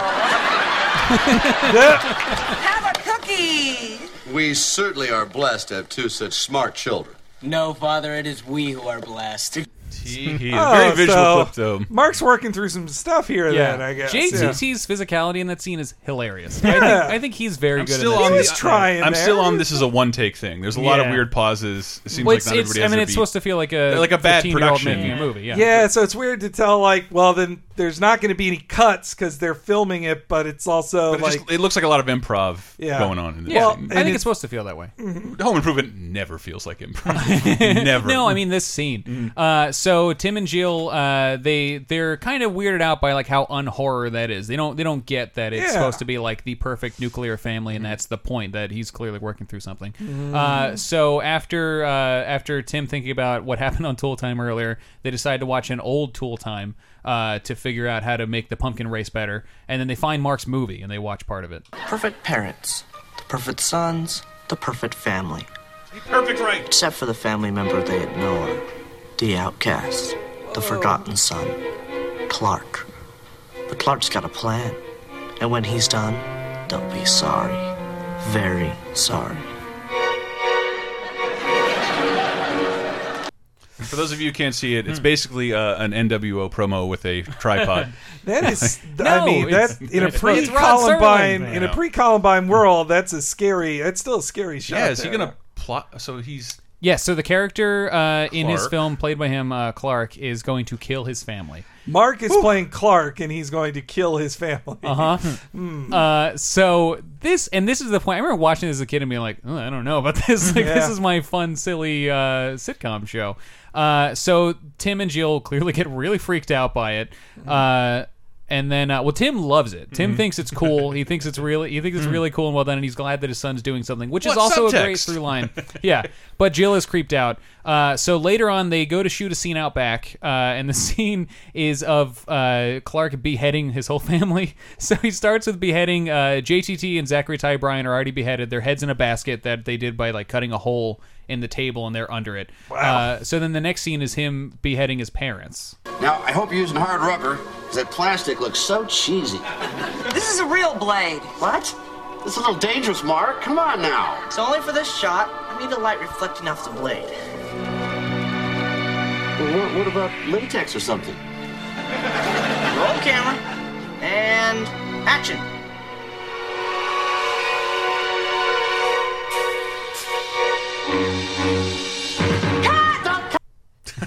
S9: Have a cookie!
S12: We certainly are blessed to have two such smart children.
S6: no, Father, it is we who are blessed.
S1: He, he is very visual crypto.
S3: Mark's working through some stuff here. Then I guess. yeah.
S2: JTT's physicality in that scene is hilarious. I, think,
S3: Yeah.
S2: I think he's very
S1: I'm
S2: good.
S1: still
S2: in that
S1: on
S2: scene.
S1: the- I'm still on. This is a one take thing. There's a lot of
S2: Yeah.
S1: weird pauses. It seems
S2: Well,
S1: like
S2: it's-
S1: not
S2: it's-
S1: everybody.
S2: I
S1: has
S2: mean,
S1: their
S2: it's
S1: beat.
S2: supposed to feel like a
S1: They're like a bad
S2: 15-year-old
S1: production
S2: making a movie, yeah.
S3: so it's weird to tell like, well, then there's not going to be any cuts because they're filming it, but it's also
S1: But it,
S3: like
S1: just- it looks like a lot of improv
S3: Yeah.
S1: going on. In this
S3: Yeah. Well,
S1: scene.
S3: I think And it's it's-
S2: supposed to feel that way.
S1: Home Improvement never feels like improv. never. Mm-hmm.
S2: No, I mean this scene. Uh, so Tim and Jill, uh, they they're kind of weirded out by like how unhorror that is. They don't they don't get that it's
S1: Yeah. Mm-hmm.
S2: supposed to be like the perfect nuclear family, and that's the point that he's clearly working through something.
S1: Mhm.
S2: Uh, so after uh, after Tim thinking about what happened on Tool Time earlier, they decide to watch an old Tool Time. Uh, to figure out how to make the pumpkin race better, and then they find Mark's movie and they watch part of it.
S10: Perfect parents, the perfect sons, the perfect family.
S1: Perfect right.
S10: Except for the family member they ignore the outcast, the forgotten son, Clark. But Clark's got a plan, and when he's done, they'll be sorry. Very sorry.
S1: For those of you who can't see it,
S2: Hmm.
S1: it's basically uh, an NWO promo with a tripod.
S3: That is,
S1: No,
S3: I mean,
S1: it's-
S3: that in a
S1: it's Ron Sterling.
S3: pre-Columbine in
S1: Yeah.
S3: a pre-Columbine world, that's a scary. That's still a scary shot.
S1: yeah, is he
S3: there.
S1: gonna plot? So he's
S2: Yes, so the character uh, in his
S1: Clark.
S2: film, played by him, uh, Clark, is going to kill his family.
S3: Mark is playing Clark, and he's going to kill his family.
S2: Uh-huh.
S3: Hmm.
S2: Uh So this, and this is the point. I remember watching this as a kid and being like, oh, I don't know about this. Like, this
S3: Yeah.
S2: is my fun, silly uh, sitcom show. Uh, so Tim and Jill clearly get really freaked out by it. Uh, and then, uh, well, Tim loves it. Tim
S1: Mhm.
S2: thinks it's cool. He thinks it's really, he thinks it's
S1: Mhm.
S2: really cool and well done. And he's glad that his son's doing something, which is
S1: What
S2: also a great
S1: subtext?
S2: through line. yeah, but Jill is creeped out. Uh, so later on, they go to shoot a scene out back, uh, and the scene is of uh, Clark beheading his whole family. So he starts with beheading uh, JTT and Zachary Ty Bryan are already beheaded. Their heads in a basket that they did by like cutting a hole in the table, and they're under it. Uh, so then the next scene is him beheading his parents.
S12: Now, I hope you're using hard rubber, because that plastic looks so cheesy.
S9: This is a real blade.
S10: What?
S12: This is a little dangerous, Mark. Come on now.
S10: It's only for this shot. I need the light reflecting off the blade.
S12: Well, what, what about latex or something?
S10: Roll camera. And action.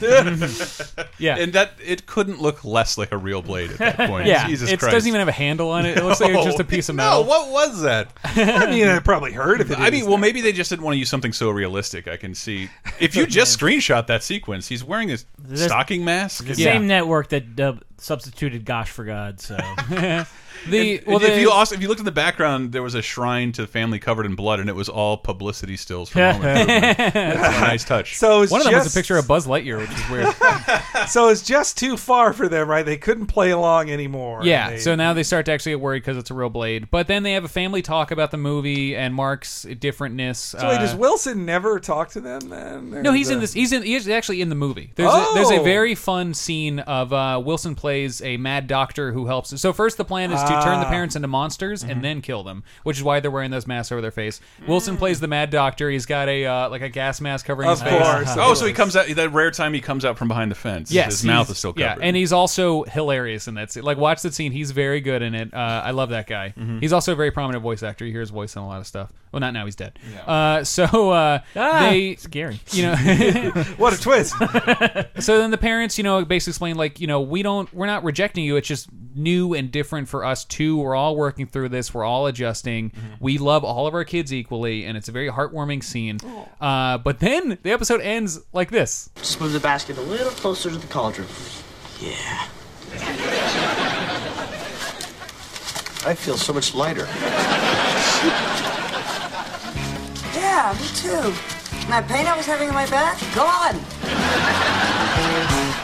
S2: yeah,
S1: and that it couldn't look less like a real blade at that point.
S2: yeah,
S1: Jesus
S2: it
S1: Christ.
S2: doesn't even have a handle on it. It looks like it's just a piece of metal.
S1: No, what was that?
S3: I mean, I probably heard of it.
S1: I mean, well, maybe they just didn't want to use something so realistic. I can see if you just screenshot that sequence, he's wearing his
S4: This-
S1: stocking mask.
S4: The same network that dub- substituted Gosh for God. So
S1: And- and if you also if you looked in the background, there was a shrine to the family covered in blood, and it was all publicity stills from Home Improvement. That's a nice touch.
S3: So it's
S2: One of them was
S3: just-
S2: a picture of Buzz Lightyear, which is weird.
S3: so it's just too far for them, right? They couldn't play along anymore.
S2: Yeah,
S3: They-
S2: so now they start to actually get worried because it's a real blade. But then they have a family talk about the movie and Mark's differentness.
S3: So wait,
S2: uh,
S3: does Wilson never talk to them then?
S2: no,
S3: Or
S2: he's
S1: uh,
S2: in
S3: the-
S2: this. He's in. He's actually in the movie. There's a, there's a
S3: Oh!
S2: very fun scene of uh, Wilson plays a mad doctor who helps. So first, the plan is to turn the
S1: Ah. Mm-hmm.
S2: parents into monsters and then kill them, which is why they're wearing those masks over their face.
S1: Mm.
S2: Wilson plays the mad doctor. He's got a uh, like a gas mask covering his face. Uh-huh.
S1: oh, so he comes out that rare time he comes out from behind the fence.
S2: Yes,
S1: his mouth
S2: he's-
S1: is still
S2: Yeah,
S1: covered.
S2: and he's also hilarious in that scene. Like, watch that scene; he's very good in it. Uh, I love that guy.
S1: Mhm.
S2: He's also a very prominent voice actor. You hear his voice in a lot of stuff. Well, not now; he's dead. Uh, so uh,
S4: Ah,
S2: they
S4: scary.
S2: You know,
S3: what a twist.
S2: so then the parents, you know, basically explain like, you know, we don't, we're not rejecting you. It's just new and different for us too. We're all working through this. We're all adjusting.
S3: Mm-hmm.
S2: We love all of our kids equally, and it's a very heartwarming scene. Uh, but then the episode ends like this.
S10: Just move the basket a little closer to the cauldron.
S12: Yeah. I feel so much lighter.
S9: Yeah, me too. And that pain I was having in my back, gone.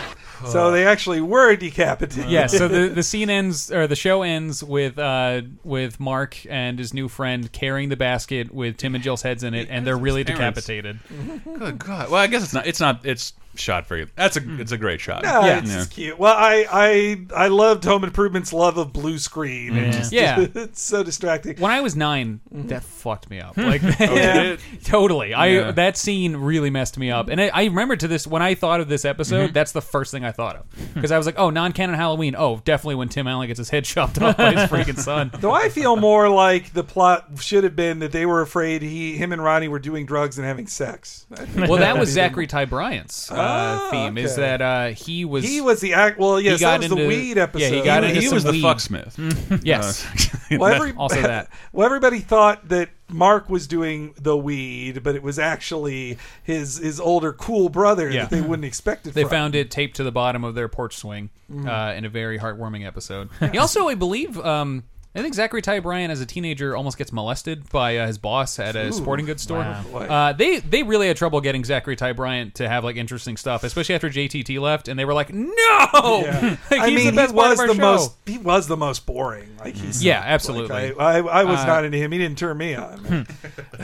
S3: So they actually were decapitated.
S2: yeah so the, the scene ends or the show ends with uh with mark and his new friend carrying the basket with tim and jill's heads in it and they're really
S1: Parents. Mm-hmm.
S2: decapitated
S1: Good God. Well, I guess it's not. It's not. It's shot very. That's a it's a great shot.
S3: Hmm. No, it's just cute. Well, I, I I loved Home Improvement's love of blue screen. It
S2: Yeah.
S3: just-
S2: Yeah.
S3: it's so distracting.
S2: When I was nine, that fucked me up. Like,
S3: Yeah.
S2: totally. I
S3: Yeah.
S2: that scene really messed me up, and I, I remember to this when I thought of this episode.
S4: Mhm.
S2: That's the first thing I thought of because I was like, oh, non-canon Halloween. Oh, definitely when Tim Allen gets his head chopped off by his freaking son.
S3: Though I feel more like the plot should have been that they were afraid he, him, and Ronnie were doing drugs and having sex. I think
S2: Well, that
S3: would
S2: was
S3: be the-
S2: Zachary Ty Bryant's uh, theme.
S3: Ah,
S2: Is
S3: okay.
S2: that uh, he was
S3: He was the act. Well, yes,
S2: he
S3: that
S2: got
S3: was the
S2: into-
S3: weed episode.
S2: Yeah, he got into
S1: he
S2: some
S1: was the
S2: weed.
S3: Mm-hmm.
S1: fucksmith.
S2: yes.
S1: Uh,
S3: well, every-
S2: also that.
S3: Well, everybody thought that Mark was doing the weed, but it was actually his his older cool brother
S2: Yeah.
S3: that they wouldn't expect it.
S2: They
S3: from.
S2: found it taped to the bottom of their porch swing
S3: Mhm.
S2: uh, in a very heartwarming episode. he also, I believe, um, I think Zachary Ty Bryan as a teenager almost gets molested by uh, his boss at a
S4: Ooh,
S2: sporting goods store.
S4: wow. Boy.
S2: Uh, they they really had trouble getting Zachary Ty Bryant to have like interesting stuff, especially after JTT left, and they were like, no,
S3: Yeah.
S2: Like,
S3: I
S2: he's
S3: mean,
S2: the best
S3: he
S2: part
S3: was
S2: of our
S3: the
S2: show. Mm-hmm.
S3: most. He was the most boring. Like he's
S2: Yeah, absolutely.
S3: like, I, I, I was
S2: Uh,
S3: not into him. He didn't turn me on.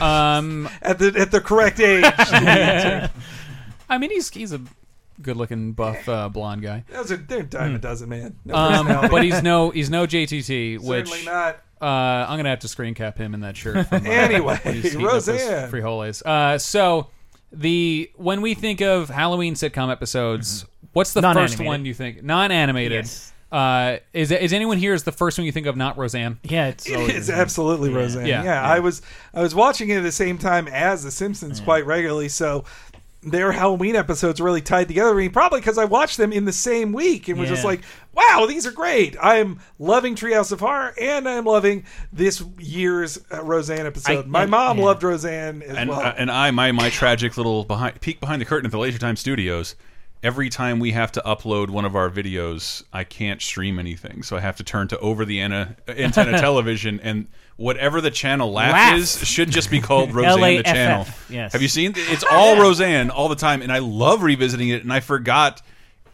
S2: um,
S3: at the at the correct age. that
S2: I mean, he's he's a good looking buff uh, blonde guy.
S3: was a they're a dime a dozen, man. No
S2: Um,
S3: personality.
S2: but he's no he's no JTT, which
S3: Certainly not.
S2: Uh, I'm gonna have to screen cap him in that shirt. From, uh,
S3: Anyway,
S2: when he's heating up those
S3: Roseanne.
S2: frijoles. Uh, so the when we think of Halloween sitcom episodes,
S3: Mm-hmm.
S2: what's the first
S4: Non-animated.
S2: one you think non-animated? Uh, is is anyone here is the first one you think of? Not Roseanne.
S4: Yeah, it's
S3: It is absolutely Roseanne. Yeah, I was I was watching it at the same time as The Simpsons quite regularly, so their Halloween episodes really tied together to me, probably because I watched them in the same week and was just
S4: Yeah.
S3: like, wow, these are great. I'm loving Treehouse of Horror and I'm loving this year's uh, Roseanne episode.
S1: I-
S3: My
S1: yeah,
S3: mom loved Roseanne as
S1: and
S3: well.
S1: uh, and I my my tragic little behind peek behind the curtain at the Laser Time Studios. Every time we have to upload one of our videos, I can't stream anything, so I have to turn to over the antenna, antenna television, and whatever the channel laugh,
S4: Laugh.
S1: is should just be called Roseanne the
S4: LAFF,
S1: channel.
S4: yes.
S1: Have you seen? It's all Roseanne all the time, and I love revisiting it. And I forgot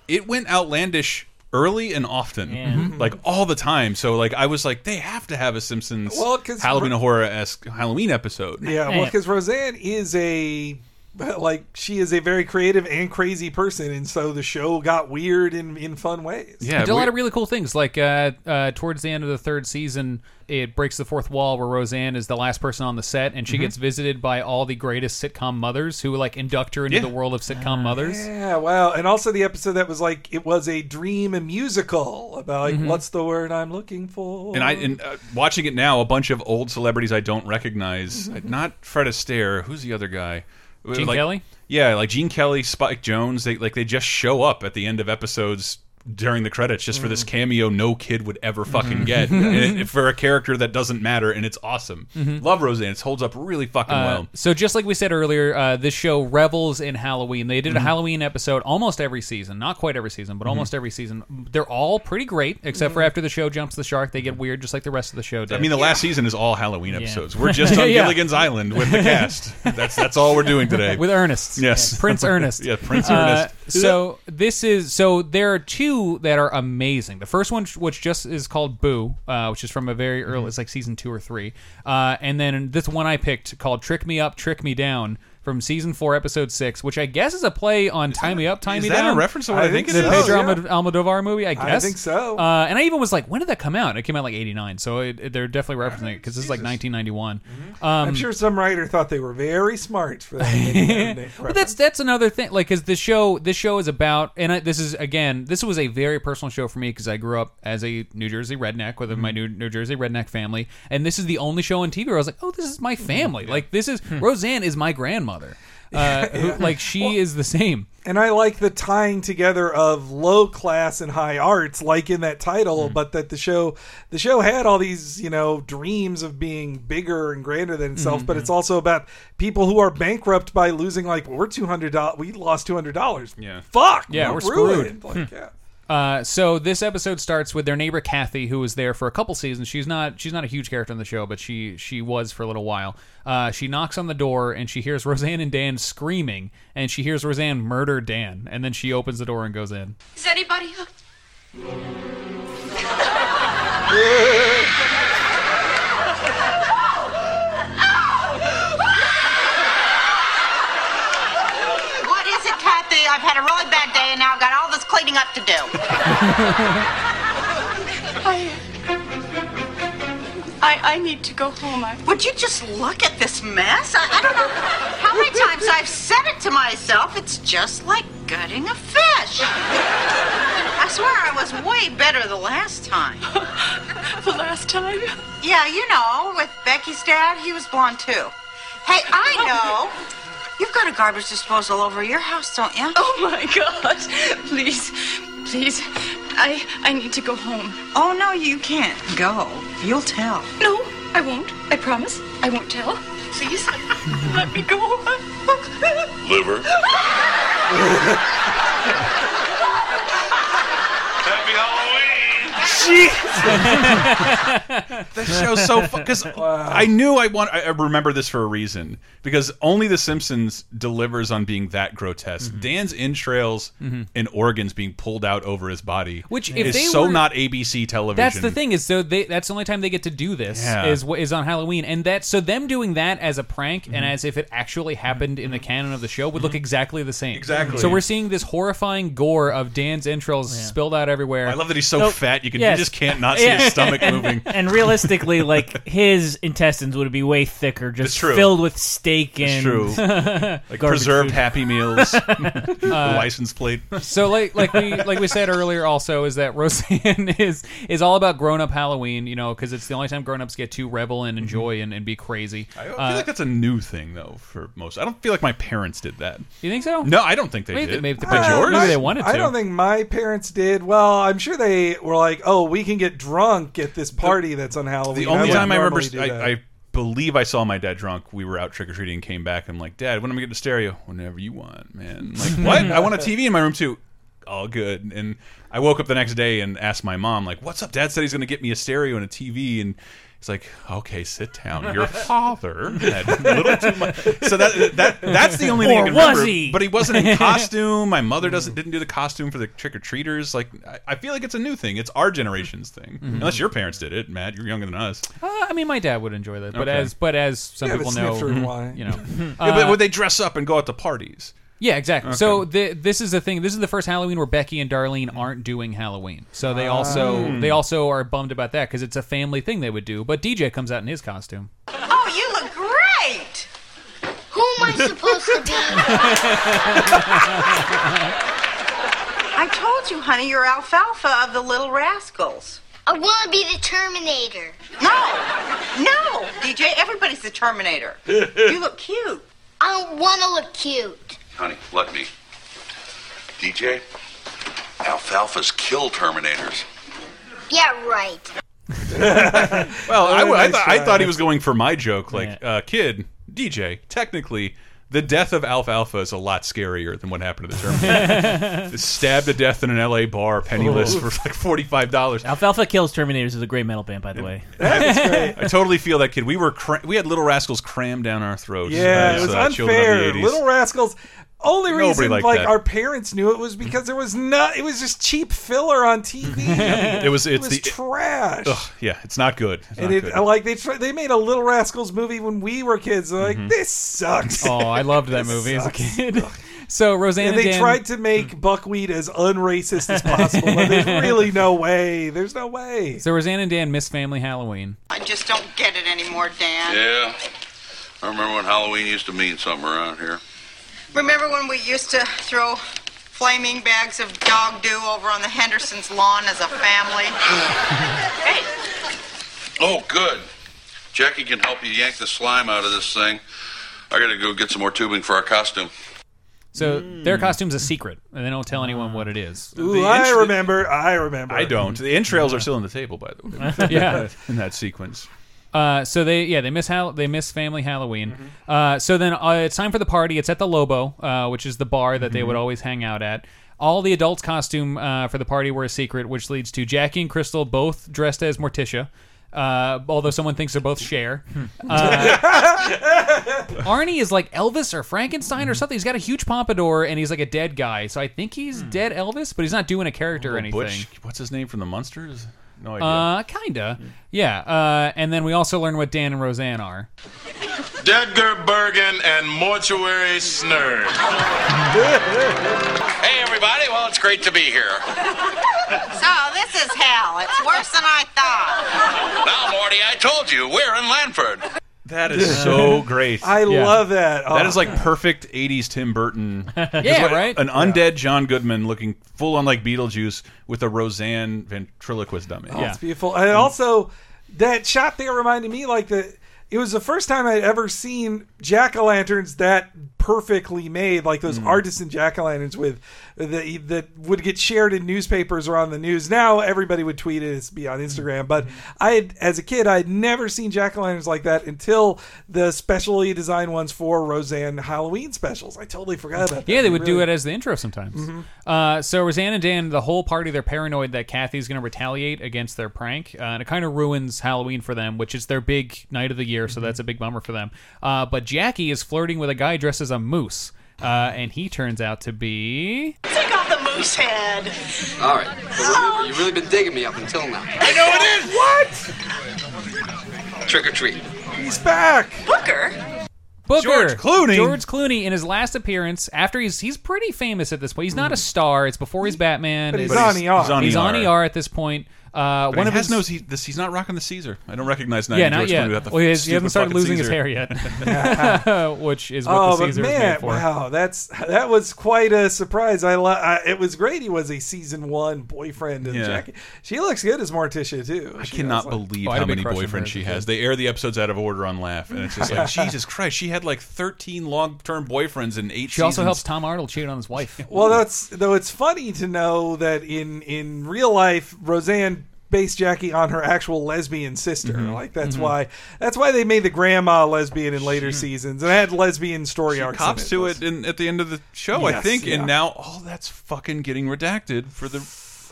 S1: it went outlandish early and often,
S3: Mm-hmm.
S1: like all the time. So like I was like, they have to have a Simpsons
S3: Well, 'cause-
S1: Halloween horror esque Halloween episode.
S3: Yeah, well, because Roseanne is a like she is a very creative and crazy person, and so the show got weird in in fun ways.
S2: it did a lot of really cool things. Like uh, uh, towards the end of the third season, it breaks the fourth wall where Roseanne is the last person on the set, and she
S1: Mm-hmm.
S3: Mhm.
S2: gets visited by all the greatest sitcom mothers who like induct her into
S3: Yeah.
S2: the world of
S1: Ah,
S2: sitcom mothers.
S3: Yeah, wow. And also the episode that was like it was a dream and musical about like
S1: Mhm.
S3: what's the word I'm looking for?
S1: And I and uh, watching it now, a bunch of old celebrities I don't recognize. Uh, Not Fred Astaire. Who's the other guy? Uh,
S2: Gene
S1: Like-
S2: Kelly?
S1: Yeah, like Gene Kelly, Spike Jones. They like they just show up at the end of episodes during the credits just
S2: Mm.
S1: for this cameo no kid would ever fucking
S2: Mhm.
S1: get and it- for a character that doesn't matter, and it's awesome.
S2: Mhm.
S1: Love Roseanne. It holds up really fucking
S2: Uh,
S1: well.
S2: So just like we said earlier, uh, this show revels in Halloween. They did
S1: Mhm.
S2: a Halloween episode almost every season, not quite every season, but
S1: Mhm.
S2: almost every season. They're all pretty great, except for after the show jumps the shark, they get weird, just like the rest of the show. Did.
S1: Mm-hmm. I mean, the last season is all Halloween episodes. We're just on
S2: Yeah.
S1: Gilligan's Island with the cast. That's that's all we're doing today
S2: with Ernest.
S1: Yes,
S2: Prince Ernest.
S1: yeah, Prince
S2: Uh,
S1: Ernest.
S2: so this is so there are two that are amazing. The first one, which just is called Boo, uh, which is from a very
S1: Mm-hmm.
S2: early, it's like season two or three, uh, and then this one I picked called Trick Me Up, Trick Me Down. From season four, episode six, which I guess is a play on "Tie Me Up, Tie
S1: is
S2: Me
S1: that a
S2: Down."
S1: reference to what I I think think it
S2: the
S1: is?
S2: Pedro
S1: Yeah.
S2: Almod- Almodovar movie, I
S1: I
S2: guess.
S1: think so.
S2: Uh, and I even was like, "When did that come out?" It came out like '89, so it, it- they're definitely referencing it because it's like 1991. Um,
S1: Mm-hmm.
S3: I'm sure some writer thought they were very smart for that.
S2: but that's that's another thing. Like, because the show this show is about, and I, this is again, this was a very personal show for me because I grew up as a New Jersey redneck with my New New Jersey redneck family, and this is the only show on TV where I was like, oh, this is my family. Like, this is Roseanne is my grandmother. Uh, who, like she is the same.
S3: And I like the tying together of low class and high arts, like in that title,
S1: Mm.
S3: but that the show the show had all these, you know, dreams of being bigger and grander than itself,
S1: Mm-hmm.
S3: but it's also about people who are bankrupt by losing like we're two hundred dollars we lost two hundred dollars.
S1: Yeah. Hmm.
S3: Fuck.
S2: Yeah, we're
S3: ruined. Like,
S2: screwed.
S3: yeah.
S2: Uh, so this episode starts with their neighbor Kathy, who was there for a couple seasons. She's not she's not a huge character in the show, but she she was for a little while. Uh, she knocks on the door and she hears Roseanne and Dan screaming, and she hears Roseanne murder Dan, and then she opens the door and goes in.
S7: Is anybody hooked?
S13: What is it, Kathy? I've had a roll
S4: uh,
S7: I, I, I need to go home. I,
S17: Would you just look at this mess? I, I don't know how many times I've said it to myself. It's just like gutting a fish. I swear I was way better the last time. the last time? Yeah, you know, with Becky's dad, he was blonde too. Hey, I
S7: Oh.
S17: know. You've got a garbage disposal over your house, don't you?
S7: oh my God! Please, please, I, I need to go home.
S17: Oh no, you can't go. You'll tell.
S7: No, I won't. I promise. I won't tell. Please, let me go.
S21: Liver. Happy Halloween!
S1: that show's so because I knew I want. I I remember this for a reason because only The Simpsons delivers on being that grotesque.
S2: Mm-hmm.
S1: Dan's entrails
S2: Mhm.
S1: and organs being pulled out over his body,
S2: Which, if
S1: is
S2: they
S1: so
S2: were-
S1: not ABC television.
S2: That's the thing is so they that's the only time they get to do this
S1: Yeah.
S2: is wh- is on Halloween and that so them doing that as a prank and
S1: Mm-hmm.
S2: as if it actually happened in the canon of the show would look exactly the same.
S1: Exactly.
S2: So we're seeing this horrifying gore of Dan's entrails spilled out everywhere.
S1: I love that he's so
S2: Nope.
S1: fat you can
S2: Yes.
S1: you just can't not see his stomach moving.
S4: And realistically, like his intestines would be way thicker,
S1: It's
S4: just
S1: true.
S4: filled with steak
S1: It's
S4: and
S1: true. Like preserved Happy Meals, license plate.
S2: Uh, so like like we like we said earlier also is that Roseanne is is all about grown up Halloween, you know, because it's the only time grown ups get to revel and enjoy and, and be crazy.
S1: Mm-hmm. I feel
S2: uh,
S1: like that's a new thing though for most. I don't feel like my parents did that.
S2: You think so?
S1: No, I don't think they
S2: Maybe-
S1: did.
S2: maybe they-
S1: Did
S3: Uh,
S1: yours?
S3: my- I don't think my parents did. Well, I'm sure they were like, "Oh, we can get drunk at this party that's on Halloween."
S1: The only
S3: wouldn't
S1: time I remember,
S3: normally do that.
S1: I, I believe I saw my dad drunk. We were out trick or treating and came back. I'm like, Dad, when am I getting a stereo? Whenever you want, man. I'm like, what? I want a TV in my room too. All good. And I woke up the next day and asked my mom, like, what's up? Dad said he's going to get me a stereo and a TV. And he's like, okay, sit down. Your father had a little too much. So that, that that's the only thing. I
S4: Or
S1: can
S4: was
S1: remember.
S4: he?
S1: But he wasn't in costume. My mother
S2: Mm.
S1: doesn't didn't do the costume for the trick or treaters. Like, I, I feel like it's a new thing. It's our generation's thing.
S2: Mhm.
S1: Unless your parents did it, Matt. You're younger than us.
S2: Uh, I mean, my dad would enjoy that, but
S1: Okay.
S2: as but as some
S1: Yeah, but
S2: people
S1: snifter and
S2: know, mm,
S1: why?
S2: you know, Uh,
S1: yeah, but would they dress up and go out to parties?
S2: Yeah, exactly. So the, this is the thing. This is the first Halloween where Becky and Darlene aren't doing Halloween. So they also
S1: Ah.
S2: they also are bummed about that because it's a family thing they would do. But DJ comes out in his costume.
S17: Oh, you look great. Who am I supposed to I told you, honey, you're alfalfa of the little rascals. I want to be the Terminator. No, no, DJ, everybody's the Terminator. You look cute. I don't want to look cute.
S13: Honey, let me. DJ, alfalfa's kill terminators.
S17: Yeah, right.
S1: Well,
S2: uh,
S1: I, I
S17: Very nice
S1: thought- I
S17: try.
S1: thought he was going for my joke, like uh, kid DJ. Technically, the death of Alfalfa is a lot scarier than what happened to the Terminator. Stabbed to death in an L.A. bar, penniless
S2: Oh.
S4: Ooh.
S1: for like forty-five dollars.
S4: Alfalfa Kills Terminators is a great metal band, by the way.
S1: I, I totally feel that kid. We were cra we had Little Rascals crammed down our throats.
S3: Yeah,
S1: as,
S3: it was
S1: uh, children of the
S3: unfair.
S1: 80s.
S3: Little Rascals. Only
S1: Nobody
S3: reason
S1: liked
S3: like
S1: that. Mm-hmm.
S3: our parents knew it was because there was not. It was just cheap filler on TV.
S1: It was. It's
S3: it was
S1: the
S3: trash.
S1: Ugh, yeah, it's not good. It's
S3: and
S1: not
S3: it
S1: good.
S3: like they tr they made a Little Rascals movie when we were kids. They're like,
S1: Mhm.
S3: this sucks.
S2: Oh, I loved that
S3: This
S2: movie as a
S3: sucks.
S2: kid. so Roseanne
S3: and
S2: Hmm.
S3: they
S2: Dan-
S3: tried to make buckwheat as unracist as possible, but there's really no way. There's no way.
S2: So Roseanne and Dan miss family Halloween.
S17: I just don't get it anymore, Dan.
S13: Yeah. I remember when Halloween used to mean something around here.
S17: Remember when we used to throw flaming bags of dog dew over on the Henderson's lawn as a family? hey,
S13: Oh, good. Jackie can help you yank the slime out of this thing. I gotta go get some more tubing for our costume.
S2: So their costume's a secret, and they don't tell anyone what it is.
S3: Ooh, I remember. I remember.
S1: I don't. The entrails are still on the table, by the way.
S2: Yeah.
S1: in that sequence.
S2: Uh, so they yeah they miss Hall- they miss family Halloween.
S1: Mm-hmm.
S2: Uh, so then uh, it's time for the party. It's at the Lobo, uh, which is the bar that
S1: Mm-hmm.
S2: they would always hang out at. All the adults' costume uh, for the party were a secret, which leads to Jackie and Crystal both dressed as Morticia. Uh, although someone thinks they're both Cher.
S1: Hmm.
S2: Uh, Arnie is like Elvis or Frankenstein
S1: Mm-hmm.
S2: or something. He's got a huge pompadour and he's like a dead guy. So I think he's dead Elvis, but he's not doing a character or anything.
S1: Hmm. Butch, what's his name from the Munsters? No idea.
S2: Uh, kinda. Yeah. Uh, and then we also learn what Dan and Roseanne are.
S11: Dedgar Bergen and Mortuary Snurd. hey, everybody. Well, it's great to be here.
S17: So this is hell. It's worse than I thought.
S11: Now, Morty, I
S13: Told you, we're in Lanford.
S1: That is so great.
S3: I love that.
S1: that
S3: Oh,
S1: is like perfect '80s Tim Burton.
S3: Yeah, right?
S1: An undead John Goodman looking full on like Beetlejuice with a Roseanne ventriloquist dummy.
S3: Oh, It's beautiful. And also, that shot there reminded me like the. It was the first time I'd ever seen jack o' lanterns that perfectly made, like
S2: Mm.
S3: those artisan jack o' lanterns with the, that would get shared in newspapers or on the news. Now everybody would tweet it, it's be
S2: Mm-hmm.
S3: on Instagram. But I, had, as a kid, I had never seen jack o' lanterns like that until the specially designed ones for Roseanne Halloween specials. I totally forgot about.
S2: Yeah,
S3: that.
S2: they would do
S3: Really-
S2: it as the intro sometimes.
S3: Mhm.
S2: Uh, so Roseanne and Dan, the whole party, they're paranoid that Kathy's going to retaliate against their prank, uh, and it kind of ruins Halloween for them, which is their big night of the year. So that's a big bummer for them. Uh, but Jackie is flirting with a guy dressed as a moose, uh, and he turns out to be.
S14: Take off the moose head.
S15: All right. But remember, you've really been digging me up until now.
S14: I know it is. What?
S15: Trick or treat.
S3: He's back.
S14: Booker.
S2: Booker,
S15: George Clooney.
S2: George Clooney in his last appearance after he's he's pretty famous at this point. He's not a star. It's before he's Batman.
S1: But he's
S2: It's-
S1: on
S3: E
S1: ER.
S2: He's on,
S1: He's on
S2: ER at this point. Uh,
S1: But
S2: one
S1: he
S2: of
S1: has
S2: his
S1: no- he- this- he's not rocking the Caesar. I don't recognize that.
S2: yeah, not
S1: George
S2: yet.
S1: Clooney without the
S2: well, he, has- he
S1: stupid
S2: hasn't started
S1: fucking
S2: losing his
S1: Caesar.
S2: hair yet, which is what
S3: oh,
S2: the Caesar
S3: but
S2: is
S3: man,
S2: made for.
S3: wow, that's that was quite a surprise. I, lo- I it was great. He was a season one boyfriend of
S1: Yeah.
S3: Jackie. She looks good as Morticia too.
S1: I cannot believe
S3: Oh,
S1: how many boyfriends she has. They air the episodes out of order on Laugh, and it's just like Jesus Christ. She had like thirteen long-term boyfriends in eight.
S2: She also
S1: seasons.
S2: helps Tom Arnold cheat on his wife.
S3: Well, that's though it's funny to know that in in real life, Roseanne based Jackie on her actual lesbian sister. Like that's
S2: Mm-hmm.
S1: Mhm.
S3: why that's why they made the grandma lesbian in later seasons and had lesbian story
S1: She
S3: arcs. in
S1: cops to it in, at the end of the show, I
S3: Yes,
S1: think,
S3: yeah.
S1: and now all that's fucking getting redacted for the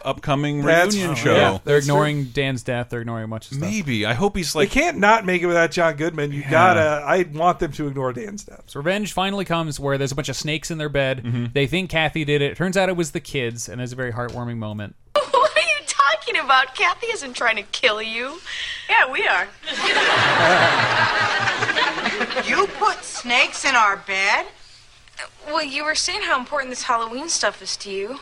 S1: upcoming
S3: That's-
S1: reunion
S3: oh,
S1: show.
S3: yeah.
S2: They're
S3: That's true.
S2: ignoring Dan's death. They're ignoring much of stuff.
S1: Maybe I hope he's
S3: they can't not make it without John Goodman. You gotta. I want them to ignore Dan's death.
S2: So revenge finally comes where there's a bunch of snakes in their bed.
S3: Mm-hmm.
S2: They think Kathy did it. Turns out it was the kids, and there's a very heartwarming moment.
S7: What are you talking about? Kathy isn't trying to kill you.
S17: Yeah, we are. you put snakes in our bed?
S7: Well, you were saying how important this Halloween stuff is to you.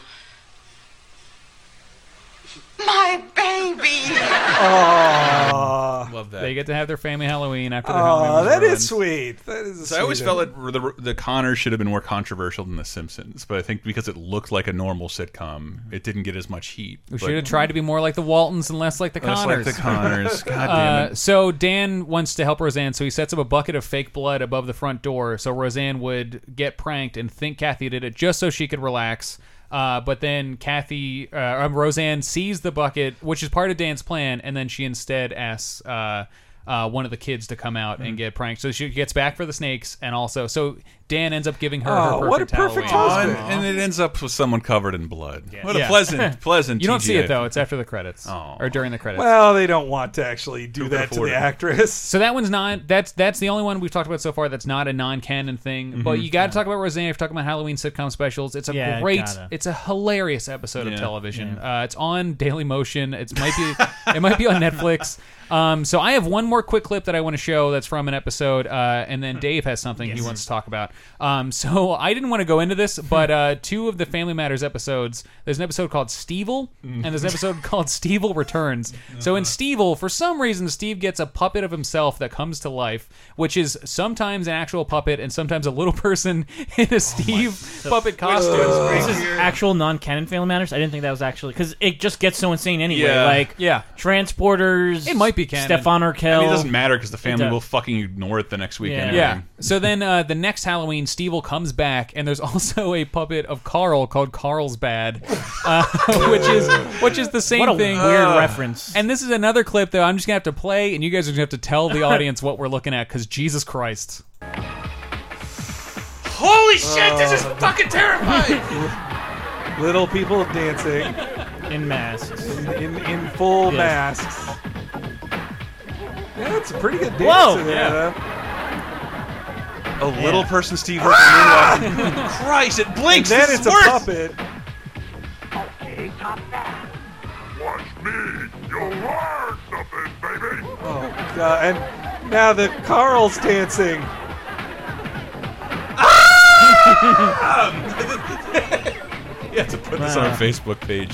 S17: My baby.
S14: Oh.
S1: Love that.
S2: Um, They get to have their family Halloween after their
S3: Oh,
S2: Halloween.
S3: that is sweet. That is. a
S1: So I always
S3: sweet
S1: felt
S3: ending.
S1: that the, the Connor should have been more controversial than The Simpsons, but I think because it looked like a normal sitcom, it didn't get as much heat.
S2: We
S1: But-
S2: should have tried to be more like the Waltons and less like the
S1: Less like
S2: Connors.
S1: the Connors. God damn it.
S2: Uh, so Dan wants to help Roseanne, so he sets up a bucket of fake blood above the front door, so Roseanne would get pranked and think Kathy did it, just so she could relax. Uh, but then Kathy, uh, um, Roseanne sees the bucket, which is part of Dan's plan, and then she instead asks uh, uh, one of the kids to come out
S1: Mm.
S2: and get pranked. So she gets back for the snakes, and also, so Dan ends up giving her
S3: Oh,
S2: her perfect Halloween.
S1: Oh, and, and it ends up with someone covered in blood. What a
S2: Yeah.
S1: pleasant, pleasant.
S2: You don't see
S1: TGI.
S2: it though; it's after the credits
S1: Oh.
S2: or during the credits.
S3: Well, they don't want to actually do that to the actress.
S2: So that one's not. That's that's the only one we've talked about so far that's not a non-canon thing. But
S3: Mm-hmm.
S1: Mhm.
S2: you got to talk about Roseanne. If you're talking about Halloween sitcom specials, it's a
S4: Yeah,
S2: great,
S4: gotta.
S2: it's a hilarious episode
S4: Yeah.
S2: of television. Uh, it's on Daily Motion. It might be it might be on Netflix. Um, so I have one more quick clip that I want to show that's from an episode, uh, and then Dave has something he wants to talk about. Um, so I didn't want to go into this, but uh, two of the Family Matters episodes. There's an episode called Stevel, and there's an episode called Stevel Returns. So in Stevel, for some reason, Steve gets a puppet of himself that comes to life, which is sometimes an actual puppet and sometimes a little person in a Steve puppet costume.
S4: This is actual non-canon Family Matters. I didn't think that was actually because it just gets so insane anyway.
S1: Yeah.
S4: Like
S2: yeah,
S4: transporters.
S2: It might be canon.
S4: Stefan Urkel.
S1: I mean, it doesn't matter because the
S4: It
S1: family
S4: does.
S1: will fucking ignore it the next week.
S4: Yeah.
S1: anyway.
S2: Yeah. So then uh, the next Halloween, Stevel comes back, and there's also a puppet of Carl called Carl's Bad, uh, which is which is the same
S4: What a
S2: thing.
S4: weird Ugh. reference.
S2: And this is another clip that I'm just gonna have to play, and you guys are gonna have to tell the audience what we're looking at because Jesus Christ.
S14: Holy shit! This is
S3: Oh.
S14: fucking terrifying.
S3: Little people dancing
S4: in masks,
S3: in in, in full
S4: Yes.
S3: masks. Yeah, that's a pretty good dance.
S4: Whoa!
S3: to that,
S4: Yeah.
S3: huh?
S1: A little
S3: Yeah.
S1: person, Steve.
S3: Ah!
S1: Irwin, walking- Christ, it blinks.
S3: And then
S1: This
S3: it's
S1: is worse.
S3: a puppet.
S14: Okay, top that. Watch me. You'll learn nothing, baby.
S3: Oh, God. And Now the Carl's dancing.
S1: You have to put this on our
S2: Wow.
S1: Facebook page.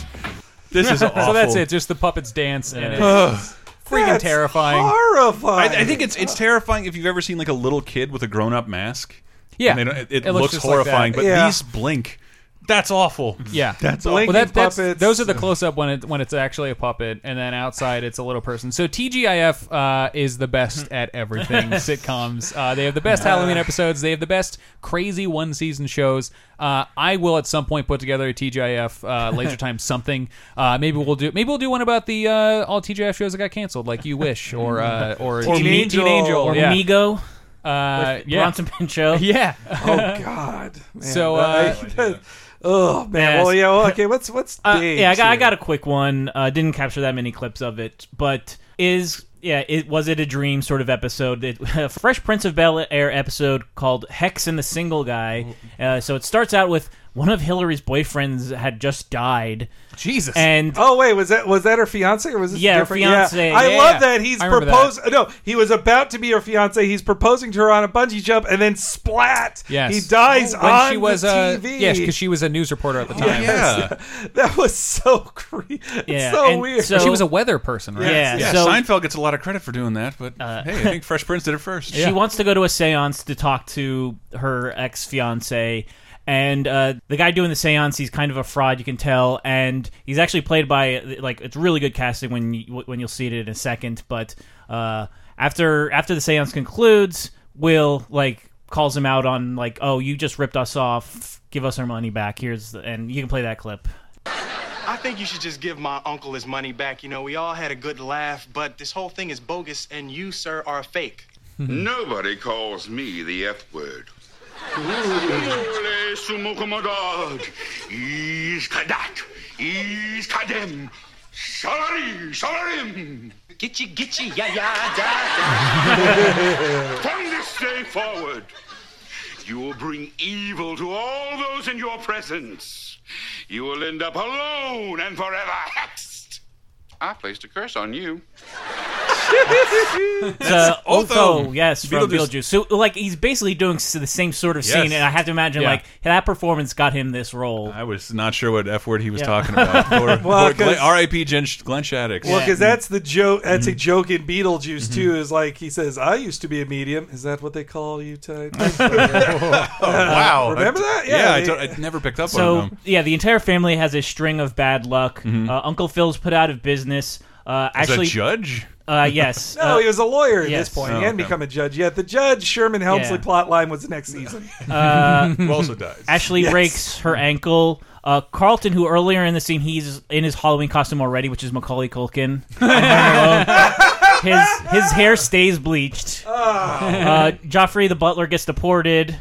S1: This is awful.
S2: So that's it. Just the puppets dance, and
S1: Ugh.
S2: it's freaking terrifying.
S3: Horrifying.
S1: I, I think it's it's terrifying if you've ever seen like a little kid with a grown up mask.
S2: Yeah.
S1: And they don't- it, it
S2: It looks
S1: looks,
S2: just like
S1: horrifying.
S2: that.
S1: but
S2: Yeah.
S1: these blink. That's awful.
S2: Yeah,
S1: that's
S2: well.
S1: awful.
S2: That, that's, those are the close up when it when it's actually a puppet, and then outside it's a little person. So TGIF uh, is the best at everything. Sitcoms. Uh, they have the best Halloween episodes. They have the best crazy one season shows. Uh, I will at some point put together a TGIF uh, laser time something. Uh, maybe we'll do maybe we'll do one about the uh, all TGIF shows that got canceled, like You Wish or uh, or,
S4: Teen Angel. Or
S2: yeah.
S4: Mego.
S2: Uh,
S4: With
S2: yeah.
S4: Bronson Pinchot.
S2: Yeah.
S3: Oh God. Man,
S2: so uh,
S3: that- oh man. Well, yeah. Well, okay. What's what's
S4: Uh,
S3: Dave's
S4: yeah, I got, I
S3: here?
S4: got a quick one. Uh, didn't capture that many clips of it, but is yeah, it was it a dream sort of episode? It, a Fresh Prince of Bel Air episode called Hex and the Single Guy.
S3: Oh.
S4: Uh, so it starts out with one of Hillary's boyfriends had just died.
S2: Jesus.
S4: And
S3: oh wait, was that was that her fiance or was this
S4: Yeah, her
S3: different?
S4: fiancé.
S3: I
S4: Yeah.
S3: love that he's
S4: I remember
S3: proposed. No, he was about to be her fiance. He's proposing to her on a bungee jump, and then splat.
S2: Yes.
S3: he dies
S2: when
S3: on
S2: she was
S3: the
S2: uh, Oh,
S3: TV.
S2: Yes, because she was a news reporter at the time.
S3: Yes. that was so creepy.
S2: Yeah,
S3: It's so
S2: and
S3: weird.
S2: so- She was a weather person, right? Uh,
S1: Yeah. yeah.
S4: Yeah, so-
S1: Seinfeld gets a lot of credit for doing that, but hey, I think Fresh Prince did it first.
S4: She wants to go to a seance to talk to her ex fiance. And uh, the guy doing the seance, he's kind of a fraud, you can tell. And he's actually played by, like, it's really good casting when, you, when you'll see it in a second. But uh, after, after the seance concludes, Will, like, calls him out on, like, oh, you just ripped us off. Give us our money back. Here's, the, and you can play that clip.
S18: I think you should just give my uncle his money back. You know, we all had a good laugh, but this whole thing is bogus, and you, sir, are a fake.
S11: Nobody calls me the F word.
S18: Ole
S11: Gitchy, gitchy, ya, ya,
S18: da.
S11: From this day forward, you will bring evil to all those in your presence. You will end up alone and forever hexed. I placed a curse on you.
S4: So
S11: Otho.
S4: Otho, yes,
S11: Beetlejuice.
S4: from Beetlejuice. So like he's basically doing s- the same sort of
S1: Yes.
S4: scene, and I have to imagine
S1: Yeah.
S4: like that performance got him this role.
S1: I was not sure what F word he was
S4: Yeah.
S1: talking about. Poor-
S3: Well,
S1: poor Glenn-
S3: 'cause-
S1: R.I.P. Glenn, Glenn Shaddix.
S3: Well, because that's the joke. That's
S1: Mm-hmm.
S3: a joke in Beetlejuice too. Is like he says, "I used to be a medium." Is that what they call you, Ty?
S1: wow.
S3: remember that?
S1: Yeah, I
S3: they-
S1: don't- I never picked up on
S4: so
S1: him.
S4: yeah, the entire family has a string of bad luck.
S1: Mhm.
S4: Uh, Uncle Phil's put out of business. Uh,
S1: As a
S4: actually,
S1: judge? Oh,
S4: Uh, yes.
S3: no,
S4: Uh,
S3: he was a lawyer at
S4: yes.
S3: this point. he hadn't become a judge yet. The judge Sherman Helmsley
S4: Yeah.
S3: plotline was the next season.
S4: Uh, Ashley
S3: Yes.
S4: breaks her ankle. Uh, Carlton, who earlier in the scene he's in his Halloween costume already, which is Macaulay Culkin. his his hair stays bleached.
S3: Oh.
S4: Uh, Joffrey the butler gets deported.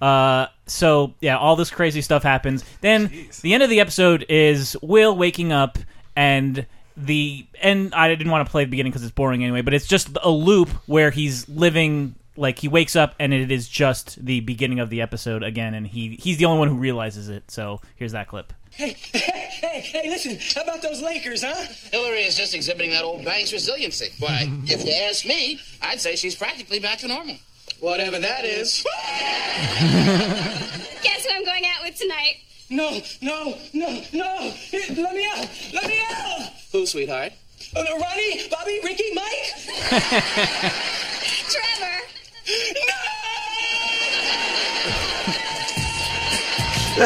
S4: Uh, so yeah, all this crazy stuff happens. Then the end of the episode is Will waking up and the and I didn't want to play the beginning because it's boring anyway. But it's just a loop where he's living like he wakes up and it is just the beginning of the episode again, and he he's the only one who realizes it. So here's that clip.
S19: Hey, hey, hey, listen, how about those Lakers, huh? Hillary is just exhibiting that old bank's resiliency. Why, if you ask me, I'd say she's practically back to normal. Whatever that is.
S22: Guess who I'm going out with tonight?
S19: No, no, no, no. Let me out. Let me out. Who, sweetheart? Ronnie, Bobby, Ricky, Mike.
S22: Trevor.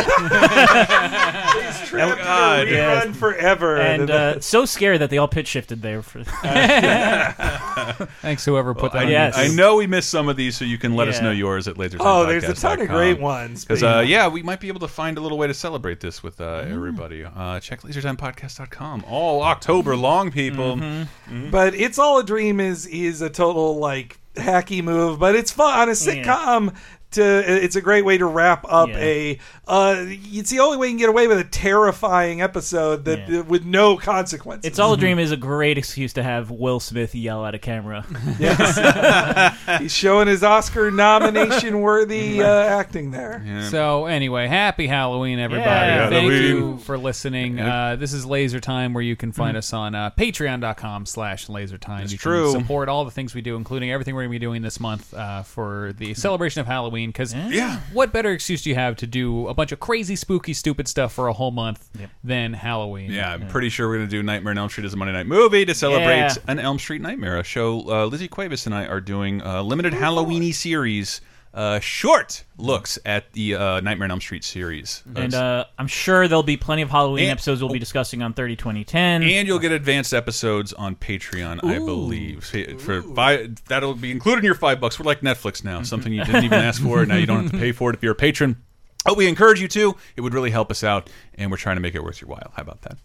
S1: Oh,
S3: trapped God. here, rerun forever.
S4: And
S3: And
S4: uh, so scared that they all pitch shifted there. For
S2: Thanks, whoever put that.
S1: I,
S2: on
S4: yes.
S1: I know we missed some of these, so you can let us
S4: Yeah.
S1: know yours at laser.
S3: Oh, there's a ton of great ones,
S1: Because
S3: but-
S1: uh, yeah, we might be able to find a little way to celebrate this with uh, everybody. Uh, check lasertimepodcast.com. All October long, people.
S4: Mm-hmm.
S1: Mhm.
S3: Mm-hmm. But it's all a dream is is a total like hacky move, but it's fun on a sitcom. to. It's a great way to wrap up
S4: Yeah.
S3: a. Uh, it's the only way you can get away with a terrifying episode that with no consequences.
S4: It's all a dream is a great excuse to have Will Smith yell at a camera.
S3: Yes. He's showing his Oscar nomination worthy uh, acting there.
S2: So anyway, happy Halloween, everybody!
S3: Yeah.
S2: Thank you
S3: Halloween. Mm-hmm.
S2: for listening. Uh, this is Laser Time, where you can find us on uh, Patreon.com/slash Laser Time. You can
S3: true.
S2: support all the things we do, including everything we're going to be doing this month uh, for
S3: Mm-hmm.
S2: the celebration of Halloween. Because
S1: Yeah.
S2: what better excuse do you have to do a bunch of crazy, spooky, stupid stuff for a whole month than Halloween?
S1: Yeah, I'm pretty sure we're going to do Nightmare on Elm Street as a Monday night movie to celebrate
S2: Yeah.
S1: an Elm Street Nightmare. A show uh, Lizzie Cuevas and I are doing a limited Halloweeny series, uh, short looks at the uh, Nightmare on Elm Street series.
S4: And uh, I'm sure there'll be plenty of Halloween
S1: And- oh.
S4: episodes we'll be discussing on 30, 20, 10.
S1: and you'll get advanced episodes on Patreon, I believe. For five, that'll be included in your five bucks. We're like Netflix now, something you didn't even ask for, and now you don't have to pay for it if you're a patron. Oh, we encourage you to. It would really help us out, and we're trying to make it worth your while. How about that?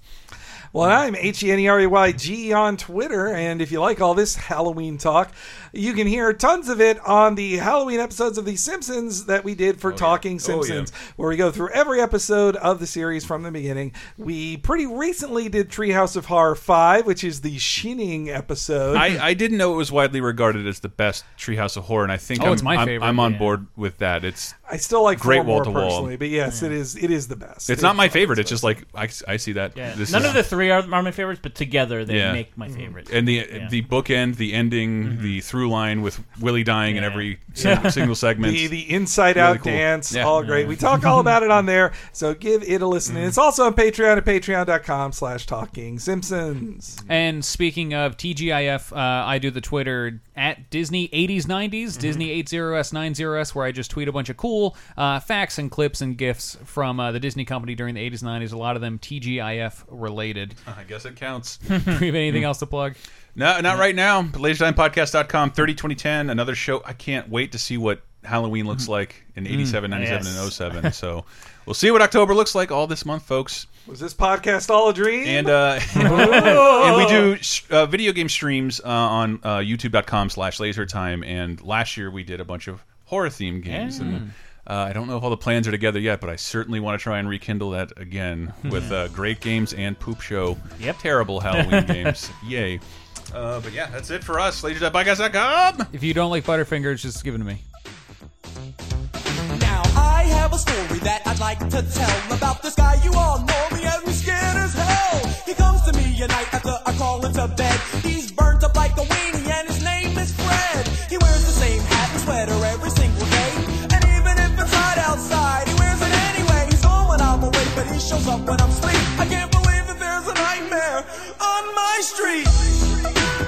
S3: Well, I'm H E N E R E Y G E on Twitter, and if you like all this Halloween talk, you can hear tons of it on the Halloween episodes of The Simpsons that we did
S1: Oh,
S3: for Talking Simpsons, where we go through every episode of the series from the beginning. We pretty recently did Treehouse of Horror 5, which is the Shining episode.
S1: I, I didn't know it was widely regarded as the best Treehouse of Horror, and I think
S2: Oh,
S1: I'm,
S2: it's my
S1: I'm-
S2: favorite,
S1: I'm on
S2: yeah.
S1: board with that. It's
S3: I still like
S1: great
S3: four more
S1: wall to wall.
S3: personally, but yes, it is it is the best.
S1: It's not my favorite. It's just like I, I see that.
S4: Yeah.
S1: this
S4: None
S1: is-
S4: of the three are, are my favorites, but together they
S1: Yeah. Mm-hmm.
S4: make my favorite.
S1: And the
S4: Yeah. Mm-hmm.
S1: the bookend, the ending, the through line with Willie dying in every single, single segment.
S3: The, the inside
S1: Really
S3: out
S1: cool.
S3: dance,
S1: Yeah.
S3: all great. We talk all about it on there, so give it a listen. And it's also on Patreon at patreon.com slash talking Simpsons.
S2: And speaking of TGIF, uh, I do the Twitter at Disney 80s 90s,
S1: Mm-hmm.
S2: Disney 80s 90s, where I just tweet a bunch of cool uh, facts and clips and gifs from uh, the Disney company during the 80s 90s. A lot of them TGIF related.
S1: I guess it counts. Mm-hmm.
S2: Do you have anything else to plug?
S1: No, Uh, not right now. But LaserTimePodcast.com, 30 2010, another show. I can't wait to see what Halloween looks
S4: Mm-hmm.
S1: like in 87,
S3: Mm,
S1: 97,
S3: yes.
S1: and 07. So we'll see what October looks like all this month, folks.
S3: Was this podcast all a dream?
S1: And uh, and we do uh, video game streams uh, on uh, youtube.com slash lasertime. And last year we did a bunch of horror themed games. And uh, I don't know if all the plans are together yet, but I certainly want to try and rekindle that again with uh, great games and poop show. Yep. Terrible Halloween games. Yay. Uh, but yeah, that's it for us. LaserTimePodcast.com.
S2: If you don't like Butterfingers, just give it to me.
S5: Now I have a story that I'd like to tell about this guy you all know me and he's scared as hell. He comes to me at night after I call him to bed. He's burnt up like a weenie and his name is Fred. He wears the same hat and sweater every single day. And even if it's hot outside, he wears it anyway. He's home when I'm awake, but he shows up when I'm asleep. I can't believe that there's a nightmare on my street.